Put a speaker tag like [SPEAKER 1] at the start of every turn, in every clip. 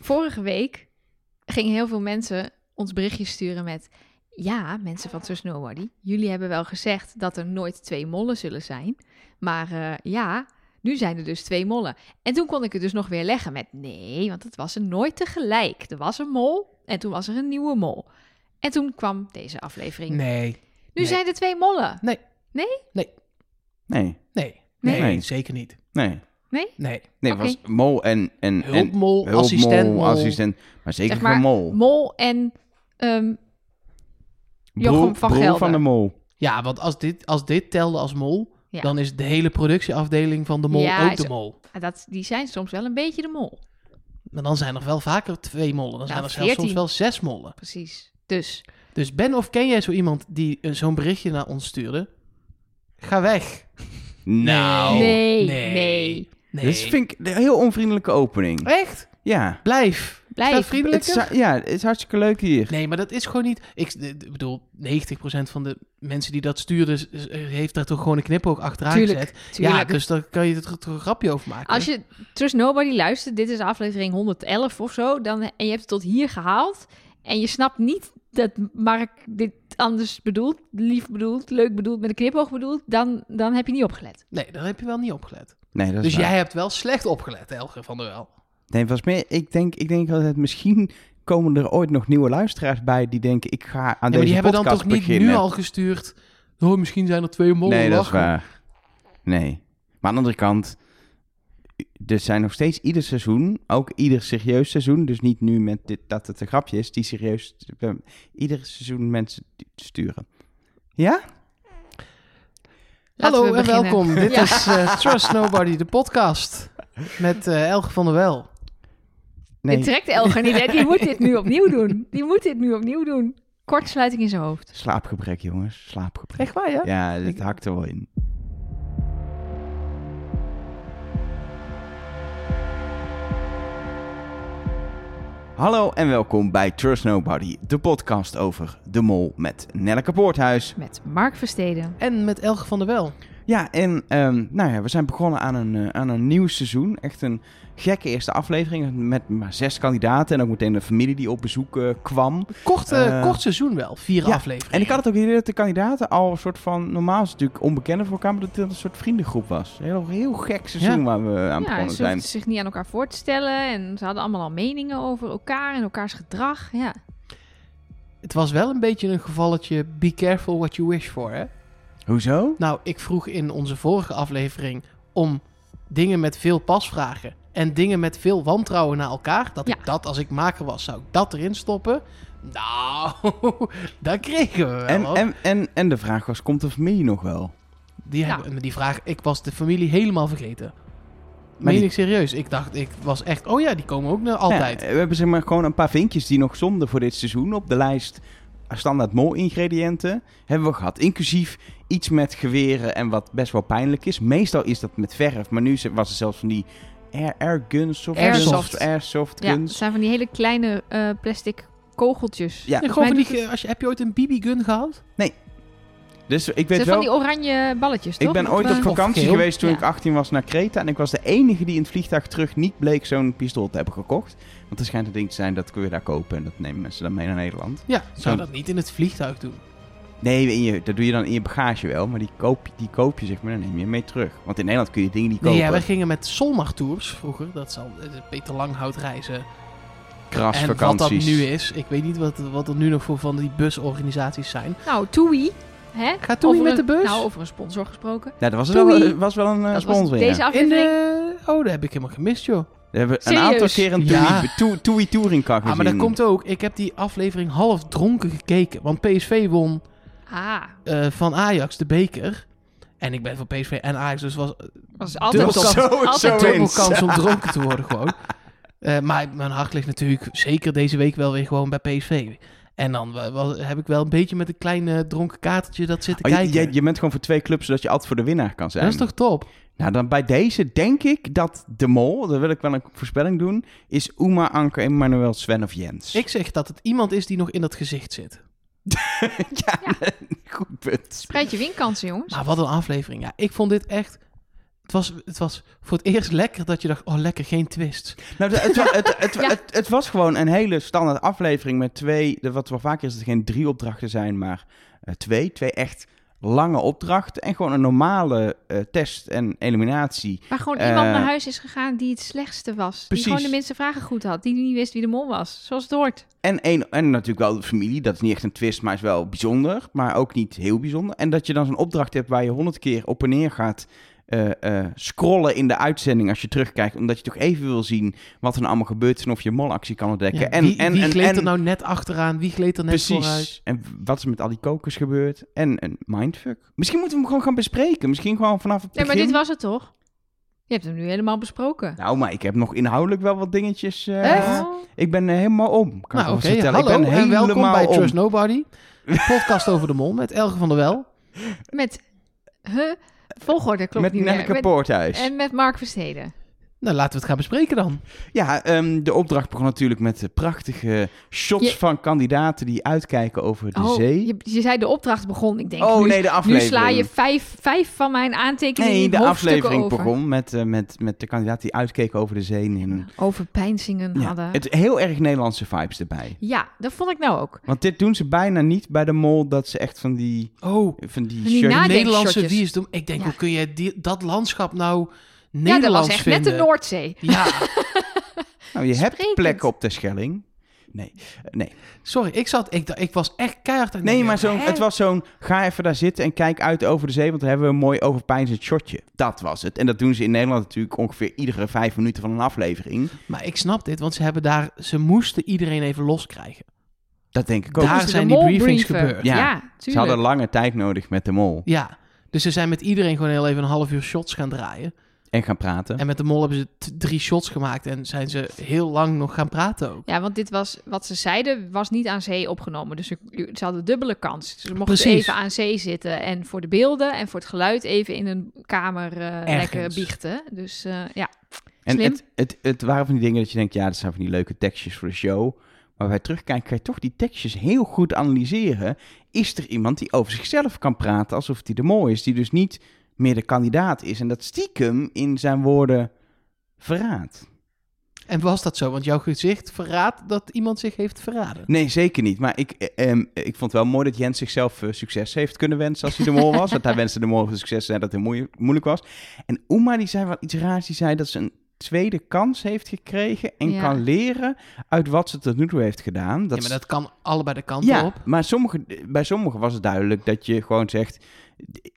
[SPEAKER 1] Vorige week gingen heel veel mensen ons berichtjes sturen met... Ja, mensen van Sir Snowbody, jullie hebben wel gezegd dat er nooit twee mollen zullen zijn. Maar eh, ja, nu zijn er dus twee mollen. En toen kon ik het dus nog weer leggen met... Nee, want het was er nooit tegelijk. Er was een mol en toen was er een nieuwe mol. En toen kwam deze aflevering.
[SPEAKER 2] Nee,
[SPEAKER 1] nu
[SPEAKER 2] nee.
[SPEAKER 1] zijn er twee mollen.
[SPEAKER 3] Nee,
[SPEAKER 2] nee,
[SPEAKER 1] Nee?
[SPEAKER 2] nee,
[SPEAKER 3] Nee.
[SPEAKER 2] zeker niet.
[SPEAKER 3] nee.
[SPEAKER 2] Nee,
[SPEAKER 3] Nee,
[SPEAKER 1] Oké.
[SPEAKER 3] het was mol en... en en,
[SPEAKER 2] hulpmol,
[SPEAKER 3] hulpmol,
[SPEAKER 2] assistent, mol.
[SPEAKER 3] assistent, maar zeker
[SPEAKER 1] Zeg maar,
[SPEAKER 3] geen mol.
[SPEAKER 1] Mol en... ehm, Jochem
[SPEAKER 3] Broer-
[SPEAKER 1] van
[SPEAKER 3] broer
[SPEAKER 1] Gelder.
[SPEAKER 3] van de mol.
[SPEAKER 2] Ja, want als dit, als dit telde als mol,
[SPEAKER 1] Ja.
[SPEAKER 2] dan is de hele productieafdeling van de mol
[SPEAKER 1] Ja,
[SPEAKER 2] ook
[SPEAKER 1] is-
[SPEAKER 2] de mol.
[SPEAKER 1] ah, dat, die zijn soms wel een beetje de mol.
[SPEAKER 2] Maar dan zijn er wel vaker twee mollen.
[SPEAKER 1] Nou,
[SPEAKER 2] Dan zijn er zelfs
[SPEAKER 1] 14.
[SPEAKER 2] soms wel zes mollen.
[SPEAKER 1] Precies. Dus,
[SPEAKER 2] Dus ben of ken jij zo iemand die eh, zo'n berichtje naar ons stuurde? Ga weg.
[SPEAKER 3] Nou,
[SPEAKER 1] nee, nee,
[SPEAKER 2] Oh, nee. Nee.
[SPEAKER 3] dit vind ik een heel onvriendelijke opening.
[SPEAKER 2] Echt?
[SPEAKER 3] Ja.
[SPEAKER 2] Blijf.
[SPEAKER 1] Blijf.
[SPEAKER 2] Blijf.
[SPEAKER 3] Het
[SPEAKER 2] vriendelijk.
[SPEAKER 3] is, ja, het is hartstikke leuk hier.
[SPEAKER 2] Nee, maar dat is gewoon niet... Ik, eh, ik bedoel, 90% van de mensen die dat sturen... s- s- heeft daar toch gewoon een knipoog achteraan
[SPEAKER 1] Tuurlijk,
[SPEAKER 2] gezet.
[SPEAKER 1] tuurlijk.
[SPEAKER 2] Ja, dus daar kan je er toch een grapje over maken.
[SPEAKER 1] Als je Trust Nobody luistert, dit is aflevering 111 of zo, dan, en je hebt het tot hier gehaald en je snapt niet dat Mark dit anders bedoelt, lief bedoelt, leuk bedoelt, met een knipoog bedoelt, dan, dan heb je niet opgelet.
[SPEAKER 2] Nee, daar heb je wel niet opgelet.
[SPEAKER 3] Nee, dat is
[SPEAKER 2] Dus
[SPEAKER 3] waar.
[SPEAKER 2] jij hebt wel slecht opgelet, Elger van der Wel.
[SPEAKER 3] Nee, was meer, ik denk, ik denk dat het misschien komen er ooit nog nieuwe luisteraars bij die denken, ik ga aan
[SPEAKER 2] Ja,
[SPEAKER 3] deze
[SPEAKER 2] maar die hebben dan
[SPEAKER 3] podcast
[SPEAKER 2] toch niet
[SPEAKER 3] beginnen.
[SPEAKER 2] nu al gestuurd. Oh, misschien zijn er twee mollen.
[SPEAKER 3] nee, dat is
[SPEAKER 2] lachen.
[SPEAKER 3] waar. Nee. Maar aan de andere kant, er zijn nog steeds ieder seizoen, ook ieder serieus seizoen, dus niet nu met dit, dat het een grapje is, die serieus, eh, ieder seizoen mensen die sturen. Ja?
[SPEAKER 1] Laten
[SPEAKER 2] Hallo
[SPEAKER 1] we
[SPEAKER 2] en
[SPEAKER 1] beginnen.
[SPEAKER 2] welkom. Dit
[SPEAKER 1] Ja.
[SPEAKER 2] is eh, Trust Nobody, de podcast. Met eh Elge van der Wel.
[SPEAKER 3] Nee.
[SPEAKER 1] Dit trekt Elger niet, hè? die moet dit nu opnieuw doen. Die moet dit nu opnieuw doen. Kortsluiting in zijn hoofd.
[SPEAKER 3] Slaapgebrek, jongens. Slaapgebrek.
[SPEAKER 2] Echt waar, ja?
[SPEAKER 3] Ja, dit
[SPEAKER 2] Ik-
[SPEAKER 3] hakt er wel in. Hallo en welkom bij Trust Nobody, de podcast over de mol met Nelleke Poorthuis.
[SPEAKER 1] Met Mark Versteden.
[SPEAKER 2] En met Elge van der Wel.
[SPEAKER 3] Ja, en ehm, nou ja, we zijn begonnen aan een, eh, aan een nieuw seizoen. Echt een gekke eerste aflevering met maar zes kandidaten en ook meteen de familie die op bezoek eh, kwam.
[SPEAKER 2] Kort, eh,
[SPEAKER 3] Eh,
[SPEAKER 2] kort seizoen wel, vier
[SPEAKER 3] ja,
[SPEAKER 2] afleveringen.
[SPEAKER 3] En ik had het ook idee dat de kandidaten al een soort van, normaal is het natuurlijk onbekenden voor elkaar, maar dat het een soort vriendengroep was. Een heel, heel gek seizoen
[SPEAKER 2] Ja.
[SPEAKER 3] waar we aan
[SPEAKER 1] Ja,
[SPEAKER 3] begonnen
[SPEAKER 1] ze
[SPEAKER 3] zijn.
[SPEAKER 1] hoefden zich niet aan elkaar voor te stellen en ze hadden allemaal al meningen over elkaar en elkaars gedrag. Ja.
[SPEAKER 2] Het was wel een beetje een gevalletje be careful what you wish for, hè?
[SPEAKER 3] Hoezo?
[SPEAKER 2] Nou, ik vroeg in onze vorige aflevering om dingen met veel pasvragen en dingen met veel wantrouwen naar elkaar. Dat
[SPEAKER 1] Ja.
[SPEAKER 2] ik dat, als ik maker was, zou ik dat erin stoppen. Nou, dat kregen we wel.
[SPEAKER 3] En,
[SPEAKER 2] hoor.
[SPEAKER 3] en, en, en de vraag was, komt de familie nog wel?
[SPEAKER 1] Ja.
[SPEAKER 2] die, hebben, die vraag, ik was de familie helemaal vergeten.
[SPEAKER 3] Maar
[SPEAKER 2] Meen
[SPEAKER 3] die-
[SPEAKER 2] ik serieus. Ik dacht, ik was echt, oh ja, die komen ook naar altijd.
[SPEAKER 3] Ja, we hebben zeg maar gewoon een paar vinkjes die nog stonden voor dit seizoen op de lijst standaard mol ingrediënten hebben we gehad. Inclusief iets met geweren en wat best wel pijnlijk is. Meestal is dat met verf, maar nu was het zelfs van die air, air guns of
[SPEAKER 1] Airsoft.
[SPEAKER 3] airsoft
[SPEAKER 1] ja, het
[SPEAKER 3] guns.
[SPEAKER 1] zijn van die hele kleine eh, plastic kogeltjes.
[SPEAKER 3] Ja,
[SPEAKER 2] Nee, gewoon van
[SPEAKER 1] Mij
[SPEAKER 2] die,
[SPEAKER 1] doet
[SPEAKER 2] ge- als je, heb je ooit een BB-gun gehad?
[SPEAKER 3] dus ik
[SPEAKER 1] Het
[SPEAKER 3] weet
[SPEAKER 1] zijn
[SPEAKER 3] wel...
[SPEAKER 1] van die oranje balletjes, toch?
[SPEAKER 3] Ik ben
[SPEAKER 1] Dat,
[SPEAKER 3] ooit op
[SPEAKER 1] eh,
[SPEAKER 2] Of
[SPEAKER 3] vakantie
[SPEAKER 2] geel.
[SPEAKER 3] geweest toen
[SPEAKER 1] Ja.
[SPEAKER 3] ik 18 was naar Kreta. En ik was de enige die in het vliegtuig terug niet bleek zo'n pistool te hebben gekocht. Want er schijnt een ding te zijn dat kun je daar kopen. En dat nemen mensen dan mee naar Nederland.
[SPEAKER 2] Ja, zou
[SPEAKER 3] Zo.
[SPEAKER 2] dat niet in het vliegtuig doen?
[SPEAKER 3] Nee, in je, dat doe je dan in je bagage wel. Maar die koop, die koop je zeg maar, dan neem je mee terug. Want in Nederland kun je dingen niet kopen.
[SPEAKER 2] Nee, ja, wij gingen met Solmar Tours vroeger. Dat zal eh, Peter Langhout reizen. En wat dat
[SPEAKER 3] Krasvakanties.
[SPEAKER 2] nu is. Ik weet niet wat, wat er nu nog voor van die busorganisaties zijn.
[SPEAKER 1] Nou, TUI. Hè?
[SPEAKER 2] Gaat Toei
[SPEAKER 1] Over
[SPEAKER 2] met
[SPEAKER 1] een-
[SPEAKER 2] de bus?
[SPEAKER 1] Nou, over een sponsor gesproken.
[SPEAKER 3] Ja, dat was
[SPEAKER 1] Doei.
[SPEAKER 3] wel, was wel een eh,
[SPEAKER 1] Dat was
[SPEAKER 3] sponsor. ja.
[SPEAKER 1] deze
[SPEAKER 2] In
[SPEAKER 1] aflevering.
[SPEAKER 2] de... Oh, dat heb ik helemaal gemist, joh.
[SPEAKER 3] We hebben een
[SPEAKER 1] Serieus?
[SPEAKER 3] aantal keer een
[SPEAKER 2] Ja.
[SPEAKER 3] Toei- Toei- Toei Touring car gezien.
[SPEAKER 2] Ah, maar dat komt ook. Ik heb die aflevering half dronken gekeken. Want PSV won
[SPEAKER 1] Ah,
[SPEAKER 2] eh, van Ajax de beker. En ik ben van PSV en Ajax, dus was
[SPEAKER 1] was altijd
[SPEAKER 2] Dubbel-
[SPEAKER 1] top.
[SPEAKER 3] Zo-
[SPEAKER 1] altijd
[SPEAKER 3] zo
[SPEAKER 1] top.
[SPEAKER 3] in.
[SPEAKER 2] dubbel
[SPEAKER 3] eens.
[SPEAKER 2] kans om dronken te worden gewoon. Eh, maar mijn hart ligt natuurlijk zeker deze week wel weer gewoon bij PSV. En dan wa- wa- heb ik wel een beetje met een klein eh, dronken katertje dat zitten
[SPEAKER 3] Oh, je,
[SPEAKER 2] kijken.
[SPEAKER 3] je, je bent gewoon voor twee clubs, zodat je altijd voor de winnaar kan zijn.
[SPEAKER 2] Dat is toch top?
[SPEAKER 3] Nou, dan bij deze denk ik dat de mol, daar wil ik wel een voorspelling doen, is Uma, Anke, Emmanuel, Sven of Jens.
[SPEAKER 2] Ik zeg dat het iemand is die nog in dat gezicht zit.
[SPEAKER 3] ja, goed punt.
[SPEAKER 1] Spreid je winkansen, jongens.
[SPEAKER 3] Nou,
[SPEAKER 2] Maar wat een aflevering. Ja, ik vond dit echt Het was, het was voor het eerst lekker dat je dacht, oh lekker, geen twist.
[SPEAKER 3] Nou, het, het, wa- het, het,
[SPEAKER 1] Ja.
[SPEAKER 3] het, het was gewoon een hele standaard aflevering met twee, de- wat wel vaker is dat er geen drie opdrachten zijn, maar eh, twee. Twee echt lange opdrachten en gewoon een normale eh, test en eliminatie.
[SPEAKER 1] Waar gewoon
[SPEAKER 3] Eh,
[SPEAKER 1] iemand naar huis is gegaan die het slechtste was.
[SPEAKER 3] precies.
[SPEAKER 1] Die gewoon de minste vragen goed had. Die niet wist wie de mol was. Zoals het hoort.
[SPEAKER 3] En, één en natuurlijk wel de familie, dat is niet echt een twist, maar is wel bijzonder, maar ook niet heel bijzonder. En dat je dan zo'n opdracht hebt waar je honderd keer op en neer gaat eh, eh, scrollen in de uitzending als je terugkijkt, omdat je toch even wil zien wat er nou allemaal gebeurt en of je molactie kan ontdekken.
[SPEAKER 2] Ja,
[SPEAKER 3] en,
[SPEAKER 2] wie
[SPEAKER 3] en,
[SPEAKER 2] wie
[SPEAKER 3] en,
[SPEAKER 2] gleed
[SPEAKER 3] en-
[SPEAKER 2] er nou net achteraan? Wie gleed er net vooruit?
[SPEAKER 3] Precies. En wat is er met al die kokers gebeurd? En een mindfuck. Misschien moeten we hem gewoon gaan bespreken. Misschien gewoon vanaf het
[SPEAKER 1] Nee,
[SPEAKER 3] begin.
[SPEAKER 1] maar dit was het toch? Je hebt hem nu helemaal besproken.
[SPEAKER 3] Nou, maar ik heb nog inhoudelijk wel wat dingetjes. eh,
[SPEAKER 2] Echt?
[SPEAKER 1] Oh.
[SPEAKER 3] Ik ben eh, helemaal om. Kan ik
[SPEAKER 2] Nou,
[SPEAKER 3] alvast
[SPEAKER 2] oké,
[SPEAKER 3] vertellen.
[SPEAKER 2] hallo
[SPEAKER 3] ik ben
[SPEAKER 2] en
[SPEAKER 3] helemaal
[SPEAKER 2] welkom bij
[SPEAKER 3] om.
[SPEAKER 2] Trust Nobody. Een podcast over de mol met Elge van der Wel.
[SPEAKER 1] Met huh? volgorde klopt
[SPEAKER 3] Met
[SPEAKER 1] niet meer.
[SPEAKER 3] Nelleke
[SPEAKER 1] Met-
[SPEAKER 3] Poorthuis.
[SPEAKER 1] en met Mark Versteden.
[SPEAKER 2] Nou, laten we het gaan bespreken dan.
[SPEAKER 3] Ja, ehm, de opdracht begon natuurlijk met de prachtige shots
[SPEAKER 1] Je-
[SPEAKER 3] van kandidaten die uitkijken over de
[SPEAKER 1] Oh,
[SPEAKER 3] zee.
[SPEAKER 1] je, je zei de opdracht begon. Ik denk,
[SPEAKER 3] oh
[SPEAKER 1] nu,
[SPEAKER 3] nee, de
[SPEAKER 1] nu
[SPEAKER 3] aflevering.
[SPEAKER 1] sla je vijf, vijf van mijn aantekeningen
[SPEAKER 3] Nee,
[SPEAKER 1] in
[SPEAKER 3] de
[SPEAKER 1] hoofdstukken
[SPEAKER 3] aflevering
[SPEAKER 1] over.
[SPEAKER 3] begon met, eh, met, met de kandidaten die uitkeken over de zee. En een-
[SPEAKER 1] Over pijnzingen
[SPEAKER 3] ja,
[SPEAKER 1] Nou, hadden.
[SPEAKER 3] het, heel erg Nederlandse vibes erbij.
[SPEAKER 1] Ja, dat vond ik nou ook.
[SPEAKER 3] Want dit doen ze bijna niet bij de mol, dat ze echt van die,
[SPEAKER 2] Oh,
[SPEAKER 3] van die
[SPEAKER 1] Van die
[SPEAKER 3] shirt...
[SPEAKER 1] na- Nadenk
[SPEAKER 2] Nederlandse
[SPEAKER 1] Ah, shotjes.
[SPEAKER 2] wie is dom. Ik denk,
[SPEAKER 1] Ja.
[SPEAKER 2] hoe kun je die- dat landschap nou
[SPEAKER 1] Ja, dat was
[SPEAKER 2] Nederlands
[SPEAKER 1] echt
[SPEAKER 2] vinden?
[SPEAKER 1] net de Noordzee.
[SPEAKER 2] Ja,
[SPEAKER 3] nou, je hebt
[SPEAKER 1] sprekend.
[SPEAKER 3] plekken op de Schelling. Nee, eh, nee.
[SPEAKER 2] sorry, ik zat, ik, dacht- ik was echt keihard aan het
[SPEAKER 3] nee
[SPEAKER 2] denken.
[SPEAKER 3] maar zo'n
[SPEAKER 1] Hè?
[SPEAKER 3] het was zo'n, ga even daar zitten en kijk uit over de zee, want dan hebben we een mooi overpeinzend shotje. Dat was het. En dat doen ze in Nederland natuurlijk ongeveer iedere vijf minuten van een aflevering.
[SPEAKER 2] Maar ik snap dit, want ze hebben daar, ze moesten iedereen even loskrijgen.
[SPEAKER 3] Dat denk ik ook.
[SPEAKER 2] Daar
[SPEAKER 1] Moesten de
[SPEAKER 2] zijn die
[SPEAKER 1] mol
[SPEAKER 2] briefings
[SPEAKER 1] brieven.
[SPEAKER 2] gebeurd.
[SPEAKER 3] Ja,
[SPEAKER 1] Ja,
[SPEAKER 3] ze
[SPEAKER 1] tuurlijk.
[SPEAKER 3] hadden lange tijd nodig met de mol
[SPEAKER 2] Ja, dus ze zijn met iedereen gewoon heel even een half uur shots gaan draaien.
[SPEAKER 3] en gaan praten.
[SPEAKER 2] En met de mol hebben ze t- drie shots gemaakt en zijn ze heel lang nog gaan praten ook.
[SPEAKER 1] Ja, want dit was, wat ze zeiden, was niet aan zee opgenomen. Dus ze, ze hadden dubbele kans. Ze mochten
[SPEAKER 2] Precies.
[SPEAKER 1] even aan zee zitten. En voor de beelden en voor het geluid even in een kamer eh,
[SPEAKER 2] Ergens.
[SPEAKER 1] lekker biechten. Dus eh, ja,
[SPEAKER 3] En
[SPEAKER 1] Slim.
[SPEAKER 3] het, het, het waren van die dingen dat je denkt, ja, dat zijn van die leuke tekstjes voor de show. Maar bij terugkijken ga je toch die tekstjes heel goed analyseren. Is er iemand die over zichzelf kan praten alsof hij de mooi is? Die dus niet meer de kandidaat is en dat stiekem in zijn woorden verraadt.
[SPEAKER 2] En was dat zo? Want jouw gezicht verraadt dat iemand zich heeft verraden.
[SPEAKER 3] Nee, zeker niet. Maar ik, eh, ehm, ik vond het wel mooi dat Jens zichzelf eh, succes heeft kunnen wensen als hij de mol was. Want hij wenste de mol voor succes en dat het heel moe- moeilijk was. En Oema die zei wel iets raars. Die zei dat ze een tweede kans heeft gekregen en
[SPEAKER 1] Ja.
[SPEAKER 3] kan leren uit wat ze tot nu toe heeft gedaan.
[SPEAKER 2] ja, maar dat kan allebei de kant
[SPEAKER 3] ja,
[SPEAKER 2] op.
[SPEAKER 3] maar sommige, bij sommigen was het duidelijk dat je gewoon zegt...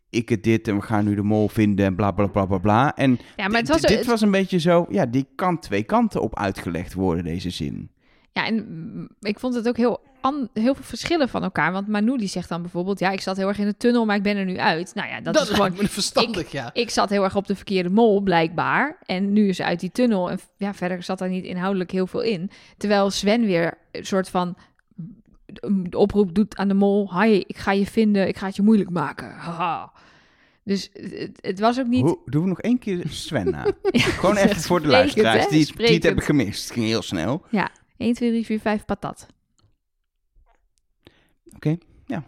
[SPEAKER 3] Ik het dit en we gaan nu de mol vinden en bla bla bla bla bla. En
[SPEAKER 1] ja maar het was,
[SPEAKER 3] dit- dit
[SPEAKER 1] het-
[SPEAKER 3] was een beetje zo... Ja, die kan twee kanten op uitgelegd worden, deze zin.
[SPEAKER 1] Ja, en mm, ik vond het ook heel, an- heel veel verschillen van elkaar. Want Manu die zegt dan bijvoorbeeld... ja, ik zat heel erg in de tunnel, maar ik ben er nu uit. Nou ja, dat,
[SPEAKER 2] Dat,
[SPEAKER 1] is
[SPEAKER 2] is
[SPEAKER 1] gewoon...
[SPEAKER 2] lijkt me verstandig, ja.
[SPEAKER 1] Ik zat heel erg op de verkeerde mol, blijkbaar. En nu is ze uit die tunnel. En f- ja, verder zat daar niet inhoudelijk heel veel in. Terwijl Sven weer een soort van een oproep doet aan de mol. Hi, ik ga je vinden. Ik ga het je moeilijk maken. Haha. Dus het, het was ook niet...
[SPEAKER 3] Hoe, doen we nog één keer Sven na? Gewoon even voor
[SPEAKER 1] Sprekend,
[SPEAKER 3] de luisteraars
[SPEAKER 1] hè?
[SPEAKER 3] die, die het
[SPEAKER 1] Sprekend.
[SPEAKER 3] hebben gemist. Het ging heel snel. Oké,
[SPEAKER 1] 1, 2, 3, 4, 5, patat.
[SPEAKER 3] ja.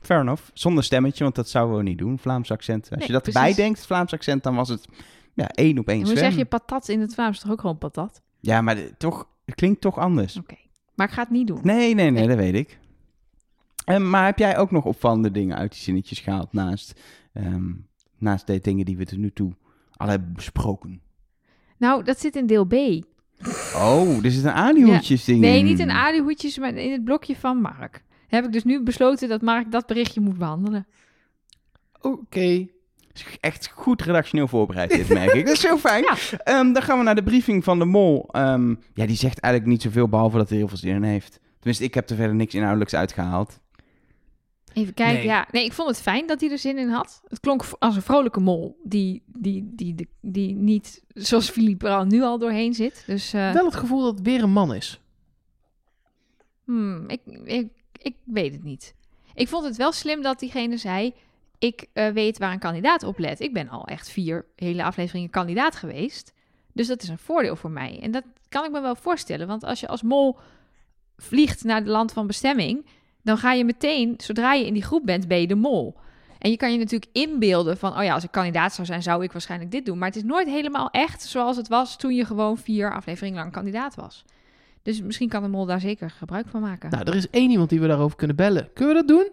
[SPEAKER 3] Fair enough. Zonder stemmetje, want dat zouden we niet doen, Vlaams accent. Als
[SPEAKER 1] Nee,
[SPEAKER 3] je dat erbij
[SPEAKER 1] precies.
[SPEAKER 3] denkt, Vlaams accent, dan was het ja, één op één
[SPEAKER 1] En hoe
[SPEAKER 3] Sven.
[SPEAKER 1] zeg je patat in het Vlaams? Toch ook gewoon patat?
[SPEAKER 3] Ja, maar de- toch, het klinkt toch anders.
[SPEAKER 1] Oké. Maar ik ga het niet doen.
[SPEAKER 3] Nee, nee, nee,
[SPEAKER 1] Nee.
[SPEAKER 3] dat weet ik. En, maar heb jij ook nog opvallende dingen uit die zinnetjes gehaald naast, ehm, naast de dingen die we tot nu toe al hebben besproken?
[SPEAKER 1] Nou, dat zit in deel B.
[SPEAKER 3] Oh, er zit een alihoedjes ding
[SPEAKER 1] Nee,
[SPEAKER 3] in.
[SPEAKER 1] niet
[SPEAKER 2] Hmm.
[SPEAKER 1] in alihoedjes, maar in het blokje van Mark. Heb ik dus nu besloten dat Mark dat berichtje moet behandelen.
[SPEAKER 2] Oké.
[SPEAKER 3] Echt goed redactioneel voorbereid, dit merk ik. Dat is heel fijn. Ehm, dan gaan we naar de briefing van de mol. Ehm, ja, die zegt eigenlijk niet zoveel, behalve dat hij heel veel zin in heeft. Tenminste, ik heb er verder niks inhoudelijks uitgehaald.
[SPEAKER 1] Even kijken,
[SPEAKER 2] Nee.
[SPEAKER 1] ja. Nee, ik vond het fijn dat hij er zin in had. Het klonk v- als een vrolijke mol die, die, die, die, die niet, zoals Philippe er al nu al doorheen zit. Dus eh,
[SPEAKER 2] Wel het gevoel dat het weer een man is.
[SPEAKER 1] hmm, ik, ik, ik weet het niet. Ik vond het wel slim dat diegene zei, ik eh, weet waar een kandidaat op let. Ik ben al echt vier hele afleveringen kandidaat geweest. Dus dat is een voordeel voor mij. En dat kan ik me wel voorstellen. Want als je als mol vliegt naar het land van bestemming, dan ga je meteen, zodra je in die groep bent, ben je de mol. En je kan je natuurlijk inbeelden van, oh ja, als ik kandidaat zou zijn, zou ik waarschijnlijk dit doen. Maar het is nooit helemaal echt zoals het was toen je gewoon vier afleveringen lang kandidaat was. Dus misschien kan de mol daar zeker gebruik van maken.
[SPEAKER 2] Nou, er is één iemand die we daarover kunnen bellen. Kunnen we dat doen?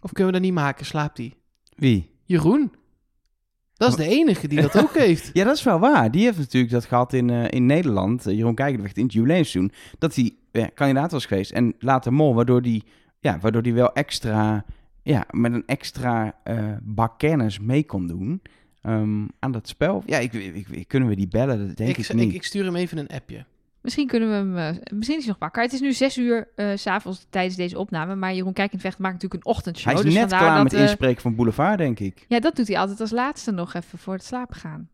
[SPEAKER 2] Of kunnen we dat niet maken? Slaapt die?
[SPEAKER 3] Wie?
[SPEAKER 2] Jeroen. Dat is de enige die dat ook heeft.
[SPEAKER 3] Ja, dat is wel waar. Die heeft natuurlijk dat gehad in, eh, in Nederland. Eh, Jeroen Kijkerweg in het jubileumseizoen. Dat hij ja, kandidaat was geweest. En later mol, waardoor die, ja, waardoor die wel extra... Ja, met een extra eh, bak kennis mee kon doen ehm, aan dat spel. Ja, ik, ik, ik- kunnen we die bellen? Dat denk ik,
[SPEAKER 2] ik, ik,
[SPEAKER 3] niet.
[SPEAKER 2] ik stuur hem even een appje.
[SPEAKER 1] Misschien kunnen we hem, eh, misschien is hij nog wakker. Het is nu zes uur eh, s s'avonds tijdens deze opname. Maar Jeroen Kijk in Vecht maakt natuurlijk een ochtendshow.
[SPEAKER 3] Hij is
[SPEAKER 1] dus
[SPEAKER 3] net
[SPEAKER 1] vandaar
[SPEAKER 3] klaar
[SPEAKER 1] dat,
[SPEAKER 3] met
[SPEAKER 1] eh,
[SPEAKER 3] inspreken van Boulevard, denk ik.
[SPEAKER 1] Ja, dat doet hij altijd als laatste nog even voor het slapen gaan.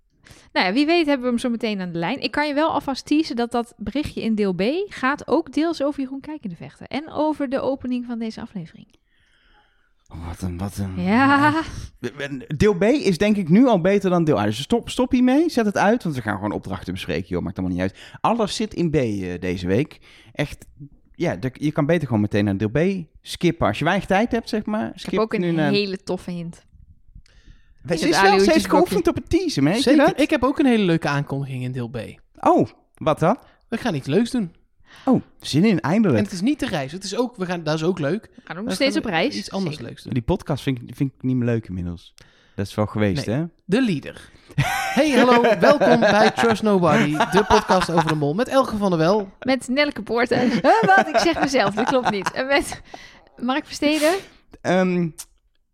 [SPEAKER 1] Nou ja, wie weet hebben we hem zo meteen aan de lijn. Ik kan je wel alvast teasen dat dat berichtje in deel B gaat ook deels over Jeroen Kijk in de Vechten. En over de opening van deze aflevering.
[SPEAKER 3] Oh, Wat een, wat een...
[SPEAKER 1] Ja,
[SPEAKER 3] Deel B is denk ik nu al beter dan deel A. Dus stop, stop hiermee, zet het uit, want we gaan gewoon opdrachten bespreken, joh, maakt allemaal niet uit. Alles zit in B eh, deze week. Echt, ja, de- je kan beter gewoon meteen naar deel B skippen. Als je weinig tijd hebt, zeg maar,
[SPEAKER 1] ik
[SPEAKER 3] skip
[SPEAKER 1] heb ook een
[SPEAKER 3] nu naar...
[SPEAKER 1] hele toffe hint.
[SPEAKER 3] Ze
[SPEAKER 1] het
[SPEAKER 3] is wel steeds
[SPEAKER 1] aluhoedjesblokje.
[SPEAKER 3] geoefend op het teasen, hè? Zie je
[SPEAKER 2] Zeker.
[SPEAKER 3] dat?
[SPEAKER 2] Ik heb ook een hele leuke aankondiging in deel B.
[SPEAKER 3] Oh, wat dan?
[SPEAKER 2] We gaan iets leuks doen.
[SPEAKER 3] Oh, zin in,
[SPEAKER 2] En
[SPEAKER 3] eindelijk.
[SPEAKER 2] het is niet de reis. Het is ook, we gaan, dat is ook leuk.
[SPEAKER 1] We gaan ook
[SPEAKER 2] We
[SPEAKER 1] nog steeds
[SPEAKER 2] gaan
[SPEAKER 1] op reis.
[SPEAKER 2] Iets anders
[SPEAKER 1] Zeker.
[SPEAKER 2] leuks doen.
[SPEAKER 3] Die podcast vind ik, vind ik niet meer leuk inmiddels. Dat is wel geweest,
[SPEAKER 2] Nee.
[SPEAKER 3] hè?
[SPEAKER 2] De leader. Hey, hallo. Welkom bij Trust Nobody, de podcast over de mol met Elke van der Wel.
[SPEAKER 1] Met Nelleke Poorten. Huh, Wat? Ik zeg mezelf, dat klopt niet. En met Mark Versteden.
[SPEAKER 3] Ehm,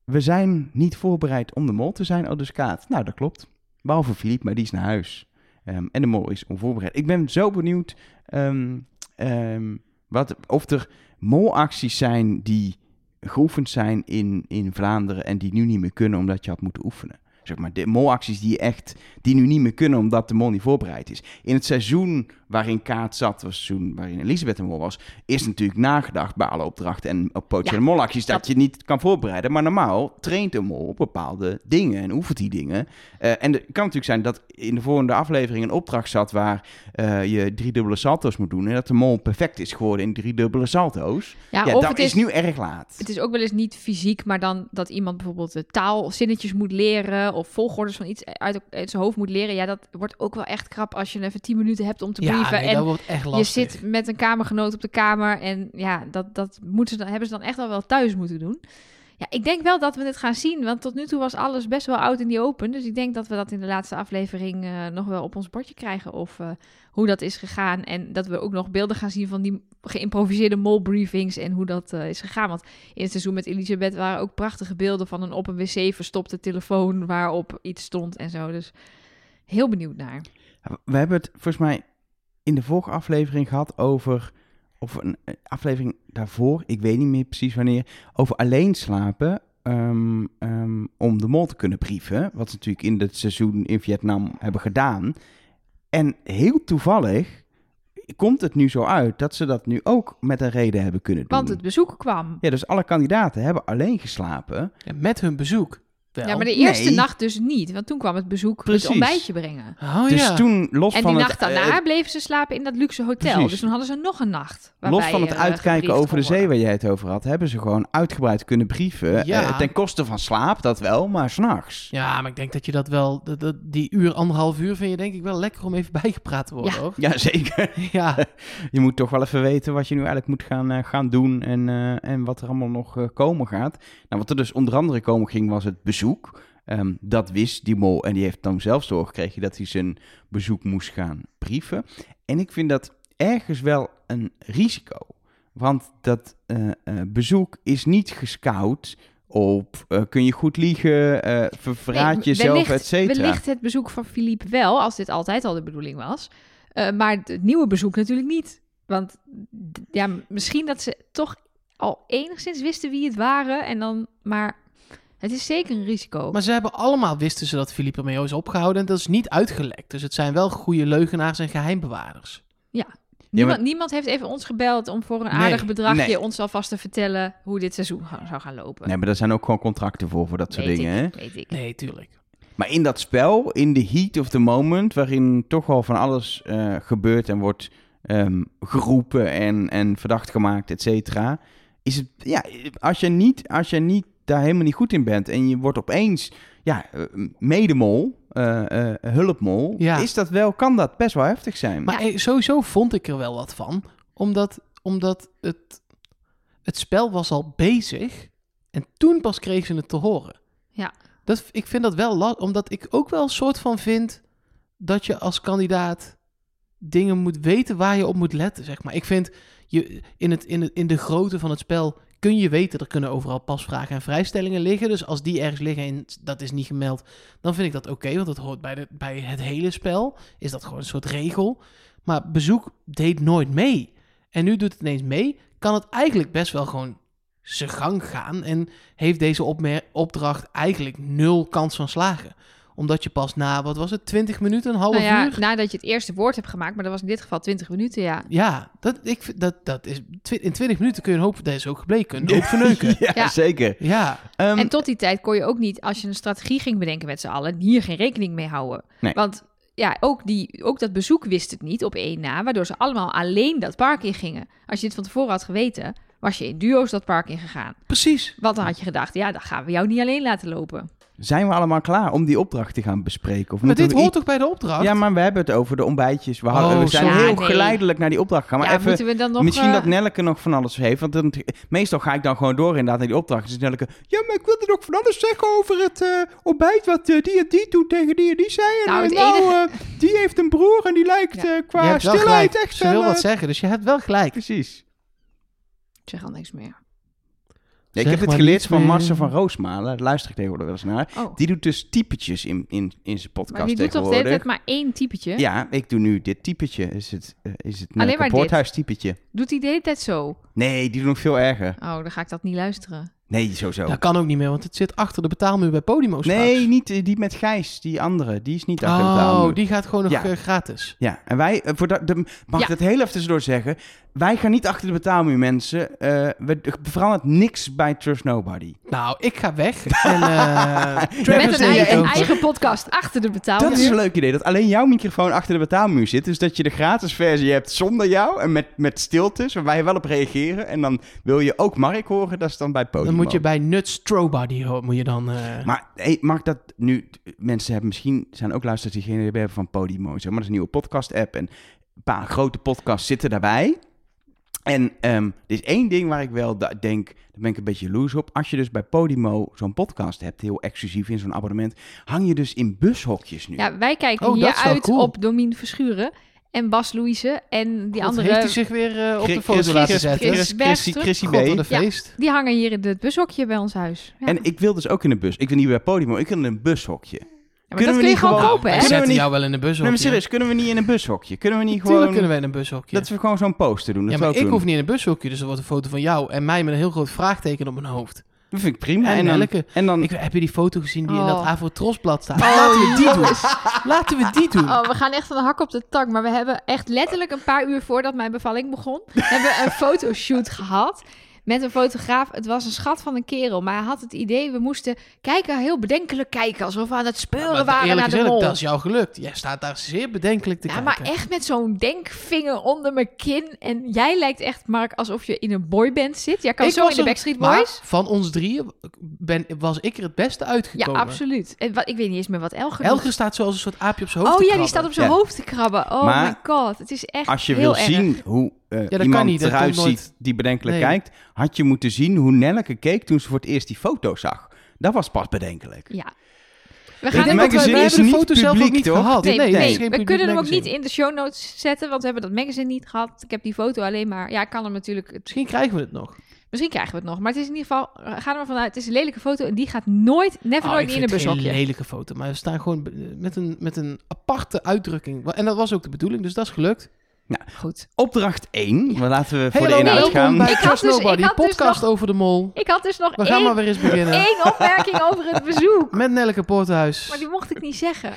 [SPEAKER 3] we zijn niet voorbereid om de mol te zijn, oh dus Kaat. Nou, dat klopt. Behalve Filip, maar die is naar huis. Ehm, en de mol is onvoorbereid. Ik ben zo benieuwd ehm, ehm, wat, of er molacties zijn die geoefend zijn in, in Vlaanderen en die nu niet meer kunnen omdat je had moeten oefenen. Zeg maar, de molacties die echt, die nu niet meer kunnen omdat de mol niet voorbereid is. In het seizoen waarin Kaat zat, was het seizoen waarin Elisabeth de mol was, is natuurlijk nagedacht bij alle opdrachten en op pootje
[SPEAKER 1] Ja.
[SPEAKER 3] en molacties dat
[SPEAKER 1] Dat-
[SPEAKER 3] je niet kan voorbereiden. Maar normaal traint een mol op bepaalde dingen en oefent die dingen. Eh, en het kan natuurlijk zijn dat in de volgende aflevering een opdracht zat waar eh, je drie dubbele salto's moet doen. En dat de mol perfect is geworden in drie dubbele salto's.
[SPEAKER 1] Ja,
[SPEAKER 3] Ja,
[SPEAKER 1] of
[SPEAKER 3] dat
[SPEAKER 1] het
[SPEAKER 3] is,
[SPEAKER 1] is,
[SPEAKER 3] nu erg laat.
[SPEAKER 1] Het is ook wel eens niet fysiek, maar dan dat iemand bijvoorbeeld de taal of zinnetjes moet leren of volgordes van iets uit, uit zijn hoofd moet leren. Ja, dat wordt ook wel echt krap als je even 10 minuten hebt om te brieven.
[SPEAKER 2] Ja, nee, dat
[SPEAKER 1] en
[SPEAKER 2] wordt echt
[SPEAKER 1] je
[SPEAKER 2] lastig.
[SPEAKER 1] zit met een kamergenoot op de kamer en ja, dat, dat moeten ze dan, hebben ze dan echt al wel thuis moeten doen. Ja, ik denk wel dat we het gaan zien, want tot nu toe was alles best wel oud in die open. Dus ik denk dat we dat in de laatste aflevering eh, nog wel op ons bordje krijgen of eh, hoe dat is gegaan. En dat we ook nog beelden gaan zien van die geïmproviseerde molbriefings en hoe dat eh, is gegaan. Want in het seizoen met Elisabeth waren ook prachtige beelden van een op een wc verstopte telefoon waarop iets stond en zo. Dus heel benieuwd naar.
[SPEAKER 3] We hebben het volgens mij in de vorige aflevering gehad over. Of een eh, aflevering daarvoor, ik weet niet meer precies wanneer. Over alleen slapen. ehm, ehm, om de mol te kunnen brieven. Wat ze natuurlijk in het seizoen in Vietnam hebben gedaan. En heel toevallig komt het nu zo uit dat ze dat nu ook met een reden hebben kunnen doen.
[SPEAKER 1] Want het bezoek kwam.
[SPEAKER 3] Ja, dus alle kandidaten hebben alleen geslapen.
[SPEAKER 2] Ja, met hun bezoek. Wel.
[SPEAKER 1] Ja, maar de eerste
[SPEAKER 3] nee.
[SPEAKER 1] nacht dus niet, want toen kwam het bezoek
[SPEAKER 3] Precies.
[SPEAKER 1] het ontbijtje brengen.
[SPEAKER 2] Oh
[SPEAKER 3] dus
[SPEAKER 2] ja.
[SPEAKER 3] toen, los
[SPEAKER 1] en die
[SPEAKER 3] van
[SPEAKER 1] nacht
[SPEAKER 3] het, eh,
[SPEAKER 1] daarna bleven ze slapen in dat luxe hotel.
[SPEAKER 3] precies.
[SPEAKER 1] Dus toen hadden ze nog een nacht.
[SPEAKER 3] Los
[SPEAKER 1] waarbij
[SPEAKER 3] van het
[SPEAKER 1] er, eh,
[SPEAKER 3] uitkijken
[SPEAKER 1] gebriefd
[SPEAKER 3] over de
[SPEAKER 1] kon
[SPEAKER 3] zee waar
[SPEAKER 1] worden.
[SPEAKER 3] jij het over had, hebben ze gewoon uitgebreid kunnen brieven.
[SPEAKER 2] Ja.
[SPEAKER 3] Eh, ten koste van slaap, dat wel, maar s'nachts.
[SPEAKER 2] Ja, maar ik denk dat je dat wel, dat, dat- die uur, anderhalf uur vind je denk ik wel lekker om even bijgepraat te worden,
[SPEAKER 1] Ja.
[SPEAKER 2] hoor.
[SPEAKER 3] Ja, zeker.
[SPEAKER 2] Ja,
[SPEAKER 3] Je moet toch wel even weten wat je nu eigenlijk moet gaan, eh, gaan doen en, eh, en wat er allemaal nog eh, komen gaat. Nou, wat er dus onder andere komen ging, was het bezoek. Ehm, dat wist die mol en die heeft dan zelfs doorgekregen dat hij zijn bezoek moest gaan brieven. En ik vind dat ergens wel een risico. Want dat eh, eh, bezoek is niet gescout op eh, kun je goed liegen, eh ver- verraad
[SPEAKER 1] Nee,
[SPEAKER 3] jezelf,
[SPEAKER 1] wellicht-
[SPEAKER 3] et cetera.
[SPEAKER 1] Wellicht het bezoek van Philippe wel, als dit altijd al de bedoeling was. Eh, maar het nieuwe bezoek natuurlijk niet. Want d- ja, m- misschien dat ze toch al enigszins wisten wie het waren. En dan, maar het is zeker een risico.
[SPEAKER 2] maar ze hebben allemaal, wisten ze dat Philippe ermee is opgehouden en dat is niet uitgelekt. Dus het zijn wel goede leugenaars en geheimbewaarders.
[SPEAKER 1] niemand,
[SPEAKER 3] maar-
[SPEAKER 1] niemand heeft even ons gebeld om voor een
[SPEAKER 2] Nee,
[SPEAKER 1] aardig bedragje
[SPEAKER 3] nee.
[SPEAKER 1] ons alvast te vertellen hoe dit seizoen ga- zou gaan lopen.
[SPEAKER 3] Nee, maar daar zijn ook gewoon contracten voor, voor dat soort
[SPEAKER 1] Weet
[SPEAKER 3] dingen.
[SPEAKER 1] ik,
[SPEAKER 3] hè?
[SPEAKER 1] Weet ik.
[SPEAKER 2] Nee, tuurlijk.
[SPEAKER 3] Maar in dat spel, in de heat of the moment, waarin toch al van alles eh, gebeurt en wordt ehm, geroepen en, en verdacht gemaakt, et cetera. Is het, ja, als je niet, als je niet daar helemaal niet goed in bent en je wordt opeens ja, eh, medemol, eh, eh, hulpmol,
[SPEAKER 2] Ja.
[SPEAKER 3] is dat wel, kan dat best wel heftig zijn.
[SPEAKER 2] Maar eh, sowieso vond ik er wel wat van. Omdat, omdat het, het spel was al bezig. En toen pas kregen ze het te horen.
[SPEAKER 1] Ja.
[SPEAKER 2] Dat, ik vind dat wel lastig. Omdat ik ook wel een soort van vind dat je als kandidaat dingen moet weten waar je op moet letten. Zeg maar. Ik vind je, in, het, in, het, in de grootte van het spel kun je weten, er kunnen overal pasvragen en vrijstellingen liggen. Dus als die ergens liggen en dat is niet gemeld, dan vind ik dat oké, want dat hoort bij, de, bij het hele spel. Is dat gewoon een soort regel. Maar bezoek deed nooit mee. En nu doet het ineens mee. Kan het eigenlijk best wel gewoon zijn gang gaan. En heeft deze opmer- opdracht eigenlijk nul kans van slagen. Omdat je pas na, wat was het, 20 minuten, een half
[SPEAKER 1] Nou ja,
[SPEAKER 2] uur?
[SPEAKER 1] nadat je het eerste woord hebt gemaakt, maar dat was in dit geval 20 minuten, ja.
[SPEAKER 2] Ja, dat, ik, vind- dat, dat is, twi- in 20 minuten kun je een hoop, dat is ook gebleken, een hoop verneuken.
[SPEAKER 3] ja,
[SPEAKER 1] Ja.
[SPEAKER 3] zeker.
[SPEAKER 2] Ja,
[SPEAKER 3] Ehm,
[SPEAKER 1] En tot die tijd kon je ook niet, als je een strategie ging bedenken met z'n allen, hier geen rekening mee houden.
[SPEAKER 3] Nee.
[SPEAKER 1] Want ja, ook, die, ook dat bezoek wist het niet op één na, waardoor ze allemaal alleen dat park ingingen. Als je dit van tevoren had geweten, was je in duo's dat park ingegaan.
[SPEAKER 2] precies.
[SPEAKER 1] Want dan had je gedacht, ja, dan gaan we jou niet alleen laten lopen.
[SPEAKER 3] zijn we allemaal klaar om die opdracht te gaan bespreken? Of
[SPEAKER 2] Maar
[SPEAKER 3] moeten
[SPEAKER 2] dit
[SPEAKER 3] we
[SPEAKER 2] hoort toch bij de opdracht?
[SPEAKER 3] Ja, maar we hebben het over de ontbijtjes. We, hadden,
[SPEAKER 2] Oh,
[SPEAKER 3] we zijn
[SPEAKER 1] zo.
[SPEAKER 3] heel
[SPEAKER 1] Ja, nee.
[SPEAKER 3] geleidelijk naar die opdracht gegaan. Maar
[SPEAKER 1] ja,
[SPEAKER 3] even,
[SPEAKER 1] moeten we dan nog...
[SPEAKER 3] misschien
[SPEAKER 1] eh,
[SPEAKER 3] dat Nelleke nog van alles heeft. Want dan, meestal ga ik dan gewoon door inderdaad naar die opdracht. Dus Nelleke, ja, maar ik wilde nog van alles zeggen over het eh, ontbijt wat eh, die en die toen tegen die en die zei. En
[SPEAKER 1] Nou,
[SPEAKER 3] eh,
[SPEAKER 1] het
[SPEAKER 3] nou,
[SPEAKER 1] enige-
[SPEAKER 3] eh, die heeft een broer en die lijkt
[SPEAKER 1] Ja.
[SPEAKER 3] eh,
[SPEAKER 2] Je
[SPEAKER 3] qua
[SPEAKER 2] hebt wel
[SPEAKER 3] stilheid
[SPEAKER 2] gelijk.
[SPEAKER 3] echt
[SPEAKER 2] Ze wil
[SPEAKER 3] wel,
[SPEAKER 2] wat
[SPEAKER 3] eh,
[SPEAKER 2] zeggen, dus je hebt wel gelijk.
[SPEAKER 3] Precies.
[SPEAKER 1] Ik zeg al niks meer.
[SPEAKER 3] Ja, ik
[SPEAKER 2] Zeg
[SPEAKER 3] heb het
[SPEAKER 2] maar
[SPEAKER 3] geleerd
[SPEAKER 2] niets
[SPEAKER 3] van
[SPEAKER 2] meer.
[SPEAKER 3] Marcel van Roosmalen. Daar luister ik tegenwoordig wel eens naar.
[SPEAKER 1] Oh,
[SPEAKER 3] Die doet dus typetjes in, in, in zijn podcast
[SPEAKER 1] maar die doet toch de
[SPEAKER 3] tegenwoordig.
[SPEAKER 1] hele tijd maar één typetje?
[SPEAKER 3] Ja, ik doe nu dit typetje. Is het, eh, is het
[SPEAKER 1] Alleen
[SPEAKER 3] Nelleke
[SPEAKER 1] maar dit?
[SPEAKER 3] Poorthuis typetje?
[SPEAKER 1] Doet hij de hele tijd zo?
[SPEAKER 3] Nee, die doen nog veel erger.
[SPEAKER 1] Oh, dan ga ik dat niet luisteren.
[SPEAKER 3] Nee, sowieso.
[SPEAKER 2] Dat kan ook niet meer, want het zit achter de betaalmuur bij Podimo straks.
[SPEAKER 3] nee, niet eh, die met Gijs. Die andere. Die is niet achter de
[SPEAKER 2] Oh,
[SPEAKER 3] betaalmuur.
[SPEAKER 2] die gaat gewoon nog
[SPEAKER 3] Ja.
[SPEAKER 2] eh, gratis.
[SPEAKER 3] Ja, en wij, eh, voor dat- de,
[SPEAKER 1] Ja.
[SPEAKER 3] mag ik dat heel even tussendoor zeggen? Wij gaan niet achter de betaalmuur, mensen. Eh, we er verandert niks bij Trust Nobody.
[SPEAKER 2] Nou, ik ga weg. En, eh,
[SPEAKER 1] Met
[SPEAKER 2] Travis
[SPEAKER 1] een,
[SPEAKER 2] neemt
[SPEAKER 1] ei-
[SPEAKER 2] het
[SPEAKER 1] een
[SPEAKER 2] over.
[SPEAKER 1] eigen podcast achter de
[SPEAKER 2] Oh,
[SPEAKER 1] betaalmuur.
[SPEAKER 3] Dat is een leuk idee, dat alleen jouw microfoon achter de betaalmuur zit. Dus dat je de gratis versie hebt zonder jou en met, met stiltes, waar wij wel op reageren. En dan wil je ook Mark horen, dat is dan bij Podimo.
[SPEAKER 2] Dan moet je bij Nut Strobody ho- moet je dan... eh,
[SPEAKER 3] Maar hey, mag dat nu... Mensen hebben misschien zijn ook luisteraars die geen idee hebben van Podimo. Zeg maar dat is een nieuwe podcast-app. En een paar grote podcasts zitten daarbij. En ehm er is één ding waar ik wel da- denk... Daar ben ik een beetje loose op. Als je dus bij Podimo zo'n podcast hebt... heel exclusief in zo'n abonnement... hang je dus in bushokjes nu.
[SPEAKER 1] Ja, wij kijken
[SPEAKER 2] Oh, dat is wel
[SPEAKER 1] hieruit
[SPEAKER 2] cool.
[SPEAKER 1] op Domien Verschuren en Bas Louise en die
[SPEAKER 2] God,
[SPEAKER 1] andere.
[SPEAKER 2] heeft hij zich weer eh, op
[SPEAKER 3] Chris-
[SPEAKER 2] de foto
[SPEAKER 3] Chris-
[SPEAKER 2] laten
[SPEAKER 3] Chris-
[SPEAKER 2] zetten?
[SPEAKER 1] Chris-
[SPEAKER 3] Chris- Chrissy-
[SPEAKER 1] Bergström.
[SPEAKER 3] Chrissy B.
[SPEAKER 2] God, wat een
[SPEAKER 1] Ja.
[SPEAKER 2] feest.
[SPEAKER 1] Die hangen hier in het bushokje bij ons huis. Ja.
[SPEAKER 3] En ik wil dus ook in een bus. Ik wil niet bij Podimo, ik wil in een bushokje.
[SPEAKER 1] Ja, maar
[SPEAKER 3] kunnen
[SPEAKER 1] dat
[SPEAKER 3] we
[SPEAKER 1] kun je
[SPEAKER 3] niet
[SPEAKER 1] gewoon
[SPEAKER 3] gewoon-
[SPEAKER 1] kopen,
[SPEAKER 2] wij
[SPEAKER 1] hè?
[SPEAKER 3] Kunnen we
[SPEAKER 2] zetten
[SPEAKER 3] niet-
[SPEAKER 2] jou wel in de bus
[SPEAKER 3] Nee, maar serieus, kunnen we niet in een bushokje? Kunnen we niet
[SPEAKER 2] Tuurlijk
[SPEAKER 3] gewoon...
[SPEAKER 2] kunnen we in een bushokje.
[SPEAKER 3] Dat we gewoon zo'n poster doen. Dat
[SPEAKER 2] ja,
[SPEAKER 3] we
[SPEAKER 2] maar
[SPEAKER 3] ook
[SPEAKER 2] ik
[SPEAKER 3] doen.
[SPEAKER 2] hoef niet in een bushokje, dus er wordt een foto van jou en mij met een heel groot vraagteken op mijn hoofd.
[SPEAKER 3] Dat vind ik prima.
[SPEAKER 2] En
[SPEAKER 3] En, dan,
[SPEAKER 2] Nelleke.
[SPEAKER 3] en dan
[SPEAKER 2] Ik, heb je die foto gezien die in dat
[SPEAKER 1] Oh.
[SPEAKER 2] Avotrosblad staat?
[SPEAKER 1] Oh,
[SPEAKER 2] Laten we die doen.
[SPEAKER 1] jongens.
[SPEAKER 2] Laten we die doen.
[SPEAKER 1] Oh, we gaan echt van de hak op de tak. Maar we hebben echt letterlijk een paar uur voordat mijn bevalling begon... hebben we een fotoshoot gehad met een fotograaf. Het was een schat van een kerel, maar hij had het idee... we moesten kijken, heel bedenkelijk kijken... alsof we aan het
[SPEAKER 2] Ja,
[SPEAKER 1] speuren
[SPEAKER 2] maar
[SPEAKER 1] waren
[SPEAKER 2] eerlijk
[SPEAKER 1] naar de
[SPEAKER 2] gezegd,
[SPEAKER 1] mol.
[SPEAKER 2] dat is jou gelukt. Jij staat daar zeer bedenkelijk te
[SPEAKER 1] Ja,
[SPEAKER 2] kijken.
[SPEAKER 1] maar echt met zo'n denkvinger onder mijn kin. En jij lijkt echt, Mark, alsof je in een boyband zit. Jij kan
[SPEAKER 2] Ik
[SPEAKER 1] zo
[SPEAKER 2] was
[SPEAKER 1] in de
[SPEAKER 2] er-
[SPEAKER 1] Backstreet
[SPEAKER 2] maar
[SPEAKER 1] Boys.
[SPEAKER 2] van ons drieën ben, was ik er het beste
[SPEAKER 1] Ja,
[SPEAKER 2] uitgekomen.
[SPEAKER 1] absoluut. En wat, ik weet niet eens meer wat Elger doet.
[SPEAKER 2] Elke staat zoals een soort aapje op zijn hoofd
[SPEAKER 1] Oh
[SPEAKER 2] te
[SPEAKER 1] ja, die staat op
[SPEAKER 2] krabben.
[SPEAKER 1] zijn
[SPEAKER 3] Ja.
[SPEAKER 1] hoofd te krabben. Oh
[SPEAKER 3] Maar
[SPEAKER 1] my god, het is echt
[SPEAKER 3] Als je
[SPEAKER 1] heel
[SPEAKER 3] wil
[SPEAKER 1] erg.
[SPEAKER 3] zien hoe eh,
[SPEAKER 2] dat kan
[SPEAKER 3] iemand
[SPEAKER 2] niet, dat
[SPEAKER 3] eruit
[SPEAKER 2] komt nooit.
[SPEAKER 3] ziet die bedenkelijk
[SPEAKER 2] Nee.
[SPEAKER 3] kijkt, had je moeten zien hoe Nelleke keek toen ze voor het eerst die foto zag. Dat was pas bedenkelijk.
[SPEAKER 1] Ja. We
[SPEAKER 3] Ik
[SPEAKER 2] Ik
[SPEAKER 1] gaan
[SPEAKER 2] denk
[SPEAKER 1] hem ook...
[SPEAKER 2] dat we,
[SPEAKER 3] magazine
[SPEAKER 2] wij
[SPEAKER 3] is
[SPEAKER 2] hebben de
[SPEAKER 3] niet
[SPEAKER 2] foto zelf ook
[SPEAKER 3] publiek,
[SPEAKER 2] niet
[SPEAKER 3] toch?
[SPEAKER 2] gehad.
[SPEAKER 1] Nee,
[SPEAKER 2] het is
[SPEAKER 1] nee,
[SPEAKER 2] geen
[SPEAKER 1] we
[SPEAKER 2] publiek
[SPEAKER 1] kunnen hem ook
[SPEAKER 2] magazine.
[SPEAKER 1] niet in de show notes zetten, want we hebben dat magazine niet gehad. Ik heb die foto alleen maar... Ja, ik kan hem natuurlijk...
[SPEAKER 2] Misschien krijgen we het nog.
[SPEAKER 1] Misschien krijgen we het nog, maar het is in ieder geval... Ga er maar vanuit, het is een lelijke foto en die gaat nooit,
[SPEAKER 2] Oh,
[SPEAKER 1] never nooit in een
[SPEAKER 2] een
[SPEAKER 1] bushokje.
[SPEAKER 2] lelijke foto, maar we staan gewoon be- met een, met een aparte uitdrukking. En dat was ook de bedoeling, dus dat is gelukt.
[SPEAKER 1] Goed.
[SPEAKER 3] Opdracht 1, maar laten we voor
[SPEAKER 2] Hallo,
[SPEAKER 3] de inhoud
[SPEAKER 1] welkom
[SPEAKER 3] gaan.
[SPEAKER 2] bij
[SPEAKER 1] Ik had
[SPEAKER 2] Trust
[SPEAKER 1] dus- ik
[SPEAKER 2] Nobody,
[SPEAKER 1] had dus
[SPEAKER 2] podcast
[SPEAKER 1] nog-
[SPEAKER 2] over de mol.
[SPEAKER 1] Ik had dus nog
[SPEAKER 2] We gaan
[SPEAKER 1] één
[SPEAKER 2] maar weer eens beginnen.
[SPEAKER 1] Eén opmerking over het bezoek.
[SPEAKER 2] Met Nelleke Poorthuis.
[SPEAKER 1] Maar die mocht ik niet zeggen.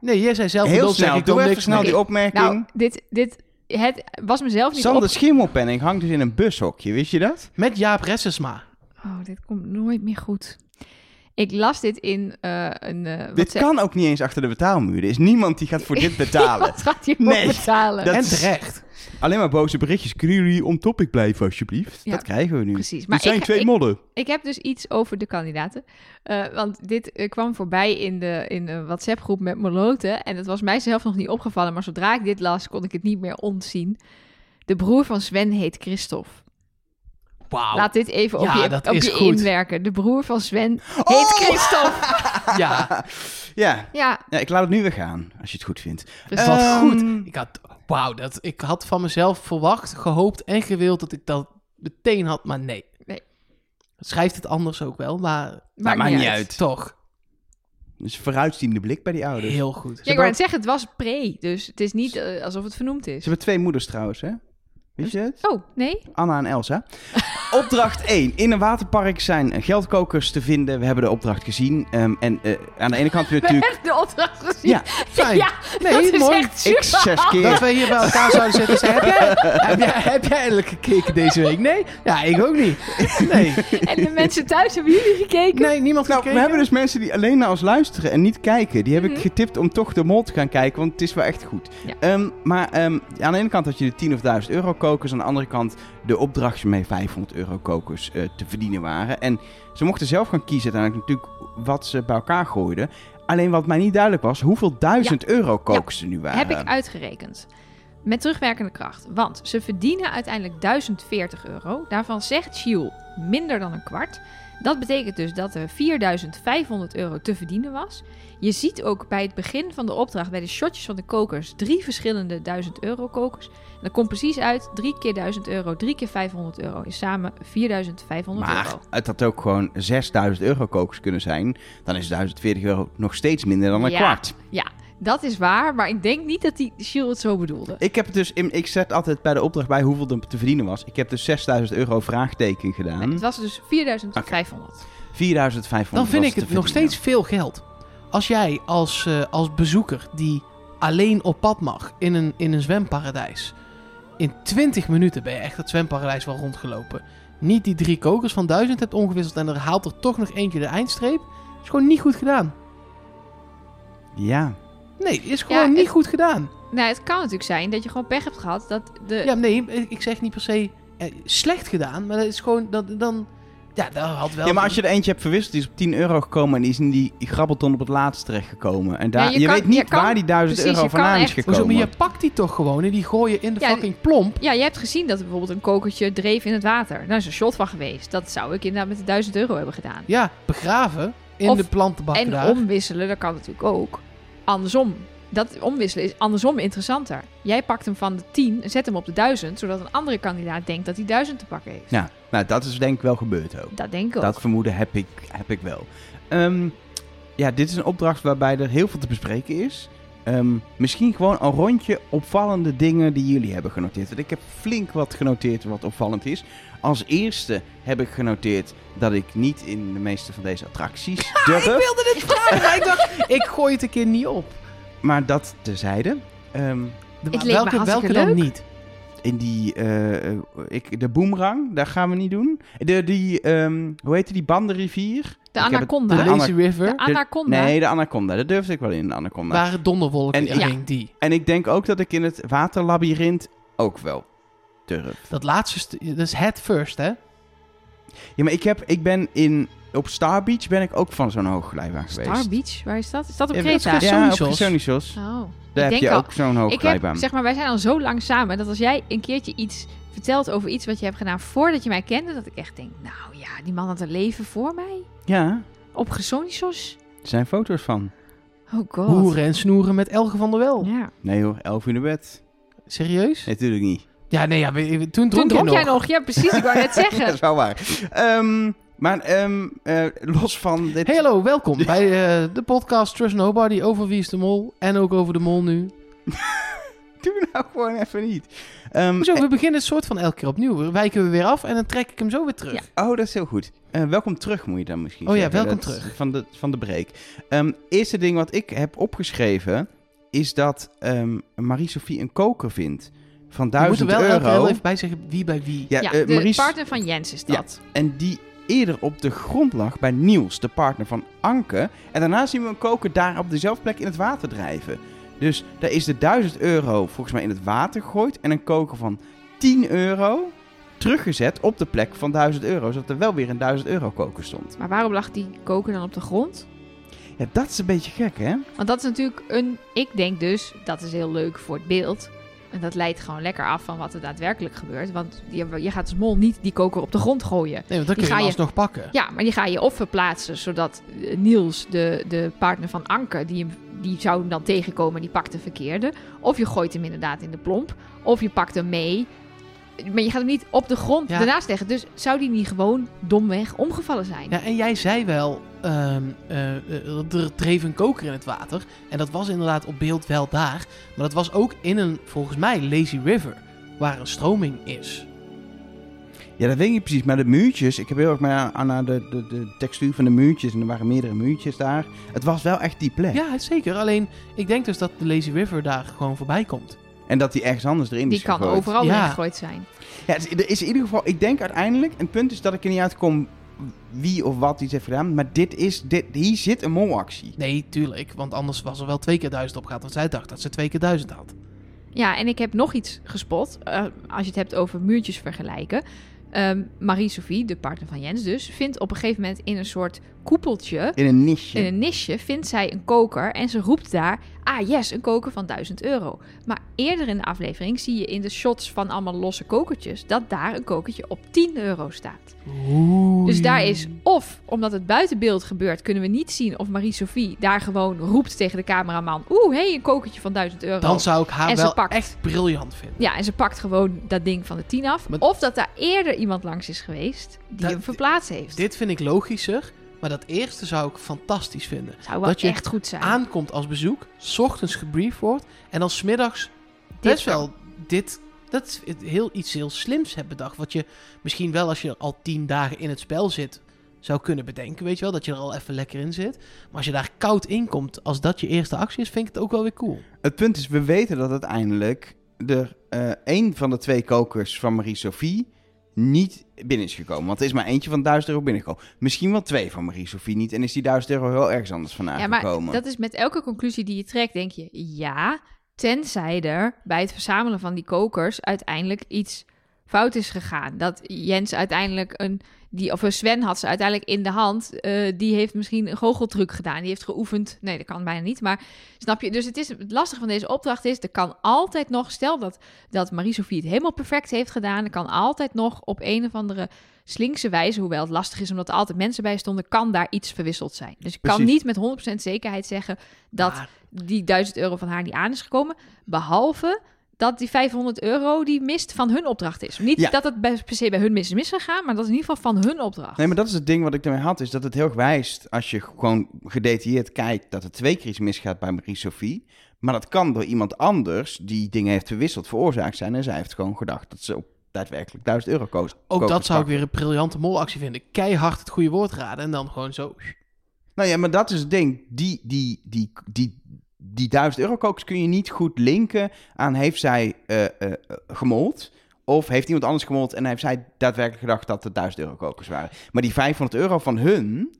[SPEAKER 2] Nee, jij zei zelf
[SPEAKER 3] Heel
[SPEAKER 2] bedoeld, zeg
[SPEAKER 3] snel,
[SPEAKER 2] ik dan
[SPEAKER 3] doe even
[SPEAKER 2] niks
[SPEAKER 3] snel
[SPEAKER 2] meer.
[SPEAKER 3] die opmerking.
[SPEAKER 1] Nou, dit, dit het was mezelf niet
[SPEAKER 3] Sander Schimmelpenning hangt dus in een bushokje, wist je dat?
[SPEAKER 2] Met Jaap Ressesma.
[SPEAKER 1] op. Oh, dit komt nooit meer goed. Ik las dit in eh, een... eh, wat
[SPEAKER 3] Dit
[SPEAKER 1] ze-
[SPEAKER 3] kan ook niet eens achter de betaalmuur. Er is niemand die gaat voor dit betalen.
[SPEAKER 1] Wat gaat hiervoor
[SPEAKER 3] Nee,
[SPEAKER 1] betalen?
[SPEAKER 3] dat-
[SPEAKER 2] en
[SPEAKER 3] is-
[SPEAKER 2] terecht.
[SPEAKER 3] Alleen maar boze berichtjes. Kunnen jullie on topic blijven, alsjeblieft?
[SPEAKER 1] Ja,
[SPEAKER 3] dat krijgen we nu.
[SPEAKER 1] Precies.
[SPEAKER 3] Er zijn
[SPEAKER 1] ik,
[SPEAKER 3] twee
[SPEAKER 1] ik-
[SPEAKER 3] modden.
[SPEAKER 1] Ik heb dus iets over de kandidaten. Eh, want dit eh, kwam voorbij in de in een WhatsApp-groep met Moloten. En het was mijzelf nog niet opgevallen. Maar zodra ik dit las, kon ik het niet meer ontzien. De broer van Sven heet Christophe.
[SPEAKER 2] Wauw.
[SPEAKER 1] Laat dit even op
[SPEAKER 2] Ja,
[SPEAKER 1] je,
[SPEAKER 2] dat
[SPEAKER 1] op
[SPEAKER 2] is
[SPEAKER 1] je
[SPEAKER 2] goed.
[SPEAKER 1] inwerken. De broer van Sven heet Christophe.
[SPEAKER 2] Ja,
[SPEAKER 3] Oh! Ja.
[SPEAKER 1] Ja,
[SPEAKER 3] ja, ik laat het nu weer gaan, als je het goed vindt.
[SPEAKER 1] precies.
[SPEAKER 2] wat
[SPEAKER 3] Ehm,
[SPEAKER 2] goed. Ik had, wauw, dat, ik had van mezelf verwacht, gehoopt en gewild dat ik dat meteen had, maar nee.
[SPEAKER 1] Nee.
[SPEAKER 2] Schrijft het anders ook wel, maar
[SPEAKER 3] Maar maakt niet uit.
[SPEAKER 2] toch
[SPEAKER 3] Dus vooruitziende blik bij die ouders.
[SPEAKER 2] heel goed.
[SPEAKER 1] Ja, ik wou net zeggen, het was pre. Dus het is niet eh, alsof het vernoemd
[SPEAKER 3] Ze
[SPEAKER 1] is.
[SPEAKER 3] hebben twee moeders trouwens, hè? Weet je het?
[SPEAKER 1] Oh, nee?
[SPEAKER 3] Anna en Elsa. Opdracht 1. In een waterpark zijn geldkokers te vinden. We hebben de opdracht gezien. Ehm, en eh, aan de ene kant weer natuurlijk...
[SPEAKER 1] Echt de opdracht gezien?
[SPEAKER 3] Ja,
[SPEAKER 2] fijn.
[SPEAKER 1] Ja,
[SPEAKER 2] Nee,
[SPEAKER 1] dat is
[SPEAKER 2] mooi.
[SPEAKER 1] echt super.
[SPEAKER 3] ik zes
[SPEAKER 2] Dat
[SPEAKER 3] keer.
[SPEAKER 2] wij hier bij elkaar zouden zitten en zeggen, heb jij, heb jij, heb jij eindelijk gekeken deze week? Nee? Ja, ik ook niet. Nee,
[SPEAKER 1] En de mensen thuis hebben jullie gekeken?
[SPEAKER 2] nee niemand
[SPEAKER 3] Nou, we
[SPEAKER 2] gekeken.
[SPEAKER 3] hebben dus mensen die alleen naar ons luisteren en niet kijken. Die heb ik
[SPEAKER 1] Mhm.
[SPEAKER 3] getipt om toch de mol te gaan kijken, want het is wel echt goed.
[SPEAKER 1] Ja.
[SPEAKER 3] Ehm, maar ehm, aan de ene kant had je de 10 of 1000 euro kokers. Aan de andere kant de opdrachtje mee 500 euro kokers eh, te verdienen waren. En ze mochten zelf gaan kiezen uiteindelijk natuurlijk wat ze bij elkaar gooiden. Alleen wat mij niet duidelijk was, hoeveel duizend euro kokers er nu waren.
[SPEAKER 1] Heb ik uitgerekend. Met terugwerkende kracht. Want ze verdienen uiteindelijk 1040 euro. Daarvan zegt Giel minder dan een kwart. Dat betekent dus dat er 4500 euro te verdienen was. Je ziet ook bij het begin van de opdracht, bij de shotjes van de kokers, drie verschillende 1000 euro kokers. En dat komt precies uit: 3 keer 1000 euro, 3 keer 500 euro is samen 4500
[SPEAKER 3] Maar
[SPEAKER 1] euro.
[SPEAKER 3] het had ook gewoon 6000 euro kokers kunnen zijn. Dan is 1040 euro nog steeds minder dan een
[SPEAKER 1] Ja.
[SPEAKER 3] kwart.
[SPEAKER 1] Dat is waar, maar ik denk niet dat die Giel het zo bedoelde.
[SPEAKER 3] Ik heb het dus, in, ik zet altijd bij de opdracht bij hoeveel er te verdienen was. Ik heb dus 6000 euro vraagteken
[SPEAKER 1] Nee,
[SPEAKER 3] gedaan.
[SPEAKER 1] het was dus 4500.
[SPEAKER 3] 4500
[SPEAKER 2] Dan vind
[SPEAKER 3] was
[SPEAKER 2] ik
[SPEAKER 3] te
[SPEAKER 2] het nog
[SPEAKER 3] verdienen.
[SPEAKER 2] steeds veel geld. Als jij als, eh, als bezoeker die alleen op pad mag in een, in een zwemparadijs. In 20 minuten ben je echt het zwemparadijs wel rondgelopen. Niet die drie kokers van 1000 hebt omgewisseld en er haalt er toch nog eentje de eindstreep. Is gewoon niet goed gedaan.
[SPEAKER 3] Ja.
[SPEAKER 2] Nee, is gewoon
[SPEAKER 1] Ja,
[SPEAKER 2] niet
[SPEAKER 1] het-
[SPEAKER 2] goed gedaan.
[SPEAKER 1] Nou, het kan natuurlijk zijn dat je gewoon pech hebt gehad dat de...
[SPEAKER 2] Ja, nee, ik zeg niet per se eh, slecht gedaan, maar dat is gewoon dat dan. Ja, dat had wel.
[SPEAKER 3] ja, maar als je er eentje hebt verwisseld, die is op 10 euro gekomen. En die is in die grabbelton op het laatst terechtgekomen. En daar,
[SPEAKER 1] Ja,
[SPEAKER 3] je,
[SPEAKER 1] je kan-
[SPEAKER 3] weet niet
[SPEAKER 1] je kan-
[SPEAKER 3] waar die 1000
[SPEAKER 1] precies,
[SPEAKER 3] euro
[SPEAKER 1] je kan
[SPEAKER 3] vandaan is
[SPEAKER 1] echt-
[SPEAKER 3] gekomen.
[SPEAKER 2] Hoezo, maar je pakt die toch gewoon en die gooi je in de
[SPEAKER 1] Ja,
[SPEAKER 2] fucking plomp.
[SPEAKER 1] Ja, je hebt gezien dat er bijvoorbeeld een kokertje dreef in het water. Daar is een shot van geweest. Dat zou ik inderdaad met de 1000 euro hebben gedaan.
[SPEAKER 2] Ja, begraven in
[SPEAKER 1] Of-
[SPEAKER 2] de plantenbak
[SPEAKER 1] en
[SPEAKER 2] daar.
[SPEAKER 1] omwisselen, dat kan natuurlijk ook. Andersom. Dat omwisselen is andersom interessanter. Jij pakt hem van de 10 en zet hem op de 1000, zodat een andere kandidaat denkt dat hij 1000 te pakken heeft.
[SPEAKER 3] Ja, nou, dat is denk ik wel gebeurd ook.
[SPEAKER 1] Dat denk ik ook.
[SPEAKER 3] Dat vermoeden heb ik, heb ik wel. Ehm, ja, dit is een opdracht waarbij er heel veel te bespreken is. Ehm, misschien gewoon een rondje opvallende dingen die jullie hebben genoteerd. Want ik heb flink wat genoteerd wat opvallend is. Als eerste heb ik genoteerd dat ik niet in de meeste van deze attracties durf.
[SPEAKER 2] wilde dit vragen, maar ik dacht, ik gooi het een keer niet op.
[SPEAKER 3] Maar dat terzijde. Ehm,
[SPEAKER 2] De-
[SPEAKER 1] leek me
[SPEAKER 2] welke
[SPEAKER 1] hartstikke
[SPEAKER 2] welke dan
[SPEAKER 1] leuk.
[SPEAKER 2] niet?
[SPEAKER 3] in die, eh, eh, ik, de boemerang, daar gaan we niet doen. De, die, ehm, hoe heette die bandenrivier?
[SPEAKER 1] de
[SPEAKER 3] heb het-
[SPEAKER 1] anaconda.
[SPEAKER 2] De
[SPEAKER 3] de
[SPEAKER 1] De,
[SPEAKER 2] Lazy River,
[SPEAKER 1] anaconda.
[SPEAKER 3] Nee, de anaconda. Daar durfde ik wel in, de anaconda.
[SPEAKER 2] waren donderwolken
[SPEAKER 3] En-
[SPEAKER 2] in
[SPEAKER 3] ja.
[SPEAKER 2] hing, die.
[SPEAKER 3] En ik denk ook dat ik in het waterlabyrint ook wel durf.
[SPEAKER 2] Dat laatste, stu- dat is head first, hè?
[SPEAKER 1] Oh,
[SPEAKER 3] Ja, maar ik, heb, ik ben in... Op Star Beach ben ik ook van zo'n hoogglijbaan geweest.
[SPEAKER 1] Star Beach, waar is dat? Is dat op
[SPEAKER 3] Ja,
[SPEAKER 1] Creta?
[SPEAKER 2] is Creta.
[SPEAKER 3] Ja, op
[SPEAKER 2] Gersonisos.
[SPEAKER 3] Gersonisos.
[SPEAKER 1] Oh.
[SPEAKER 3] Daar
[SPEAKER 1] Ik
[SPEAKER 3] heb
[SPEAKER 1] denk
[SPEAKER 3] je
[SPEAKER 1] al-
[SPEAKER 3] ook zo'n
[SPEAKER 1] Ik heb,
[SPEAKER 3] hoogglijbaan.
[SPEAKER 1] zeg maar, wij zijn al zo lang samen dat als jij een keertje iets vertelt over iets wat je hebt gedaan voordat je mij kende, dat ik echt denk, nou ja, die man had een leven voor mij.
[SPEAKER 3] Ja,
[SPEAKER 1] Op gezonisos.
[SPEAKER 3] er zijn foto's van.
[SPEAKER 1] Oh god.
[SPEAKER 2] Hoeren en snoeren met Elge van der Wel.
[SPEAKER 1] Ja.
[SPEAKER 3] Nee hoor, elf uur naar bed.
[SPEAKER 2] Serieus?
[SPEAKER 3] Nee, natuurlijk niet.
[SPEAKER 2] Ja, nee, ja, we- we- toen
[SPEAKER 1] Toen
[SPEAKER 2] dronk,
[SPEAKER 1] dronk
[SPEAKER 2] je
[SPEAKER 1] jij nog. Ja, precies. Ik wou net
[SPEAKER 3] Dat
[SPEAKER 1] zeggen.
[SPEAKER 3] is wel waar. Ehm, maar ehm, eh, los van dit...
[SPEAKER 2] Hey, hallo, welkom bij eh, de podcast Trust Nobody over Wie is de Mol. En ook over de Mol nu.
[SPEAKER 3] Doe nou gewoon even niet. Ehm,
[SPEAKER 2] Hoezo, we beginnen het soort van elke keer opnieuw. We Wijken we weer af en dan trek ik hem zo weer terug.
[SPEAKER 1] Ja.
[SPEAKER 3] Oh, dat is heel goed. Eh, welkom terug moet je dan misschien
[SPEAKER 2] Oh ja,
[SPEAKER 3] zeggen.
[SPEAKER 2] welkom
[SPEAKER 3] Dat is
[SPEAKER 2] terug.
[SPEAKER 3] Van de, van de break. Ehm, eerste ding wat ik heb opgeschreven... is dat ehm Marie-Sophie een koker vindt van
[SPEAKER 2] We moeten
[SPEAKER 3] 1000
[SPEAKER 2] wel elke keer
[SPEAKER 3] euro.
[SPEAKER 2] heel even bij zeggen wie bij wie.
[SPEAKER 3] Ja,
[SPEAKER 1] Ja,
[SPEAKER 3] eh,
[SPEAKER 1] de
[SPEAKER 3] Marie-
[SPEAKER 1] partner van Jens is dat.
[SPEAKER 3] En die eerder op de grond lag bij Niels, de partner van Anke. En daarna zien we hem koken daar op dezelfde plek in het water drijven. Dus daar is de 1000 euro volgens mij in het water gegooid en een koker van 10 euro teruggezet op de plek van 1000 euro, zodat er wel weer een 1000 euro koker stond.
[SPEAKER 1] Maar waarom lag die koker dan op de grond?
[SPEAKER 3] Ja, dat is een beetje gek, hè?
[SPEAKER 1] Want dat is natuurlijk een. Ik denk dus, dat is heel leuk voor het beeld. En dat leidt gewoon lekker af van wat er daadwerkelijk gebeurt. Want je, je gaat als mol niet die koker op de grond gooien.
[SPEAKER 2] Nee, want dan kun je
[SPEAKER 1] ga
[SPEAKER 2] hem
[SPEAKER 1] je-
[SPEAKER 2] alsnog pakken.
[SPEAKER 1] Ja, maar die ga je of verplaatsen zodat eh, Niels, de, de partner van Anke, die, hem, die zou hem dan tegenkomen, die pakt de verkeerde. Of je gooit hem inderdaad in de plomp. Of je pakt hem mee. Maar je gaat hem niet op de grond
[SPEAKER 2] Ja.
[SPEAKER 1] daarnaast leggen. Dus zou die niet gewoon domweg omgevallen zijn?
[SPEAKER 2] Ja, en jij zei wel, ehm, eh, eh, er dreef een koker in het water. En dat was inderdaad op beeld wel daar. Maar dat was ook in een, volgens mij, lazy river. Waar een stroming is.
[SPEAKER 3] Ja, dat weet ik niet precies. Maar de muurtjes, ik heb heel erg maar aan, aan de, de, de textuur van de muurtjes. En er waren meerdere muurtjes daar. Het was wel echt die plek.
[SPEAKER 2] Ja, zeker. Alleen, ik denk dus dat de lazy river daar gewoon voorbij komt.
[SPEAKER 3] En dat die ergens anders erin
[SPEAKER 1] die
[SPEAKER 3] is
[SPEAKER 1] kan
[SPEAKER 3] gegooid.
[SPEAKER 1] overal
[SPEAKER 2] Ja.
[SPEAKER 1] ingegooid zijn.
[SPEAKER 3] Ja, het is- er is in ieder geval, ik denk uiteindelijk, een punt is dat ik er niet uitkom wie of wat iets heeft gedaan. Maar dit is, dit, hier zit een molactie.
[SPEAKER 2] Nee, tuurlijk. Want anders was er wel twee keer duizend op gehad. Want zij dacht dat ze twee keer duizend had.
[SPEAKER 1] Ja, en ik heb nog iets gespot. eh, als je het hebt over muurtjes vergelijken. Ehm, Marie-Sophie, de partner van Jens dus, vindt op een gegeven moment in een soort koepeltje,
[SPEAKER 3] In een niche.
[SPEAKER 1] in een nisje, vindt zij een koker en ze roept daar, ah yes, een koker van 1000 euro. Maar eerder in de aflevering zie je in de shots van allemaal losse kokertjes dat daar een kokertje op 10 euro staat. Dus daar is of, omdat het buiten beeld gebeurt, kunnen we niet zien of Marie-Sophie daar gewoon roept tegen de cameraman, oeh, hey, een kokertje van 1000 euro.
[SPEAKER 2] Dan zou ik haar
[SPEAKER 1] En ze
[SPEAKER 2] wel
[SPEAKER 1] pakt.
[SPEAKER 2] echt briljant vinden.
[SPEAKER 1] Ja, en ze pakt gewoon dat ding van de 10 af.
[SPEAKER 2] Maar-
[SPEAKER 1] of dat daar eerder iemand langs is geweest die
[SPEAKER 2] Dat-
[SPEAKER 1] hem verplaatst heeft.
[SPEAKER 2] Dit vind ik logischer. Maar dat eerste zou ik fantastisch vinden.
[SPEAKER 1] zou wel
[SPEAKER 2] dat je
[SPEAKER 1] echt goed zijn.
[SPEAKER 2] aankomt als bezoek, 's ochtends gebriefd wordt en dan 's middags best wel dit, dat is het heel iets heel slims hebt bedacht. Wat je misschien wel als je al tien dagen in het spel zit zou kunnen bedenken, weet je wel, dat je er al even lekker in zit. Maar als je daar koud in komt, als dat je eerste actie is, vind ik het ook wel weer cool.
[SPEAKER 3] Het punt is, we weten dat uiteindelijk er eh één van de twee kokers van Marie-Sophie niet binnen is gekomen. Want er is maar eentje van 1000 euro binnengekomen. Misschien wel twee van Marie-Sophie niet. En is die 1000 euro heel ergens anders vandaan
[SPEAKER 1] ja, maar
[SPEAKER 3] gekomen.
[SPEAKER 1] dat is met elke conclusie die je trekt, denk je ja. Tenzij er bij het verzamelen van die kokers uiteindelijk iets fout is gegaan. Dat Jens uiteindelijk een. Die, of een Sven had ze uiteindelijk in de hand. eh, die heeft misschien een goocheltruc gedaan. Die heeft geoefend. Nee, dat kan bijna niet. Maar snap je? Dus het, is, het lastige van deze opdracht is... er kan altijd nog... stel dat, dat Marie-Sophie het helemaal perfect heeft gedaan... er kan altijd nog op een of andere slinkse wijze... hoewel het lastig is omdat er altijd mensen bij stonden... kan daar iets verwisseld zijn. Dus je kan
[SPEAKER 3] Precies.
[SPEAKER 1] niet met 100% zekerheid zeggen... dat
[SPEAKER 2] Maar
[SPEAKER 1] die 1000 euro van haar niet aan is gekomen. Behalve dat die 500 euro die mist van hun opdracht is. Niet
[SPEAKER 3] Ja.
[SPEAKER 1] dat het bij, per se bij hun mis is misgegaan, maar dat is in ieder geval van hun opdracht.
[SPEAKER 3] Nee, maar dat is het ding wat ik daarmee had. Is dat het heel erg wijst als je gewoon gedetailleerd kijkt dat er twee keer iets misgaat bij Marie-Sophie. Maar dat kan door iemand anders die dingen heeft verwisseld veroorzaakt zijn. En zij heeft gewoon gedacht dat ze op daadwerkelijk 1000 euro koos.
[SPEAKER 2] ook
[SPEAKER 3] kokers
[SPEAKER 2] dat zou ik
[SPEAKER 3] pakken.
[SPEAKER 2] weer een briljante molactie vinden. Keihard het goede woord raden en dan gewoon zo.
[SPEAKER 3] Nou ja, maar dat is het ding. Die, die, die, die, die 1000 euro kokers kun je niet goed linken aan heeft zij eh, eh, eh, gemold. Of heeft iemand anders gemold en heeft zij daadwerkelijk gedacht dat het 1000 euro kokers waren. Maar die 500 euro van hun,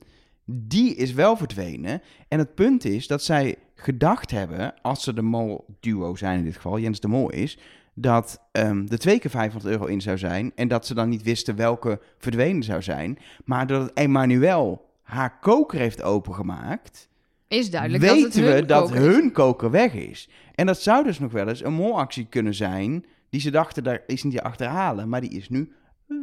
[SPEAKER 3] die is wel verdwenen. En het punt is dat zij gedacht hebben, als ze de mol-duo zijn in dit geval, Jens de Mol is, dat ehm er twee keer 500 euro in zou zijn. En dat ze dan niet wisten welke verdwenen zou zijn. Maar doordat Emmanuel haar koker heeft opengemaakt,
[SPEAKER 1] is duidelijk
[SPEAKER 3] weten
[SPEAKER 1] dat het hun
[SPEAKER 3] we dat
[SPEAKER 1] koker is.
[SPEAKER 3] hun koker weg is. En dat zou dus nog wel eens een molactie kunnen zijn, die ze dachten, daar is niet te achterhalen, maar die is nu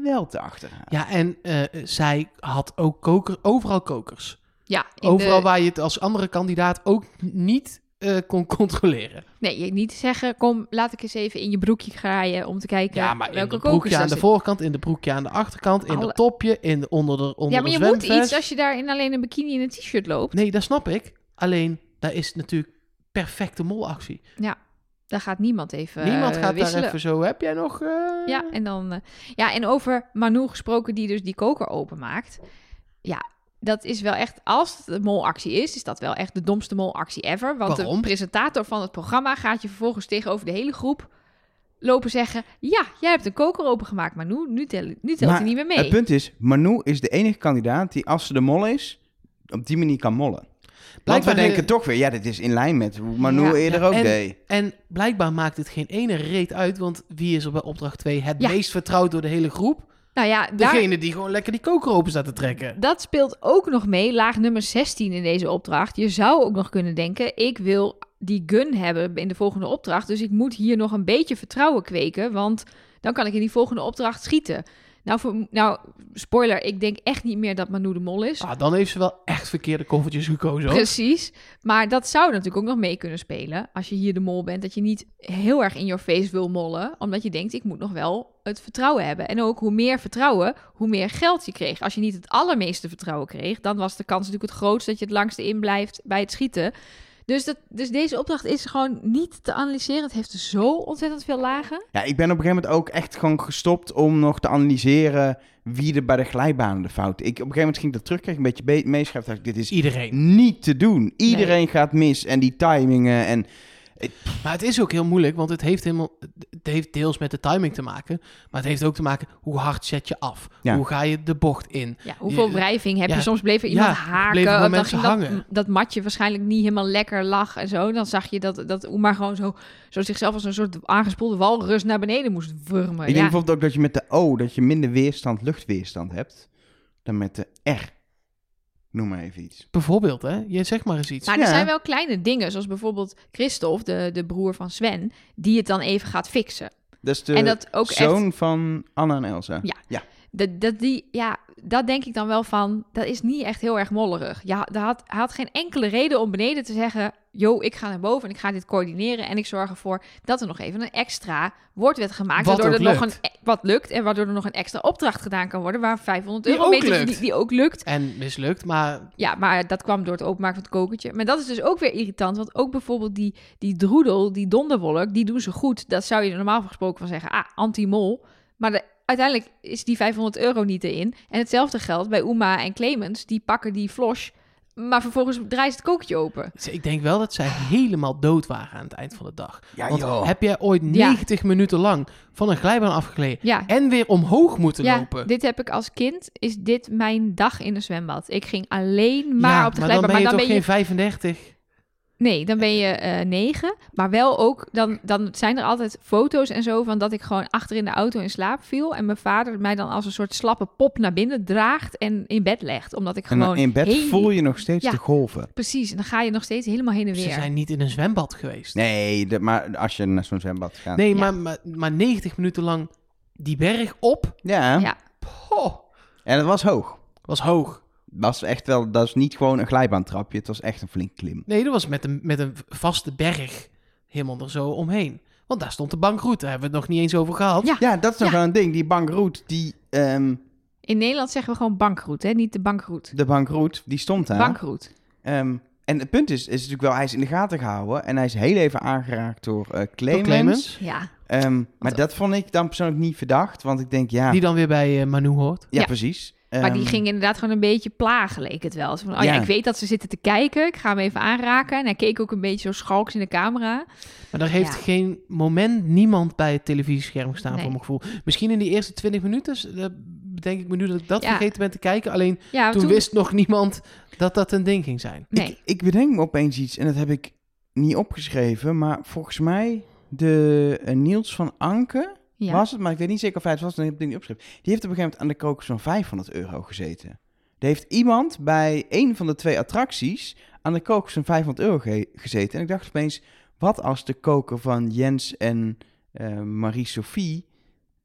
[SPEAKER 3] wel te achterhalen.
[SPEAKER 2] Ja, en eh, zij had ook koker, overal kokers.
[SPEAKER 1] Ja, in
[SPEAKER 2] Overal
[SPEAKER 1] de-
[SPEAKER 2] waar je het als andere kandidaat ook niet eh, kon controleren.
[SPEAKER 1] Nee, je niet zeggen, kom, laat ik eens even in je broekje graaien om te kijken
[SPEAKER 2] Ja, maar in
[SPEAKER 1] welke
[SPEAKER 2] de
[SPEAKER 1] kokers
[SPEAKER 2] broekje
[SPEAKER 1] daar
[SPEAKER 2] aan de
[SPEAKER 1] zitten.
[SPEAKER 2] voorkant, in de broekje aan de achterkant, in
[SPEAKER 1] Alle-
[SPEAKER 2] de topje, in de, onder de onder
[SPEAKER 1] Ja, maar
[SPEAKER 2] de
[SPEAKER 1] je moet
[SPEAKER 2] zwemvest.
[SPEAKER 1] iets als je daar in alleen een bikini en een t-shirt loopt.
[SPEAKER 2] Nee, dat snap ik. Alleen, daar is natuurlijk perfecte molactie.
[SPEAKER 1] Daar gaat niemand even
[SPEAKER 2] Niemand
[SPEAKER 1] eh,
[SPEAKER 2] gaat
[SPEAKER 1] wisselen.
[SPEAKER 2] daar even zo, heb jij nog... eh,
[SPEAKER 1] Ja, en dan. eh, ja, en over Manu gesproken, die dus die koker openmaakt. Ja, dat is wel echt. Als het een molactie is, is dat wel echt de domste molactie ever. Want
[SPEAKER 2] Waarom?
[SPEAKER 1] de presentator van het programma gaat je vervolgens tegenover de hele groep lopen zeggen... Ja, jij hebt een koker opengemaakt, maar nu, nu, tel, nu telt
[SPEAKER 3] Maar
[SPEAKER 1] hij niet meer
[SPEAKER 3] Het
[SPEAKER 1] mee.
[SPEAKER 3] punt is, Manu is de enige kandidaat die als ze de mol is, op die manier kan mollen. Want we
[SPEAKER 2] Blijkbaar-
[SPEAKER 3] denken toch weer, ja, dit is in lijn met hoe Manu
[SPEAKER 1] Ja,
[SPEAKER 3] eerder
[SPEAKER 2] ja,
[SPEAKER 3] ook
[SPEAKER 2] en-
[SPEAKER 3] deed.
[SPEAKER 2] En blijkbaar maakt het geen ene reet uit, want wie is er bij opdracht 2 het
[SPEAKER 1] Ja.
[SPEAKER 2] meest vertrouwd door de hele groep?
[SPEAKER 1] nou ja, daar,
[SPEAKER 2] Degene die gewoon lekker die koker open staat te trekken.
[SPEAKER 1] dat speelt ook nog mee. Laag nummer 16 in deze opdracht. Je zou ook nog kunnen denken... Ik wil die gun hebben in de volgende opdracht. Dus ik moet hier nog een beetje vertrouwen kweken. Want dan kan ik in die volgende opdracht schieten. Nou, voor, nou spoiler. Ik denk echt niet meer dat Manu de mol is.
[SPEAKER 2] Ah, dan heeft ze wel echt verkeerde koffertjes gekozen. hoor.
[SPEAKER 1] Dus- Precies. Maar dat zou natuurlijk ook nog mee kunnen spelen. Als je hier de mol bent. Dat je niet heel erg in your face wil mollen. Omdat je denkt, ik moet nog wel het vertrouwen hebben. En ook hoe meer vertrouwen, hoe meer geld je kreeg. Als je niet het allermeeste vertrouwen kreeg, dan was de kans natuurlijk het grootst dat je het langste in blijft bij het schieten. Dus, dat, dus deze opdracht is gewoon niet te analyseren. Het heeft zo ontzettend veel lagen.
[SPEAKER 3] Ja, ik ben op een gegeven moment ook echt gewoon gestopt om nog te analyseren wie er bij de glijbanen de fout. Ik, op een gegeven moment ging ik dat terugkijken, een beetje be- meeschrijven. dacht ik,
[SPEAKER 2] Is
[SPEAKER 3] dit is
[SPEAKER 2] Dus Iedereen.
[SPEAKER 3] niet te doen. Iedereen gaat mis en die timingen en...
[SPEAKER 2] Maar het is ook heel moeilijk, want het heeft, helemaal, het heeft deels met de timing te maken. Maar het heeft ook te maken hoe hard zet je af.
[SPEAKER 3] Ja.
[SPEAKER 2] Hoe ga je de bocht in?
[SPEAKER 1] Ja, hoeveel
[SPEAKER 2] Ja,
[SPEAKER 1] wrijving heb
[SPEAKER 2] ja,
[SPEAKER 1] je? Soms bleef er iemand
[SPEAKER 2] ja,
[SPEAKER 1] haken.
[SPEAKER 2] bleven gewoon
[SPEAKER 1] Dan
[SPEAKER 2] mensen
[SPEAKER 1] ging dat,
[SPEAKER 2] hangen.
[SPEAKER 1] dat matje waarschijnlijk niet helemaal lekker lag en zo. Dan zag je dat, dat Oema gewoon zo, zo zichzelf als een soort aangespoelde walrus naar beneden moest wurmen.
[SPEAKER 3] Ik denk
[SPEAKER 1] Ja,
[SPEAKER 3] bijvoorbeeld ook dat je met de O, dat je minder weerstand, luchtweerstand hebt, dan met de R. Noem maar even iets.
[SPEAKER 2] Bijvoorbeeld, hè? Je zeg maar eens iets.
[SPEAKER 1] maar er
[SPEAKER 3] ja.
[SPEAKER 1] zijn wel kleine dingen, zoals bijvoorbeeld Christophe, de, de broer van Sven, die het dan even gaat fixen.
[SPEAKER 3] Dat is de
[SPEAKER 1] en dat ook
[SPEAKER 3] zoon
[SPEAKER 1] echt,
[SPEAKER 3] van Anna en Elsa.
[SPEAKER 1] Ja. dat, dat, die, ja, dat denk ik dan wel van, dat is niet echt heel erg mollerig. Ja, daar had, hij had geen enkele reden om beneden te zeggen, yo, ik ga naar boven en ik ga dit coördineren en ik zorg ervoor dat er nog even een extra wordt werd gemaakt.
[SPEAKER 2] Wat
[SPEAKER 1] waardoor
[SPEAKER 2] ook
[SPEAKER 1] er nog
[SPEAKER 2] lukt.
[SPEAKER 1] een, e-, wat lukt en waardoor er nog een extra opdracht gedaan kan worden waar 500
[SPEAKER 2] Die
[SPEAKER 1] euro
[SPEAKER 2] ook
[SPEAKER 1] mee te-
[SPEAKER 2] lukt.
[SPEAKER 1] Die, die ook lukt.
[SPEAKER 2] En mislukt, maar
[SPEAKER 1] Ja, maar dat kwam door het openmaken van het kokertje. Maar dat is dus ook weer irritant. Want ook bijvoorbeeld die, die droedel, die donderwolk, die doen ze goed. Dat zou je er normaal gesproken van zeggen. Ah, anti-mol. Maar de- uiteindelijk is die 500 euro niet erin. En hetzelfde geldt bij Uma en Clemens. Die pakken die flosh, maar vervolgens draait het kokertje open.
[SPEAKER 2] Dus ik denk wel dat zij helemaal dood waren aan het eind van de dag.
[SPEAKER 3] Ja,
[SPEAKER 2] Want
[SPEAKER 3] joh.
[SPEAKER 2] heb jij ooit
[SPEAKER 1] Ja.
[SPEAKER 2] 90 minuten lang van een glijbaan afgegleden
[SPEAKER 1] Ja,
[SPEAKER 2] en weer omhoog moeten
[SPEAKER 1] ja
[SPEAKER 2] lopen?
[SPEAKER 1] dit heb ik als kind. Is dit mijn dag in een zwembad? Ik ging alleen maar
[SPEAKER 2] Ja,
[SPEAKER 1] op de
[SPEAKER 2] maar dan
[SPEAKER 1] glijbaan.
[SPEAKER 2] ben
[SPEAKER 1] Maar
[SPEAKER 2] je toch
[SPEAKER 1] dan ben je
[SPEAKER 2] geen 35?
[SPEAKER 1] Nee, dan ben je eh, negen. Maar wel ook, dan, dan zijn er altijd foto's en zo van dat ik gewoon achter in de auto in slaap viel. En mijn vader mij dan als een soort slappe pop naar binnen draagt en in bed legt. Omdat ik
[SPEAKER 3] En
[SPEAKER 1] gewoon.
[SPEAKER 3] dan in bed
[SPEAKER 1] heen-
[SPEAKER 3] voel je nog steeds
[SPEAKER 1] Ja.
[SPEAKER 3] de golven.
[SPEAKER 1] Precies, en dan ga je nog steeds helemaal heen en
[SPEAKER 2] Ze
[SPEAKER 1] weer.
[SPEAKER 2] zijn niet in een zwembad geweest.
[SPEAKER 3] Nee, dat- maar als je naar zo'n zwembad gaat.
[SPEAKER 2] Nee,
[SPEAKER 1] Ja.
[SPEAKER 2] maar, maar, maar 90 minuten lang die berg op,
[SPEAKER 3] Ja,
[SPEAKER 1] Ja.
[SPEAKER 2] Poh,
[SPEAKER 3] en het was hoog.
[SPEAKER 2] was hoog.
[SPEAKER 3] Dat is echt wel, dat is niet gewoon een glijbaantrapje. Het was echt een flink klim.
[SPEAKER 2] Nee, dat was met een, met een vaste berg helemaal er zo omheen. Want daar stond de bankroute, daar hebben we het nog niet eens over gehad.
[SPEAKER 1] Ja.
[SPEAKER 3] Ja, dat is nog
[SPEAKER 1] Ja.
[SPEAKER 3] wel een ding. Die bankroet, die, ehm,
[SPEAKER 1] In Nederland zeggen we gewoon bankroute, hè? niet de bankroute.
[SPEAKER 3] de bankroet, die stond daar.
[SPEAKER 1] Bankroute.
[SPEAKER 3] Ehm, en het punt is, is natuurlijk wel, hij is in de gaten gehouden. En hij is heel even aangeraakt door eh Clemens.
[SPEAKER 2] Clemens.
[SPEAKER 1] Ja.
[SPEAKER 3] Ehm, maar dat vond ik dan persoonlijk niet verdacht. Want ik denk, ja,
[SPEAKER 2] Die dan weer bij eh, Manu hoort.
[SPEAKER 3] ja,
[SPEAKER 1] Ja.
[SPEAKER 3] precies.
[SPEAKER 1] Maar die
[SPEAKER 3] Ehm,
[SPEAKER 1] ging inderdaad gewoon een beetje plagen, leek het wel. Zo van, oh ja,
[SPEAKER 3] Ja.
[SPEAKER 1] ik weet dat ze zitten te kijken. Ik ga hem even aanraken. En hij keek ook een beetje zo schalks in de camera.
[SPEAKER 2] Maar daar heeft
[SPEAKER 1] Ja.
[SPEAKER 2] geen moment niemand bij het televisiescherm gestaan,
[SPEAKER 1] Nee.
[SPEAKER 2] voor mijn gevoel. Misschien in die eerste 20 minuten, s- eh, bedenk ik me nu dat ik dat
[SPEAKER 1] Ja.
[SPEAKER 2] vergeten ben te kijken. Alleen
[SPEAKER 1] Ja,
[SPEAKER 2] toen, wist nog niemand dat dat een ding ging zijn.
[SPEAKER 1] Nee.
[SPEAKER 3] Ik, ik bedenk me opeens iets, en dat heb ik niet opgeschreven, maar volgens mij de eh, Niels van Anke
[SPEAKER 1] ja.
[SPEAKER 3] was het, maar ik weet niet zeker of hij het was, dan heb ik het niet opgeschreven. Die heeft op een gegeven moment aan de kokers van 500 euro gezeten. Er heeft iemand bij een van de twee attracties aan de kokers van 500 euro ge- gezeten. En ik dacht opeens, wat als de koker van Jens en eh, Marie-Sophie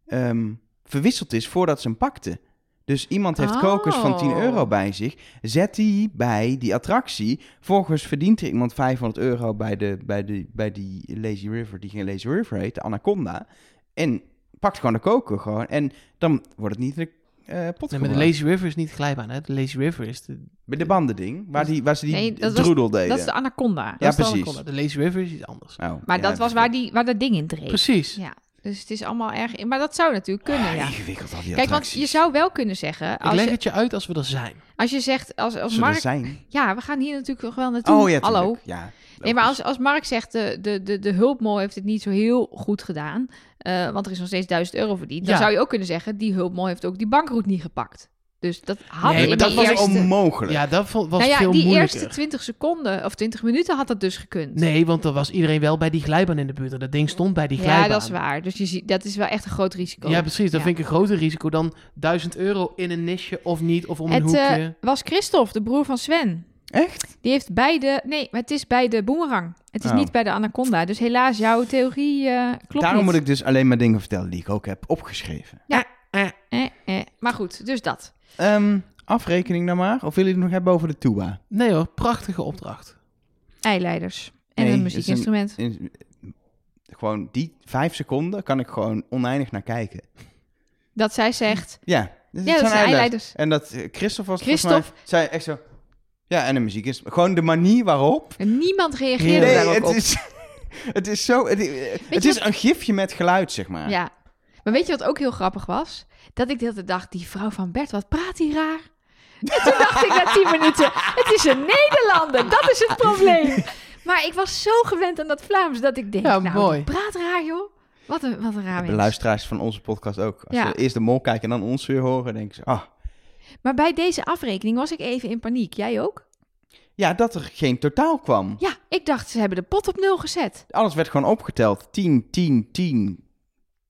[SPEAKER 3] ehm, verwisseld is voordat ze hem pakten? Dus iemand heeft kokers van 10
[SPEAKER 1] Oh.
[SPEAKER 3] euro bij zich. Zet die bij die attractie. Volgens verdient er iemand 500 euro bij, de, bij, de, bij die Lazy River, die geen Lazy River heet, de Anaconda. En pakt gewoon de koker gewoon. En dan wordt het niet in de eh, pot
[SPEAKER 2] Nee, maar de
[SPEAKER 3] gebracht.
[SPEAKER 2] Lazy River is niet glijbaan, hè? De Lazy River is de...
[SPEAKER 3] Bij de bandending, waar, die, waar ze die
[SPEAKER 1] Nee, dat was-
[SPEAKER 3] droedel deden.
[SPEAKER 1] Dat is de anaconda.
[SPEAKER 3] Ja,
[SPEAKER 2] dat is de
[SPEAKER 3] precies.
[SPEAKER 2] Anaconda. De Lazy River is iets anders.
[SPEAKER 3] Oh,
[SPEAKER 1] Maar
[SPEAKER 3] ja,
[SPEAKER 1] dat was waar, die, waar dat ding in dreef.
[SPEAKER 2] Precies. Ah,
[SPEAKER 1] Ja. Dus het is allemaal erg... Maar dat zou natuurlijk kunnen, ja.
[SPEAKER 3] Ingewikkeld al die
[SPEAKER 1] Kijk, want je
[SPEAKER 3] attracties.
[SPEAKER 1] zou wel kunnen zeggen...
[SPEAKER 2] Ik
[SPEAKER 1] Als
[SPEAKER 2] leg
[SPEAKER 1] je,
[SPEAKER 2] het je uit als we er zijn.
[SPEAKER 1] als je zegt... Als, als
[SPEAKER 3] Zullen
[SPEAKER 1] Mark...
[SPEAKER 3] zijn.
[SPEAKER 1] Ja, we gaan hier natuurlijk nog wel naartoe.
[SPEAKER 3] oh ja, tuurlijk.
[SPEAKER 1] Hallo.
[SPEAKER 3] Ja,
[SPEAKER 1] Nee, maar
[SPEAKER 3] logisch.
[SPEAKER 1] als, als Mark zegt, de, de, de, de hulpmol heeft het niet zo heel goed gedaan, eh, want er is nog steeds 1000 euro verdiend, dan
[SPEAKER 2] Ja.
[SPEAKER 1] zou je ook kunnen zeggen, die hulpmol heeft ook die bankroet niet gepakt. Dus dat had
[SPEAKER 2] Nee,
[SPEAKER 1] in
[SPEAKER 2] maar
[SPEAKER 1] die
[SPEAKER 3] dat was
[SPEAKER 1] eerste...
[SPEAKER 3] onmogelijk.
[SPEAKER 2] Ja, dat vo- was
[SPEAKER 1] nou ja,
[SPEAKER 2] veel
[SPEAKER 1] die
[SPEAKER 2] moeilijker.
[SPEAKER 1] eerste 20 seconden of 20 minuten had dat dus gekund.
[SPEAKER 2] Nee, want er was iedereen wel bij die glijbaan in de buurt. En dat ding stond bij die glijbaan.
[SPEAKER 1] ja, dat is waar. Dus je ziet, dat is wel echt een groot risico.
[SPEAKER 2] Ja, precies. Dat
[SPEAKER 1] Ja.
[SPEAKER 2] vind ik een groter risico dan 1000 euro in een nisje of niet, of om een
[SPEAKER 1] het eh,
[SPEAKER 2] hoekje.
[SPEAKER 1] was Christophe, de broer van Sven.
[SPEAKER 3] Echt?
[SPEAKER 1] Die heeft bij de... Nee, maar het is bij de boemerang. Het is
[SPEAKER 3] Oh.
[SPEAKER 1] niet bij de anaconda. Dus helaas, jouw theorie eh, klopt
[SPEAKER 3] Daarom
[SPEAKER 1] niet.
[SPEAKER 3] moet ik dus alleen maar dingen vertellen die ik ook heb opgeschreven.
[SPEAKER 1] Eh, eh. Maar goed, dus dat.
[SPEAKER 3] Ehm, afrekening dan maar. Of willen jullie het nog hebben over de tuba?
[SPEAKER 2] Nee hoor, prachtige opdracht.
[SPEAKER 1] eileiders en
[SPEAKER 3] Nee,
[SPEAKER 1] een
[SPEAKER 3] het is een-
[SPEAKER 1] muziekinstrument.
[SPEAKER 3] In- gewoon die vijf seconden kan ik gewoon oneindig naar kijken.
[SPEAKER 1] Dat zij zegt,
[SPEAKER 3] Ja, dus
[SPEAKER 1] ja, dat zijn
[SPEAKER 3] eileiders.
[SPEAKER 1] eileiders.
[SPEAKER 3] En dat eh, Christophe was
[SPEAKER 1] Christophe-
[SPEAKER 3] volgens mij, zei echt zo... Ja, en de muziek is... Gewoon de manier waarop...
[SPEAKER 1] En niemand reageerde
[SPEAKER 2] Nee,
[SPEAKER 1] daarop
[SPEAKER 3] het
[SPEAKER 1] op.
[SPEAKER 3] is... Het is zo... Het, eh, het
[SPEAKER 1] Weet je
[SPEAKER 3] is een gifje met geluid, zeg maar.
[SPEAKER 1] Ja. Maar weet je wat ook heel grappig was? Dat ik de hele tijd dacht, die vrouw van Bert, wat praat die raar? En toen dacht ik na tien minuten, het is een Nederlander, dat is het probleem. Maar ik was zo gewend aan dat Vlaams dat ik denk,
[SPEAKER 2] Ja,
[SPEAKER 1] nou,
[SPEAKER 2] mooi.
[SPEAKER 1] die praat raar joh. Wat een, wat een raar
[SPEAKER 3] De
[SPEAKER 1] mens.
[SPEAKER 3] luisteraars van onze podcast ook. Als
[SPEAKER 1] Ja.
[SPEAKER 3] ze eerst de mol kijken en dan ons weer horen, denken ze... Ah,
[SPEAKER 1] Maar bij deze afrekening was ik even in paniek. Jij ook?
[SPEAKER 3] ja, dat er geen totaal kwam.
[SPEAKER 1] Ja, ik dacht, ze hebben de pot op nul gezet.
[SPEAKER 3] Alles werd gewoon opgeteld. 10, 10, 10,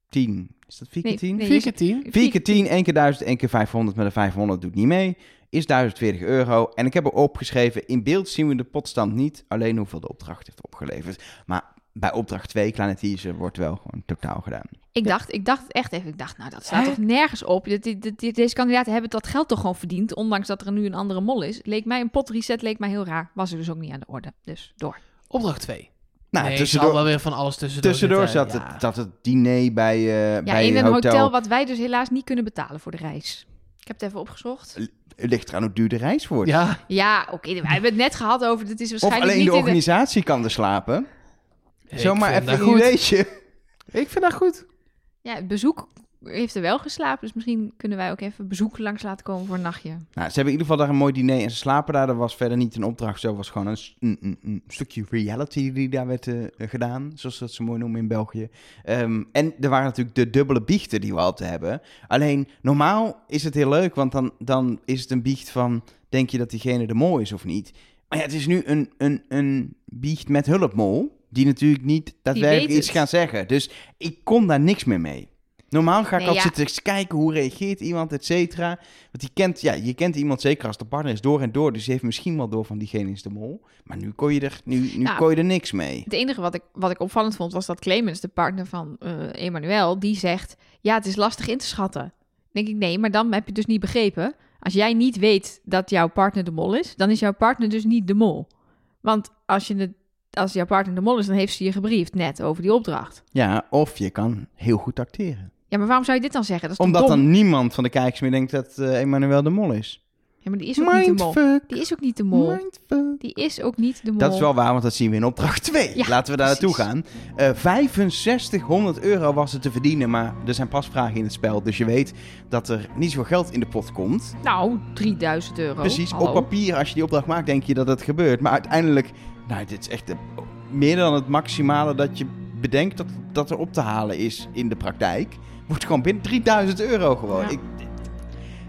[SPEAKER 3] 10. Is dat 4 keer 10?
[SPEAKER 1] nee,
[SPEAKER 2] 4
[SPEAKER 1] je-
[SPEAKER 2] keer 10.
[SPEAKER 3] 4 keer 10, 1 keer 1000, 1 keer 500 met een 500 doet niet mee. Is 1040 euro. En ik heb er opgeschreven, in beeld zien we de potstand niet. Alleen hoeveel de opdracht heeft opgeleverd. Maar bij opdracht 2, kleine teaser, wordt wel gewoon totaal gedaan.
[SPEAKER 1] Ik dacht, ik dacht echt even, ik dacht, nou dat staat toch nergens op. Dit- dit- dit- dit- deze kandidaten hebben dat geld toch gewoon verdiend, ondanks dat er nu een andere mol is. Leek mij een potreset, leek mij heel raar. Was er dus ook niet aan de orde. Dus door.
[SPEAKER 2] Opdracht 2.
[SPEAKER 3] Nou,
[SPEAKER 2] nee,
[SPEAKER 3] tussendoor,
[SPEAKER 2] tussendoor, wel weer van alles tussendoor.
[SPEAKER 3] tussendoor
[SPEAKER 2] zitten.
[SPEAKER 3] zat,
[SPEAKER 2] Ja.
[SPEAKER 3] het, zat het diner bij, eh
[SPEAKER 1] Ja,
[SPEAKER 3] bij
[SPEAKER 1] in een hotel.
[SPEAKER 3] hotel.
[SPEAKER 1] wat wij dus helaas niet kunnen betalen voor de reis. Ik heb het even opgezocht.
[SPEAKER 3] Het Ligt eraan hoe duur de reis wordt.
[SPEAKER 2] Ja,
[SPEAKER 1] Ja, oké, we hebben het net gehad over, dit is
[SPEAKER 3] of
[SPEAKER 1] waarschijnlijk
[SPEAKER 3] alleen de
[SPEAKER 1] niet in de...
[SPEAKER 3] organisatie kan er slapen. Zomaar
[SPEAKER 2] Ik vind
[SPEAKER 3] even
[SPEAKER 2] dat
[SPEAKER 3] een
[SPEAKER 2] goed.
[SPEAKER 3] ideetje.
[SPEAKER 2] Ik vind dat goed.
[SPEAKER 1] Ja, het bezoek heeft er wel geslapen, dus misschien kunnen wij ook even bezoek langs laten komen voor een nachtje.
[SPEAKER 3] Nou, ze hebben in ieder geval daar een mooi diner en ze slapen daar. Er was verder niet een opdracht, zo was gewoon een, s- een- een- een stukje reality die daar werd eh, gedaan. Zoals ze dat zo mooi noemen in België. Ehm, en er waren natuurlijk de dubbele biechten die we altijd hebben. Alleen normaal is het heel leuk, want dan, dan is het een biecht van: denk je dat diegene de mol is of niet? Maar ja, het is nu een, een, een biecht met hulpmol, die natuurlijk niet daadwerkelijk
[SPEAKER 1] weet
[SPEAKER 3] iets
[SPEAKER 1] het.
[SPEAKER 3] gaan zeggen. Dus ik kon daar niks meer mee. Normaal ga
[SPEAKER 1] Nee,
[SPEAKER 3] ik altijd
[SPEAKER 1] ja.
[SPEAKER 3] zitten eens kijken hoe reageert iemand, et cetera. Want je kent, ja, je kent iemand zeker als de partner is door en door. Dus je heeft misschien wel door van diegene is de mol. Maar nu kon je er, nu, nu
[SPEAKER 1] Nou,
[SPEAKER 3] kon je er niks mee.
[SPEAKER 1] Het enige wat ik, wat ik opvallend vond was dat Clemens, de partner van eh Emmanuel, die zegt: Ja, het is lastig in te schatten. Dan denk ik, nee, maar dan heb je het dus niet begrepen. Als jij niet weet dat jouw partner de mol is, dan is jouw partner dus niet de mol. Want als, je het, als jouw partner de mol is, dan heeft ze je gebriefd net over die opdracht.
[SPEAKER 3] Ja, of je kan heel goed acteren.
[SPEAKER 1] Ja, maar waarom zou je dit dan zeggen? Dat is toch
[SPEAKER 3] Omdat
[SPEAKER 1] dom?
[SPEAKER 3] dan niemand van de kijkers meer denkt dat eh, Emmanuel de mol is.
[SPEAKER 1] Ja, maar die is ook niet de mol.
[SPEAKER 3] Mindfuck,
[SPEAKER 1] Die is ook niet de mol.
[SPEAKER 3] mindfuck.
[SPEAKER 1] Die is ook niet de mol.
[SPEAKER 3] Dat is wel waar, want dat zien we in opdracht 2.
[SPEAKER 1] Ja,
[SPEAKER 3] Laten we daar naartoe
[SPEAKER 1] precies.
[SPEAKER 3] gaan. Eh 6500 euro was er te verdienen, maar er zijn pas vragen in het spel. Dus je weet dat er niet zoveel geld in de pot komt.
[SPEAKER 1] Nou, 3000 euro.
[SPEAKER 3] Precies,
[SPEAKER 1] Oh, Hallo.
[SPEAKER 3] op papier, als je die opdracht maakt, denk je dat het gebeurt. Maar uiteindelijk, nou, dit is echt eh, meer dan het maximale dat je bedenkt dat, dat er op te halen is in de praktijk. Wordt gewoon binnen 3000 euro gewoon.
[SPEAKER 1] Ja.
[SPEAKER 3] Ik,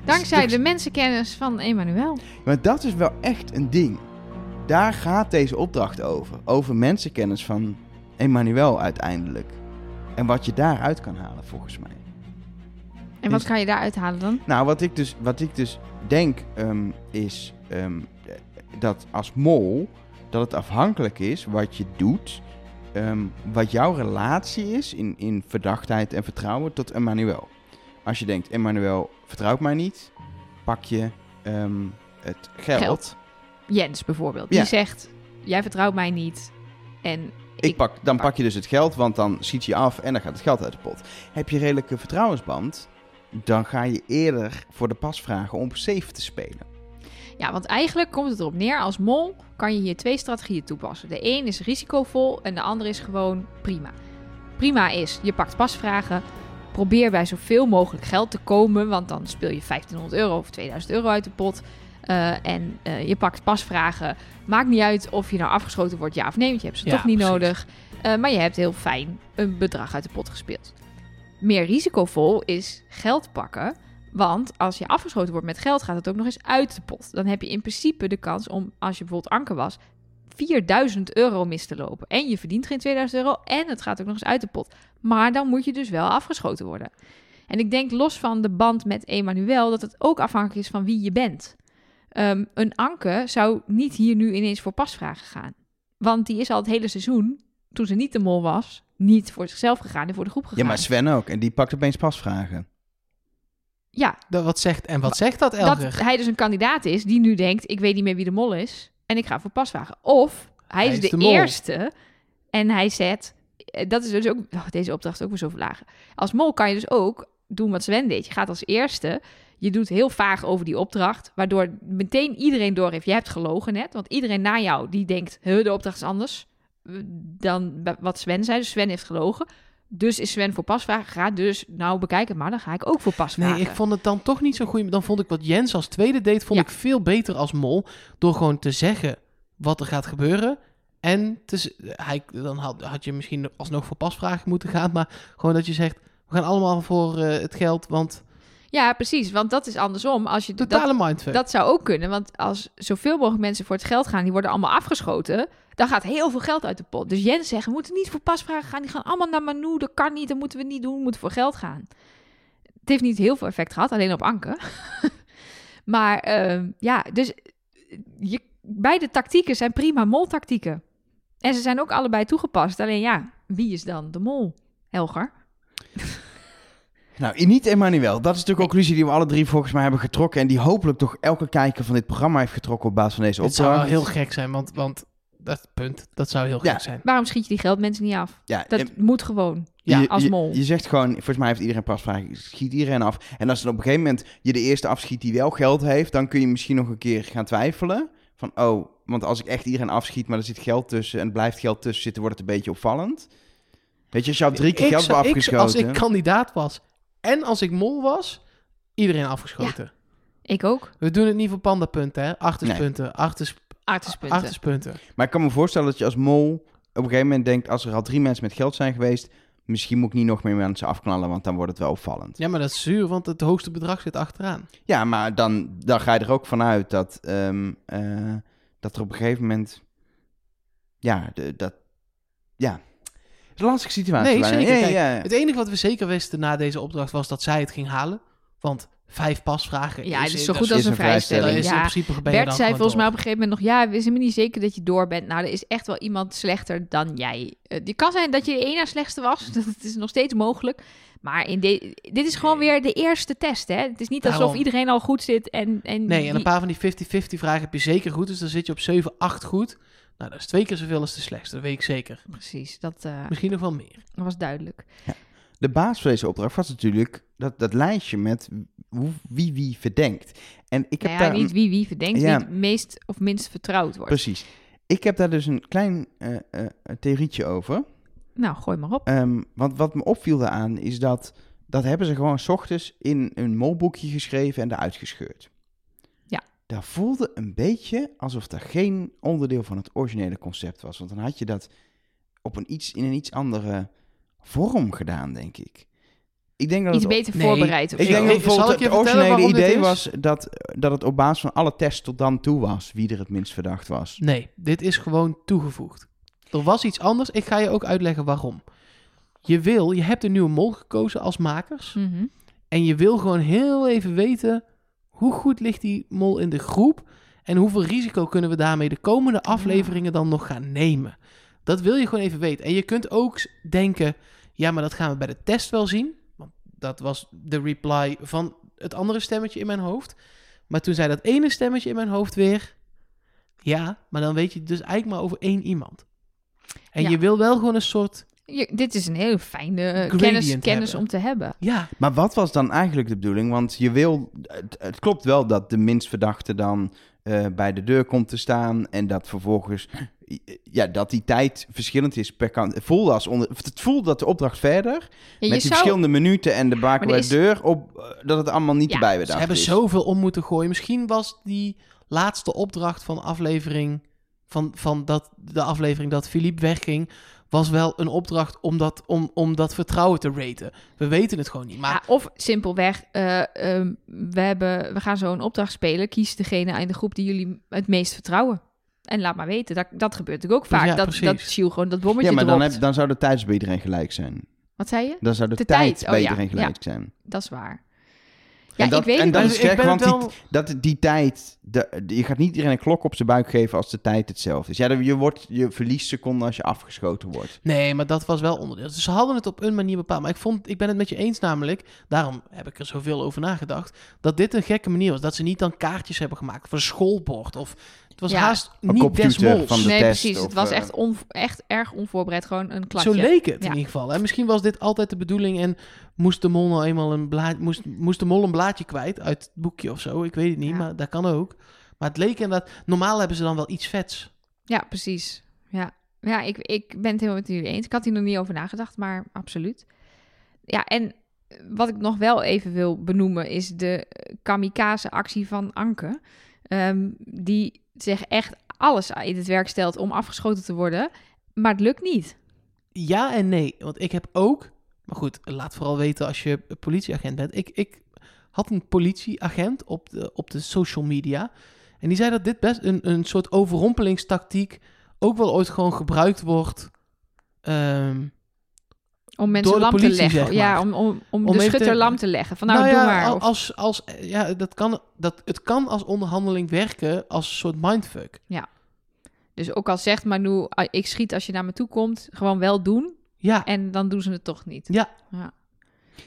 [SPEAKER 1] Dankzij
[SPEAKER 3] Dus-
[SPEAKER 1] de mensenkennis van Emmanuel.
[SPEAKER 3] maar dat is wel echt een ding. Daar gaat deze opdracht over. Over mensenkennis van Emmanuel uiteindelijk. En wat je daaruit kan halen, volgens mij.
[SPEAKER 1] En wat
[SPEAKER 3] Dus-
[SPEAKER 1] kan je daaruit halen dan?
[SPEAKER 3] Nou, wat ik dus, wat ik dus denk ehm, is ehm, eh, dat als mol dat het afhankelijk is wat je doet, ehm, wat jouw relatie is in, in verdachtheid en vertrouwen tot Emmanuel. Als je denkt, Emmanuel vertrouwt mij niet, pak je ehm, het geld.
[SPEAKER 1] Geld. Jens bijvoorbeeld. Die
[SPEAKER 3] Ja.
[SPEAKER 1] zegt, jij vertrouwt mij niet. En
[SPEAKER 3] Ik pak, dan pak je dus het geld, want dan schiet je af en dan gaat het geld uit de pot. Heb je redelijke vertrouwensband, dan ga je eerder voor de pas vragen om safe te spelen.
[SPEAKER 1] ja, want eigenlijk komt het erop neer. Als mol kan je hier twee strategieën toepassen. De een is risicovol en de andere is gewoon prima. prima is, je pakt pasvragen. Probeer bij zoveel mogelijk geld te komen, want dan speel je 1500 euro of 2000 euro uit de pot. Eh, en eh, je pakt pasvragen. Maakt niet uit of je nou afgeschoten wordt, ja of nee, want je hebt ze
[SPEAKER 2] Ja,
[SPEAKER 1] toch niet
[SPEAKER 2] precies.
[SPEAKER 1] nodig. Eh, maar je hebt heel fijn een bedrag uit de pot gespeeld. Meer risicovol is geld pakken. Want als je afgeschoten wordt met geld, gaat het ook nog eens uit de pot. Dan heb je in principe de kans om, als je bijvoorbeeld anker was, 4000 euro mis te lopen. En je verdient geen 2000 euro en het gaat ook nog eens uit de pot. Maar dan moet je dus wel afgeschoten worden. En ik denk los van de band met Emmanuel dat het ook afhankelijk is van wie je bent. Ehm, een anker zou niet hier nu ineens voor pasvragen gaan. Want die is al het hele seizoen, toen ze niet de mol was, niet voor zichzelf gegaan en voor de groep gegaan.
[SPEAKER 3] Ja, maar Sven ook. En die pakt opeens pasvragen.
[SPEAKER 1] Ja,
[SPEAKER 2] Dat, wat zegt, en wat zegt dat, Elger?
[SPEAKER 1] dat hij dus een kandidaat is die nu denkt: ik weet niet meer wie de mol is en ik ga voor paswagen. Of hij, is, de,
[SPEAKER 2] mol.
[SPEAKER 1] eerste en hij zet. eh, Dat is dus ook oh, deze opdracht is ook weer zo verlagen. Als mol kan je dus ook doen wat Sven deed. Je gaat als eerste. Je doet heel vaag over die opdracht, waardoor meteen iedereen door heeft. Je hebt gelogen net, want iedereen na jou die denkt: "Huh, de opdracht is anders eh, dan wat Sven zei. Dus Sven heeft gelogen. Dus is Sven voor pasvragen gegaan. Dus nou, bekijk het maar. Dan ga ik ook voor pasvragen.
[SPEAKER 2] Nee, ik vond het dan toch niet zo'n goeie. Dan vond ik wat Jens als tweede deed, vond
[SPEAKER 1] Ja.
[SPEAKER 2] ik veel beter als mol. Door gewoon te zeggen wat er gaat gebeuren. En te, z- hij, dan had, had je misschien alsnog voor pasvragen moeten gaan. Maar gewoon dat je zegt, we gaan allemaal voor eh, het geld. Want
[SPEAKER 1] Ja, precies. Want dat is andersom. Als je dat,
[SPEAKER 2] totale mindfuck.
[SPEAKER 1] dat zou ook kunnen. Want als zoveel mogelijk mensen voor het geld gaan, die worden allemaal afgeschoten. Dan gaat heel veel geld uit de pot. Dus Jens zegt, we moeten niet voor pasvragen gaan. Die gaan allemaal naar Manu. Dat kan niet. Dat moeten we niet doen. We moeten voor geld gaan. Het heeft niet heel veel effect gehad. Alleen op Anke. maar ehm, ja, dus je, beide tactieken zijn prima moltactieken. En ze zijn ook allebei toegepast. Alleen ja, wie is dan de mol? Helger.
[SPEAKER 3] Nou, niet Emmanuel. Dat is de conclusie die we alle drie volgens mij hebben getrokken. En die hopelijk toch elke kijker van dit programma heeft getrokken op basis van deze
[SPEAKER 2] Het zou wel
[SPEAKER 3] opdracht.
[SPEAKER 2] heel gek zijn, want, want dat punt, dat zou heel
[SPEAKER 3] Ja.
[SPEAKER 2] gek zijn.
[SPEAKER 1] Waarom schiet je die geldmensen niet af?
[SPEAKER 3] ja,
[SPEAKER 1] Dat
[SPEAKER 3] en-
[SPEAKER 1] moet gewoon.
[SPEAKER 2] Ja,
[SPEAKER 3] je,
[SPEAKER 1] als
[SPEAKER 3] je-
[SPEAKER 1] mol.
[SPEAKER 3] Je, zegt gewoon, volgens mij heeft iedereen pasvragen, schiet iedereen af. En als dan op een gegeven moment je de eerste afschiet die wel geld heeft, dan kun je misschien nog een keer gaan twijfelen. Van, oh, want als ik echt iedereen afschiet, maar er zit geld tussen en blijft geld tussen zitten, wordt het een beetje opvallend. Weet je, als je al drie keer
[SPEAKER 2] Ik
[SPEAKER 3] geld
[SPEAKER 2] zou-
[SPEAKER 3] hebt
[SPEAKER 2] ik-
[SPEAKER 3] afgeschoten.
[SPEAKER 2] Als ik kandidaat was en als ik mol was, iedereen afgeschoten.
[SPEAKER 1] Ik ook.
[SPEAKER 2] We doen het niet voor pandapunten, hè? Achterspunten, nee.
[SPEAKER 1] Artispunten.
[SPEAKER 2] achterspunten.
[SPEAKER 3] Maar ik kan me voorstellen dat je als mol op een gegeven moment denkt, als er al drie mensen met geld zijn geweest, misschien moet ik niet nog meer mensen afknallen, want dan wordt het wel opvallend.
[SPEAKER 2] Ja, maar dat is zuur, want het hoogste bedrag zit achteraan.
[SPEAKER 3] Ja, maar dan, dan ga je er ook vanuit dat, ehm, eh, dat er op een gegeven moment. Ja, de, dat. Ja. Het is een lastige situatie.
[SPEAKER 2] Nee,
[SPEAKER 3] Lijn.
[SPEAKER 2] zeker.
[SPEAKER 3] Ja,
[SPEAKER 2] Kijk,
[SPEAKER 3] ja.
[SPEAKER 2] Het enige wat we zeker wisten na deze opdracht was dat zij het ging halen. Want vijf pasvragen
[SPEAKER 1] Ja,
[SPEAKER 2] is,
[SPEAKER 1] het is dus zo
[SPEAKER 2] dat
[SPEAKER 1] goed
[SPEAKER 3] is
[SPEAKER 1] als een
[SPEAKER 3] een vrijstelling.
[SPEAKER 1] vrijstelling.
[SPEAKER 2] dat is in
[SPEAKER 1] Ja.
[SPEAKER 2] principe ben je
[SPEAKER 1] Bert
[SPEAKER 2] dan
[SPEAKER 1] zei
[SPEAKER 2] gewoon
[SPEAKER 1] volgens mij
[SPEAKER 2] door.
[SPEAKER 1] op een gegeven moment nog... ja, we zijn me niet zeker dat je door bent. Nou, er is echt wel iemand slechter dan jij. Eh, Het kan zijn dat je de ene slechtste was. Dat is nog steeds mogelijk. Maar in de, dit is gewoon weer de eerste test, hè? Het is niet alsof
[SPEAKER 2] Daarom.
[SPEAKER 1] iedereen al goed zit en... en
[SPEAKER 2] Nee, en een
[SPEAKER 1] die-
[SPEAKER 2] paar van die 50-50 vragen heb je zeker goed. Dus dan zit je op 7, 8 goed. Nou, dat is twee keer zoveel als de slechtste, dat weet ik zeker.
[SPEAKER 1] Precies, dat eh,
[SPEAKER 2] Misschien nog wel meer.
[SPEAKER 1] was duidelijk.
[SPEAKER 3] De baas van deze opdracht was natuurlijk dat, dat lijstje met hoe, wie wie verdenkt. En ik heb
[SPEAKER 1] Nou ja,
[SPEAKER 3] daar. een-
[SPEAKER 1] niet wie wie verdenkt,
[SPEAKER 3] Ja.
[SPEAKER 1] wie het meest of minst vertrouwd wordt.
[SPEAKER 3] Precies. Ik heb daar dus een klein eh, eh, theorietje over.
[SPEAKER 1] Nou, gooi maar op.
[SPEAKER 3] Ehm, want wat me opviel daaraan is dat. Dat hebben ze gewoon 's ochtends in een molboekje geschreven en eruit gescheurd.
[SPEAKER 1] Ja.
[SPEAKER 3] Dat voelde een beetje alsof dat geen onderdeel van het originele concept was. Want dan had je dat op een iets, in een iets andere vorm gedaan, denk ik. Ik denk dat
[SPEAKER 1] Iets
[SPEAKER 3] het op-
[SPEAKER 1] beter
[SPEAKER 2] Nee,
[SPEAKER 1] voorbereid of
[SPEAKER 3] ik
[SPEAKER 1] zo.
[SPEAKER 2] Zal
[SPEAKER 3] denk dat
[SPEAKER 2] ik je
[SPEAKER 3] bijvoorbeeld het
[SPEAKER 2] vertellen
[SPEAKER 3] originele
[SPEAKER 2] waarom dit
[SPEAKER 3] idee
[SPEAKER 2] is?
[SPEAKER 3] was dat, dat het op basis van alle tests tot dan toe was wie er het minst verdacht was.
[SPEAKER 2] Nee, dit is gewoon toegevoegd. Er was iets anders. Ik ga je ook uitleggen waarom. Je wil, je hebt een nieuwe mol gekozen als makers.
[SPEAKER 1] Mhm.
[SPEAKER 2] En je wil gewoon heel even weten hoe goed ligt die mol in de groep. En hoeveel risico kunnen we daarmee de komende afleveringen dan nog gaan nemen. Dat wil je gewoon even weten. En je kunt ook s- denken, ja, maar dat gaan we bij de test wel zien. Want dat was de reply van het andere stemmetje in mijn hoofd. Maar toen zei dat ene stemmetje in mijn hoofd weer, ja, maar dan weet je het dus eigenlijk maar over één iemand. En
[SPEAKER 1] Ja.
[SPEAKER 2] je wil wel gewoon een soort,
[SPEAKER 1] Je- dit is een heel fijne eh, kennis,
[SPEAKER 2] Gradient
[SPEAKER 1] kennis
[SPEAKER 2] hebben.
[SPEAKER 1] om te hebben.
[SPEAKER 2] ja,
[SPEAKER 3] Maar wat was dan eigenlijk de bedoeling? Want je wil, het, het klopt wel dat de minst verdachte dan eh, bij de deur komt te staan en dat vervolgens ja, dat die tijd verschillend is per kant. Het voelde, als onder, het voelde dat de opdracht verder,
[SPEAKER 1] Ja,
[SPEAKER 3] met die verschillende minuten en de baken
[SPEAKER 1] er
[SPEAKER 3] bij
[SPEAKER 1] is-
[SPEAKER 3] deur, op, eh, dat het allemaal niet
[SPEAKER 1] Ja,
[SPEAKER 3] erbij bedacht
[SPEAKER 2] Ze hebben
[SPEAKER 3] is.
[SPEAKER 2] zoveel om moeten gooien. Misschien was die laatste opdracht van aflevering... Van, van dat, de aflevering dat Philippe wegging... was wel een opdracht om dat, om, om dat vertrouwen te raten. We weten het gewoon niet. Maar
[SPEAKER 1] Ja, of simpelweg, eh, ehm, we, hebben, we gaan zo'n opdracht spelen. Kies degene in de groep die jullie het meest vertrouwen. En laat maar weten, dat, dat gebeurt natuurlijk ook vaak.
[SPEAKER 2] Ja,
[SPEAKER 1] dat,
[SPEAKER 2] precies.
[SPEAKER 1] dat Shiel gewoon dat bommetje
[SPEAKER 3] Ja, maar dan,
[SPEAKER 1] dropt.
[SPEAKER 3] heb, dan zou de tijd bij iedereen gelijk zijn.
[SPEAKER 1] Wat zei je?
[SPEAKER 3] Dan zou de,
[SPEAKER 1] De
[SPEAKER 3] tijd,
[SPEAKER 1] tijd, oh
[SPEAKER 3] bij
[SPEAKER 1] ja,
[SPEAKER 3] iedereen
[SPEAKER 1] ja.
[SPEAKER 3] gelijk zijn.
[SPEAKER 1] Dat is waar. Ja,
[SPEAKER 3] en dat,
[SPEAKER 1] ik weet
[SPEAKER 3] en
[SPEAKER 1] het
[SPEAKER 3] dat
[SPEAKER 1] niet.
[SPEAKER 2] niet.
[SPEAKER 3] is
[SPEAKER 2] Ik
[SPEAKER 3] gek,
[SPEAKER 2] ben
[SPEAKER 3] want
[SPEAKER 2] het wel-
[SPEAKER 3] die, dat, die tijd... de- je gaat niet iedereen een klok op zijn buik geven als de tijd hetzelfde is. Ja, dan- je, wordt, je verliest seconden als je afgeschoten wordt.
[SPEAKER 2] Nee, maar dat was wel onderdeel. Dus ze hadden het op een manier bepaald. Maar ik, vond, ik ben het met je eens namelijk, daarom heb ik er zoveel over nagedacht, dat dit een gekke manier was. Dat ze niet dan kaartjes hebben gemaakt voor een schoolbord. Of het was
[SPEAKER 1] Ja.
[SPEAKER 2] haast
[SPEAKER 3] Een
[SPEAKER 2] niet
[SPEAKER 3] computer
[SPEAKER 2] des mols.
[SPEAKER 3] van de
[SPEAKER 1] nee,
[SPEAKER 3] test
[SPEAKER 1] precies.
[SPEAKER 3] of,
[SPEAKER 1] het was
[SPEAKER 3] eh,
[SPEAKER 1] echt, on, echt erg onvoorbereid. Gewoon een klasje.
[SPEAKER 2] Zo leek het
[SPEAKER 1] Ja.
[SPEAKER 2] in ieder geval. En misschien was dit altijd de bedoeling en moest de mol nou eenmaal een blaad, moest, moest de mol een blaadje kwijt uit het boekje of zo. Ik weet het niet,
[SPEAKER 1] Ja.
[SPEAKER 2] maar dat kan ook. Maar het leek inderdaad, normaal hebben ze dan wel iets vets.
[SPEAKER 1] Ja, precies. Ja, ja ik, ik ben het helemaal met jullie eens. Ik had hier nog niet over nagedacht, maar absoluut. Ja, en wat ik nog wel even wil benoemen is de kamikaze-actie van Anke. Ehm, die zich echt alles in het werk stelt om afgeschoten te worden, maar het lukt niet.
[SPEAKER 2] Ja en nee, want ik heb ook... Maar goed, laat vooral weten als je politieagent bent. Ik, ik had een politieagent op de, op de social media. En die zei dat dit best een, een soort overrompelingstactiek... ook wel ooit gewoon gebruikt wordt... ehm,
[SPEAKER 1] Om mensen
[SPEAKER 2] Door de
[SPEAKER 1] lam te
[SPEAKER 2] politie,
[SPEAKER 1] leggen.
[SPEAKER 2] zeg maar.
[SPEAKER 1] Ja, om, om, om,
[SPEAKER 2] Om
[SPEAKER 1] de
[SPEAKER 2] even te-
[SPEAKER 1] schutter lam te leggen. Van nou,
[SPEAKER 2] nou
[SPEAKER 1] doe
[SPEAKER 2] ja,
[SPEAKER 1] maar.
[SPEAKER 2] al-
[SPEAKER 1] Of-
[SPEAKER 2] Als, als, eh, ja, dat kan, dat, het kan als onderhandeling werken als een soort mindfuck.
[SPEAKER 1] Dus ook al zegt Manu, ah, ik schiet als je naar me toe komt, gewoon wel doen.
[SPEAKER 2] Ja,
[SPEAKER 1] En dan doen ze het toch niet.
[SPEAKER 3] Ja,